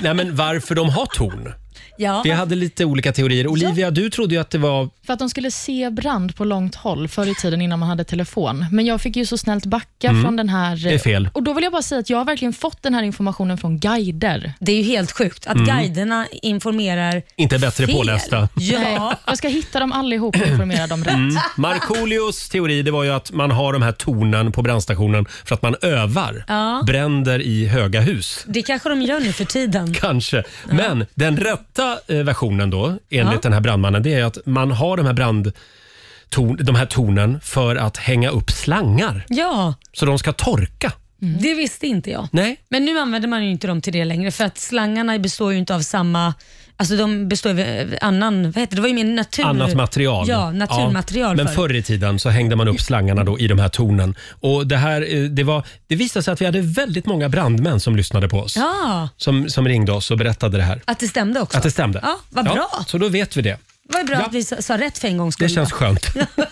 A: Nej, men varför de har torn.
D: Ja.
A: Vi hade lite olika teorier. Olivia, du trodde ju att det var...
D: För att de skulle se brand på långt håll förr i tiden innan man hade telefon. Men jag fick ju så snällt backa
A: Mm.
D: från den här...
A: Det är fel.
D: Och då vill jag bara säga att jag har verkligen fått den här informationen från guider.
B: Det är ju helt sjukt att
A: Mm.
B: guiderna informerar
A: Inte bättre
B: fel.
A: pålästa.
B: Ja.
D: Jag ska hitta dem allihop och informera dem rätt.
A: Mm. Markoolios teori det var ju att man har de här tornen på brandstationen för att man övar
B: Ja.
A: bränder i höga hus.
B: Det kanske de gör nu för tiden.
A: Kanske. Men den rätta eh, versionen då, enligt
B: Ja.
A: den här brandmannen, det är att man har de här brand de här tornen för att hänga upp slangar.
B: Ja,
A: Så de ska torka.
B: det visste inte jag.
A: Mm. Nej,
B: Men nu använder man ju inte dem till det längre för att slangarna består ju inte av samma Alltså de består av eh, annan, vad heter det, det var ju mer natur...
A: annat material.
B: Ja, naturmaterial.
A: Ja, men förr i tiden så hängde man upp slangarna då i de här tornen. Och det, här, eh, det, var, det visade sig att vi hade väldigt många brandmän som lyssnade på oss.
B: Ja,
A: Som, som ringde oss och berättade det här.
B: att det stämde också.
A: Att det stämde.
B: Ja, vad bra.
A: så då vet vi det.
B: Vad bra att vi sa sa rätt för en gångs
A: Det
B: skull.
A: känns skönt.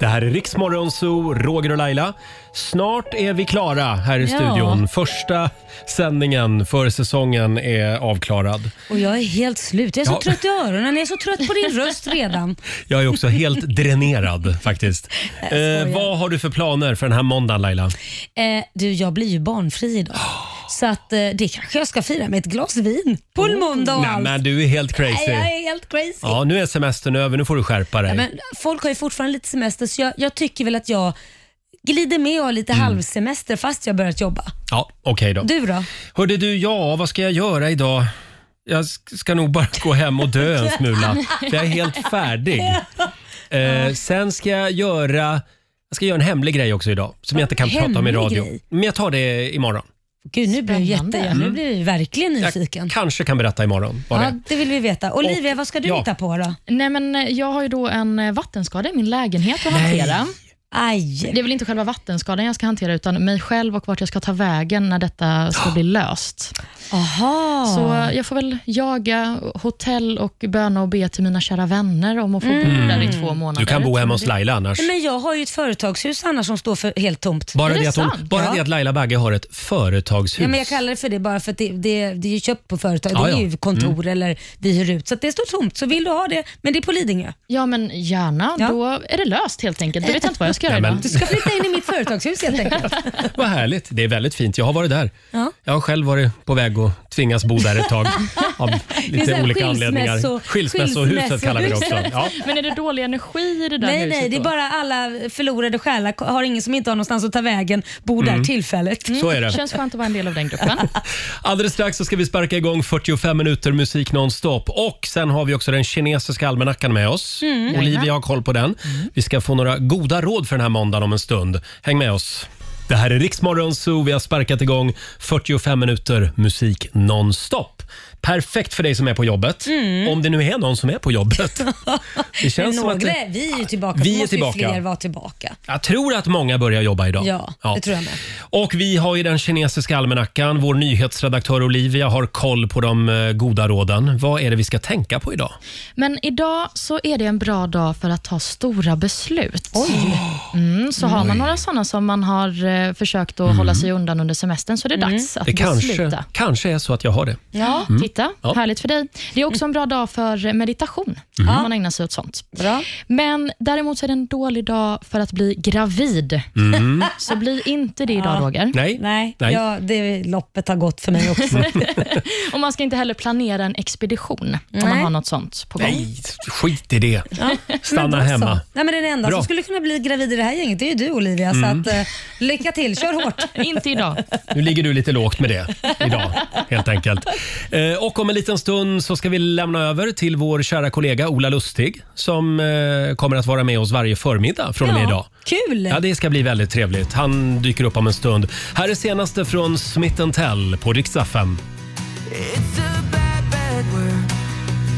A: det här är Riksmorgon Zoo, Roger och Laila. Snart är vi klara här i
B: Ja.
A: studion. Första sändningen för säsongen är avklarad.
B: Och jag är helt slut. Jag är så
A: Ja.
B: trött i öronen. Jag är så trött på din röst redan.
A: Jag är också helt dränerad faktiskt. Eh, vad har du för planer för den här måndagen Laila?
B: Eh, du, jag blir ju barnfri idag. Så att, eh, det kanske jag ska fira med ett glas vin på en måndag och
A: Oh. Nej,
B: allt.
A: men du är helt
B: Nej,
A: crazy.
B: jag är helt crazy.
A: Ja, nu är semestern över. Nu får du skärpa
B: Ja,
A: dig.
B: men folk har ju fortfarande lite semester så jag, jag tycker väl att jag glider med och har lite halvsemester fast jag börjat jobba.
A: Mm. Ja, okej då.
B: Du då?
A: Hörde du, ja, vad ska jag göra idag? Jag sk- ska nog bara gå hem och dö en smula. för Jag är helt färdig. Eh, sen ska jag göra... Jag ska göra en hemlig grej också idag som jag inte kan prata om i
B: Hemlig
A: radio.
B: grej?
A: Men jag tar det imorgon.
B: Gud, nu blir jag jätte...
A: Mm.
B: Nu blir jag verkligen nyfiken.
A: Kanske kan berätta imorgon vad det
B: Ja,
A: är.
B: det vill vi veta. Olivia, vad ska du
A: ja.
B: hitta på då?
D: Nej, men eh, jag har ju då en eh, vattenskada i min lägenhet att hantera.
B: Aj.
D: Det är väl inte själva vattenskadan jag ska hantera, utan mig själv och vart jag ska ta vägen när detta ska bli löst.
B: Aha.
D: Så eh, jag får väl jaga hotell och böna och be till mina kära vänner om att få bo
A: Mm.
D: där i två månader.
A: Du kan bo hemma hos Laila annars.
B: Men jag har ju ett företagshus annars som står för helt tomt.
A: Bara, det, att, hon, bara
B: ja.
A: det att Laila Bagge har ett företagshus.
B: Ja, men jag kallar det för det bara för att det, det, det är ju köpt på företag.
A: Ja,
B: det är
A: ja.
B: ju kontor
A: Mm.
B: eller vi hyr ut. Så att det står tomt. Så vill du ha det, men det är på Lidingö.
D: Ja, men gärna. Då är det löst helt enkelt. Då vet jag inte vad jag ska göra
A: Ja, men-
D: idag.
A: Du ska
B: flytta in i mitt företagshus helt enkelt.
A: Vad härligt. Det är väldigt fint. Jag har varit där.
B: Ja.
A: Jag har själv varit på väg att tvingas bo där ett tag av
D: Det är så
A: lite
D: här
A: olika
D: skilsmässo-
A: anledningar. Skilsmässohuset kallar vi det också. Ja.
D: Men är det dålig energi i det där
B: nej,
D: huset
B: nej, det är
D: då?
B: bara alla förlorade själar. Har ingen som inte har någonstans att ta vägen, bor
A: Mm.
B: där tillfälligt.
A: Så är det. Känns
D: Känns skönt att vara en del av den gruppen.
A: Alldeles strax så ska vi sparka igång 45 minuter musik nonstop. Och sen har vi också den kinesiska almanackan med oss.
F: Mm.
A: Olivia har koll på den.
B: Mm.
A: Vi ska få några goda råd för den här måndagen om en stund. Häng med oss. Det här är Riksmorgon Zoo. Vi har sparkat igång 45 minuter musik nonstop. Perfekt för dig som är på jobbet.
B: Mm.
A: Om det nu är någon som är på jobbet. Det känns som
B: Några,
A: att det,
B: vi är ju tillbaka.
A: Vi
B: Vi
A: är
B: måste ju
A: tillbaka.
B: fler vara tillbaka.
A: jag tror att många börjar jobba idag.
B: Ja, det tror jag med.
A: Och vi har ju den kinesiska almanackan. Vår nyhetsredaktör Olivia har koll på de eh, goda råden. Vad är det vi ska tänka på idag?
D: Men idag så är det en bra dag för att ta stora beslut. Mm, så har
A: Oj. Mm.
D: man några sådana som man har eh, försökt att hålla sig undan under semestern så är det
B: Mm.
D: dags att
A: Det kanske,
D: besluta.
A: kanske är så att jag har det.
D: Ja,
A: Mm.
D: titta.
A: Ja.
D: Härligt för dig. Det är också en bra dag för meditation,
A: Mm.
D: om man ägnar sig åt sånt. Men däremot så är det en dålig dag för att bli gravid.
A: Mm.
D: Så bli inte det idag, Roger.
A: Nej.
B: Nej,
A: Nej.
B: Ja, det loppet har gått för mig också.
D: Och man ska inte heller planera en expedition om man
B: Nej.
D: har något sånt på gång.
A: Nej, skit i det.
B: Ja.
A: Stanna
B: Men då så.
A: hemma.
B: Nej, men den enda
A: Bra.
B: som skulle kunna bli gravid i det här gänget det är ju du Olivia.
A: Mm.
B: Så att, eh, lycka till, kör hårt.
D: inte idag.
A: Nu ligger du lite lågt med det idag, helt enkelt. Eh, Och om en liten stund så ska vi lämna över till vår kära kollega Ola Lustig som eh, kommer att vara med oss varje förmiddag från och med idag.
B: Kul!
A: Ja, det ska bli väldigt trevligt. Han dyker upp om en stund. Här är senaste från Smith Tell på riksdag 5.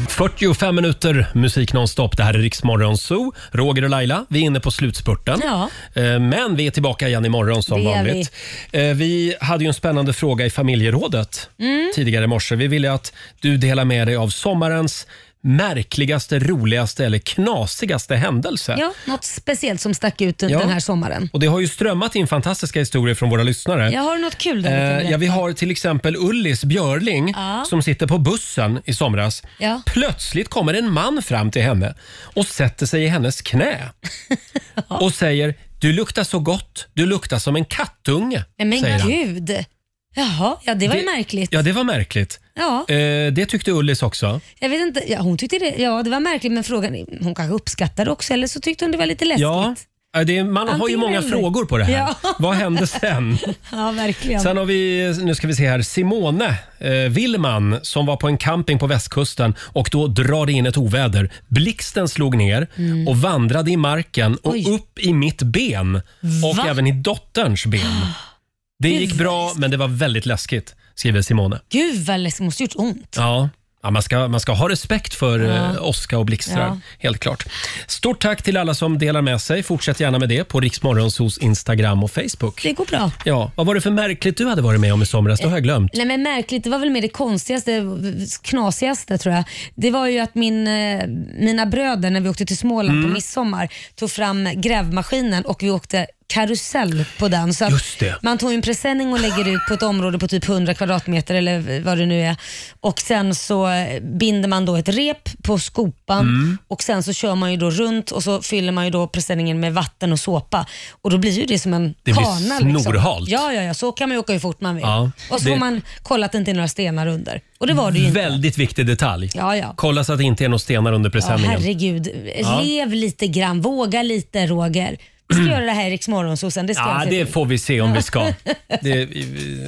A: 45 minuter musik nonstop. Det här är Riksmorgon Zoo. Roger och Laila, vi är inne på slutspurten.
B: Ja.
A: Eh, Men vi är tillbaka igen imorgon som
B: Det är
A: vanligt. Vi. vi hade ju en spännande fråga i familjerådet
B: Mm.
A: tidigare i morse. Vi ville att du delar med dig av sommarens märkligaste, roligaste eller knasigaste händelse.
B: Ja, något speciellt som stack ut
A: Ja.
B: den här sommaren.
A: Och det har ju strömmat in fantastiska historier från våra lyssnare.
B: Jag har något kul där. du kan
A: Eh,
B: berätta.
A: ja, vi har till exempel Ullis Björling
B: Ja.
A: som sitter på bussen i somras.
B: Ja.
A: Plötsligt kommer en man fram till henne och sätter sig i hennes knä och säger “Du luktar så gott, du luktar som en kattunge”.
B: Nej, men
A: säger han.
B: gud. Jaha, ja det var ju märkligt.
A: Ja, det var märkligt.
B: Ja.
A: Eh, det tyckte Ullis också.
B: Jag vet inte, ja, hon tyckte det, ja, det var märkligt men frågan är- hon kanske uppskattade också eller så tyckte hon det var lite läskigt. Ja,
A: Ja, eh, det, man har ju
B: Antingen
A: många
B: eller.
A: frågor på det här.
B: Ja.
A: Vad hände sen?
B: verkligen.
A: Sen har vi, nu ska vi se här, Simone eh, Willman som var på en camping på västkusten och då drar det in ett oväder. Blixten slog ner
F: Mm.
A: och vandrade i marken och
F: Oj.
A: upp i mitt ben och
F: Va?
A: även i dotterns ben. Det gick bra men det var väldigt läskigt, skriver Simone.
B: Gud vad läskigt, det måste gjort ont.
A: Ja. Ja, man, ska, man ska ha respekt för
B: Ja.
A: eh, åska och blixtrar,
B: Ja.
A: helt klart. Stort tack till alla som delar med sig. Fortsätt gärna med det på Riksmorgonsos Instagram och Facebook.
B: Det går bra.
A: Ja, vad var det för märkligt du hade varit med om i somras? Det har jag glömt.
B: Nej men märkligt, det var väl mer det konstigaste, knasigaste tror jag. Det var ju att min, eh, mina bröder när vi åkte till Småland
O: Mm.
B: på midsommar tog fram grävmaskinen och vi åkte karusell på den. Så att
O: Just det.
B: Man tog en presenning och lägger ut på ett område på typ 100 kvadratmeter eller vad det nu är. Och Sen så eh, binder man då ett rep på skopan
O: Mm.
B: och sen så kör man ju då runt och så fyller man ju då presenningen med vatten och såpa. Och Då blir ju det som en
A: Det blir
B: kana. liksom.
A: snorhalt.
B: Ja, ja, ja, så kan man ju åka hur fort man vill.
A: Ja,
B: och så får
A: det-
B: man kolla att det inte är några stenar under. Och det var det ju inte.
A: Väldigt viktig detalj.
B: Ja, ja.
A: Kolla så att det inte är några stenar under
B: Ja,
A: presenningen.
B: herregud.
A: Ja.
B: Lev lite grann, våga lite Roger. Vi ska göra det här i Rix Morgonzoo sen. Det ska
A: Ja,
B: jag se
A: det
B: till.
A: får vi se om vi ska. Det,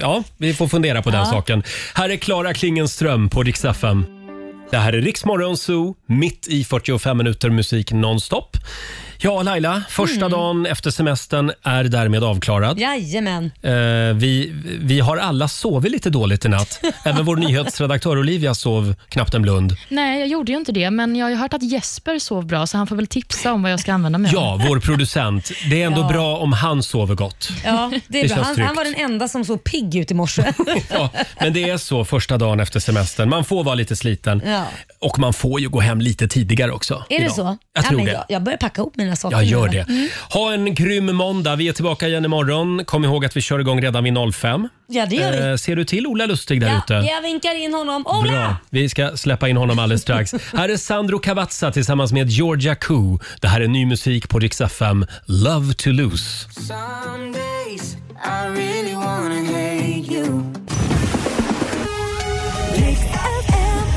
A: ja, vi får fundera på den
B: Ja.
A: saken. Här är Klara Klingenström på Rix FM. Det här är Rix Morgon Zoo, mitt i 45 minuter musik nonstop. Ja, Laila, första
B: Mm.
A: dagen efter semestern är därmed avklarad.
B: Jajamän.
A: Eh, vi, vi har alla sovit lite dåligt i natt. Även vår nyhetsredaktör Olivia sov knappt en blund.
D: Nej, jag gjorde ju inte det, men jag har ju hört att Jesper sov bra, så han får väl tipsa om vad jag ska använda mig
A: Ja, vår producent. Det är ändå
D: Ja.
A: bra om han sover gott.
B: Ja, det är
A: Det
B: bra.
A: känns
B: Han,
A: tryggt.
B: han var den enda som såg pigg ut i morse.
A: Ja, men det är så första dagen efter semestern. Man får vara lite sliten
B: Ja.
A: och man får ju gå hem lite tidigare också.
B: Är det
A: idag.
B: så?
A: Jag
B: ja,
A: tror
B: men
A: det.
B: Jag, jag börjar packa ihop mina saker.
A: Jag gör
B: nu. Mm.
A: det. Ha en grym måndag. Vi är tillbaka igen imorgon. Kom ihåg att vi kör igång redan vid 05.
B: Ja, det gör vi.
A: Eh, ser du till Ola Lustig där ute?
B: Jag vinkar in honom. Ola!
A: Bra. Vi ska släppa in honom alldeles strax. här är Sandro Cavazza tillsammans med Georgia Koo. Det här är ny musik på Rix FM, Love to lose.
N: Some days I really wanna hate you.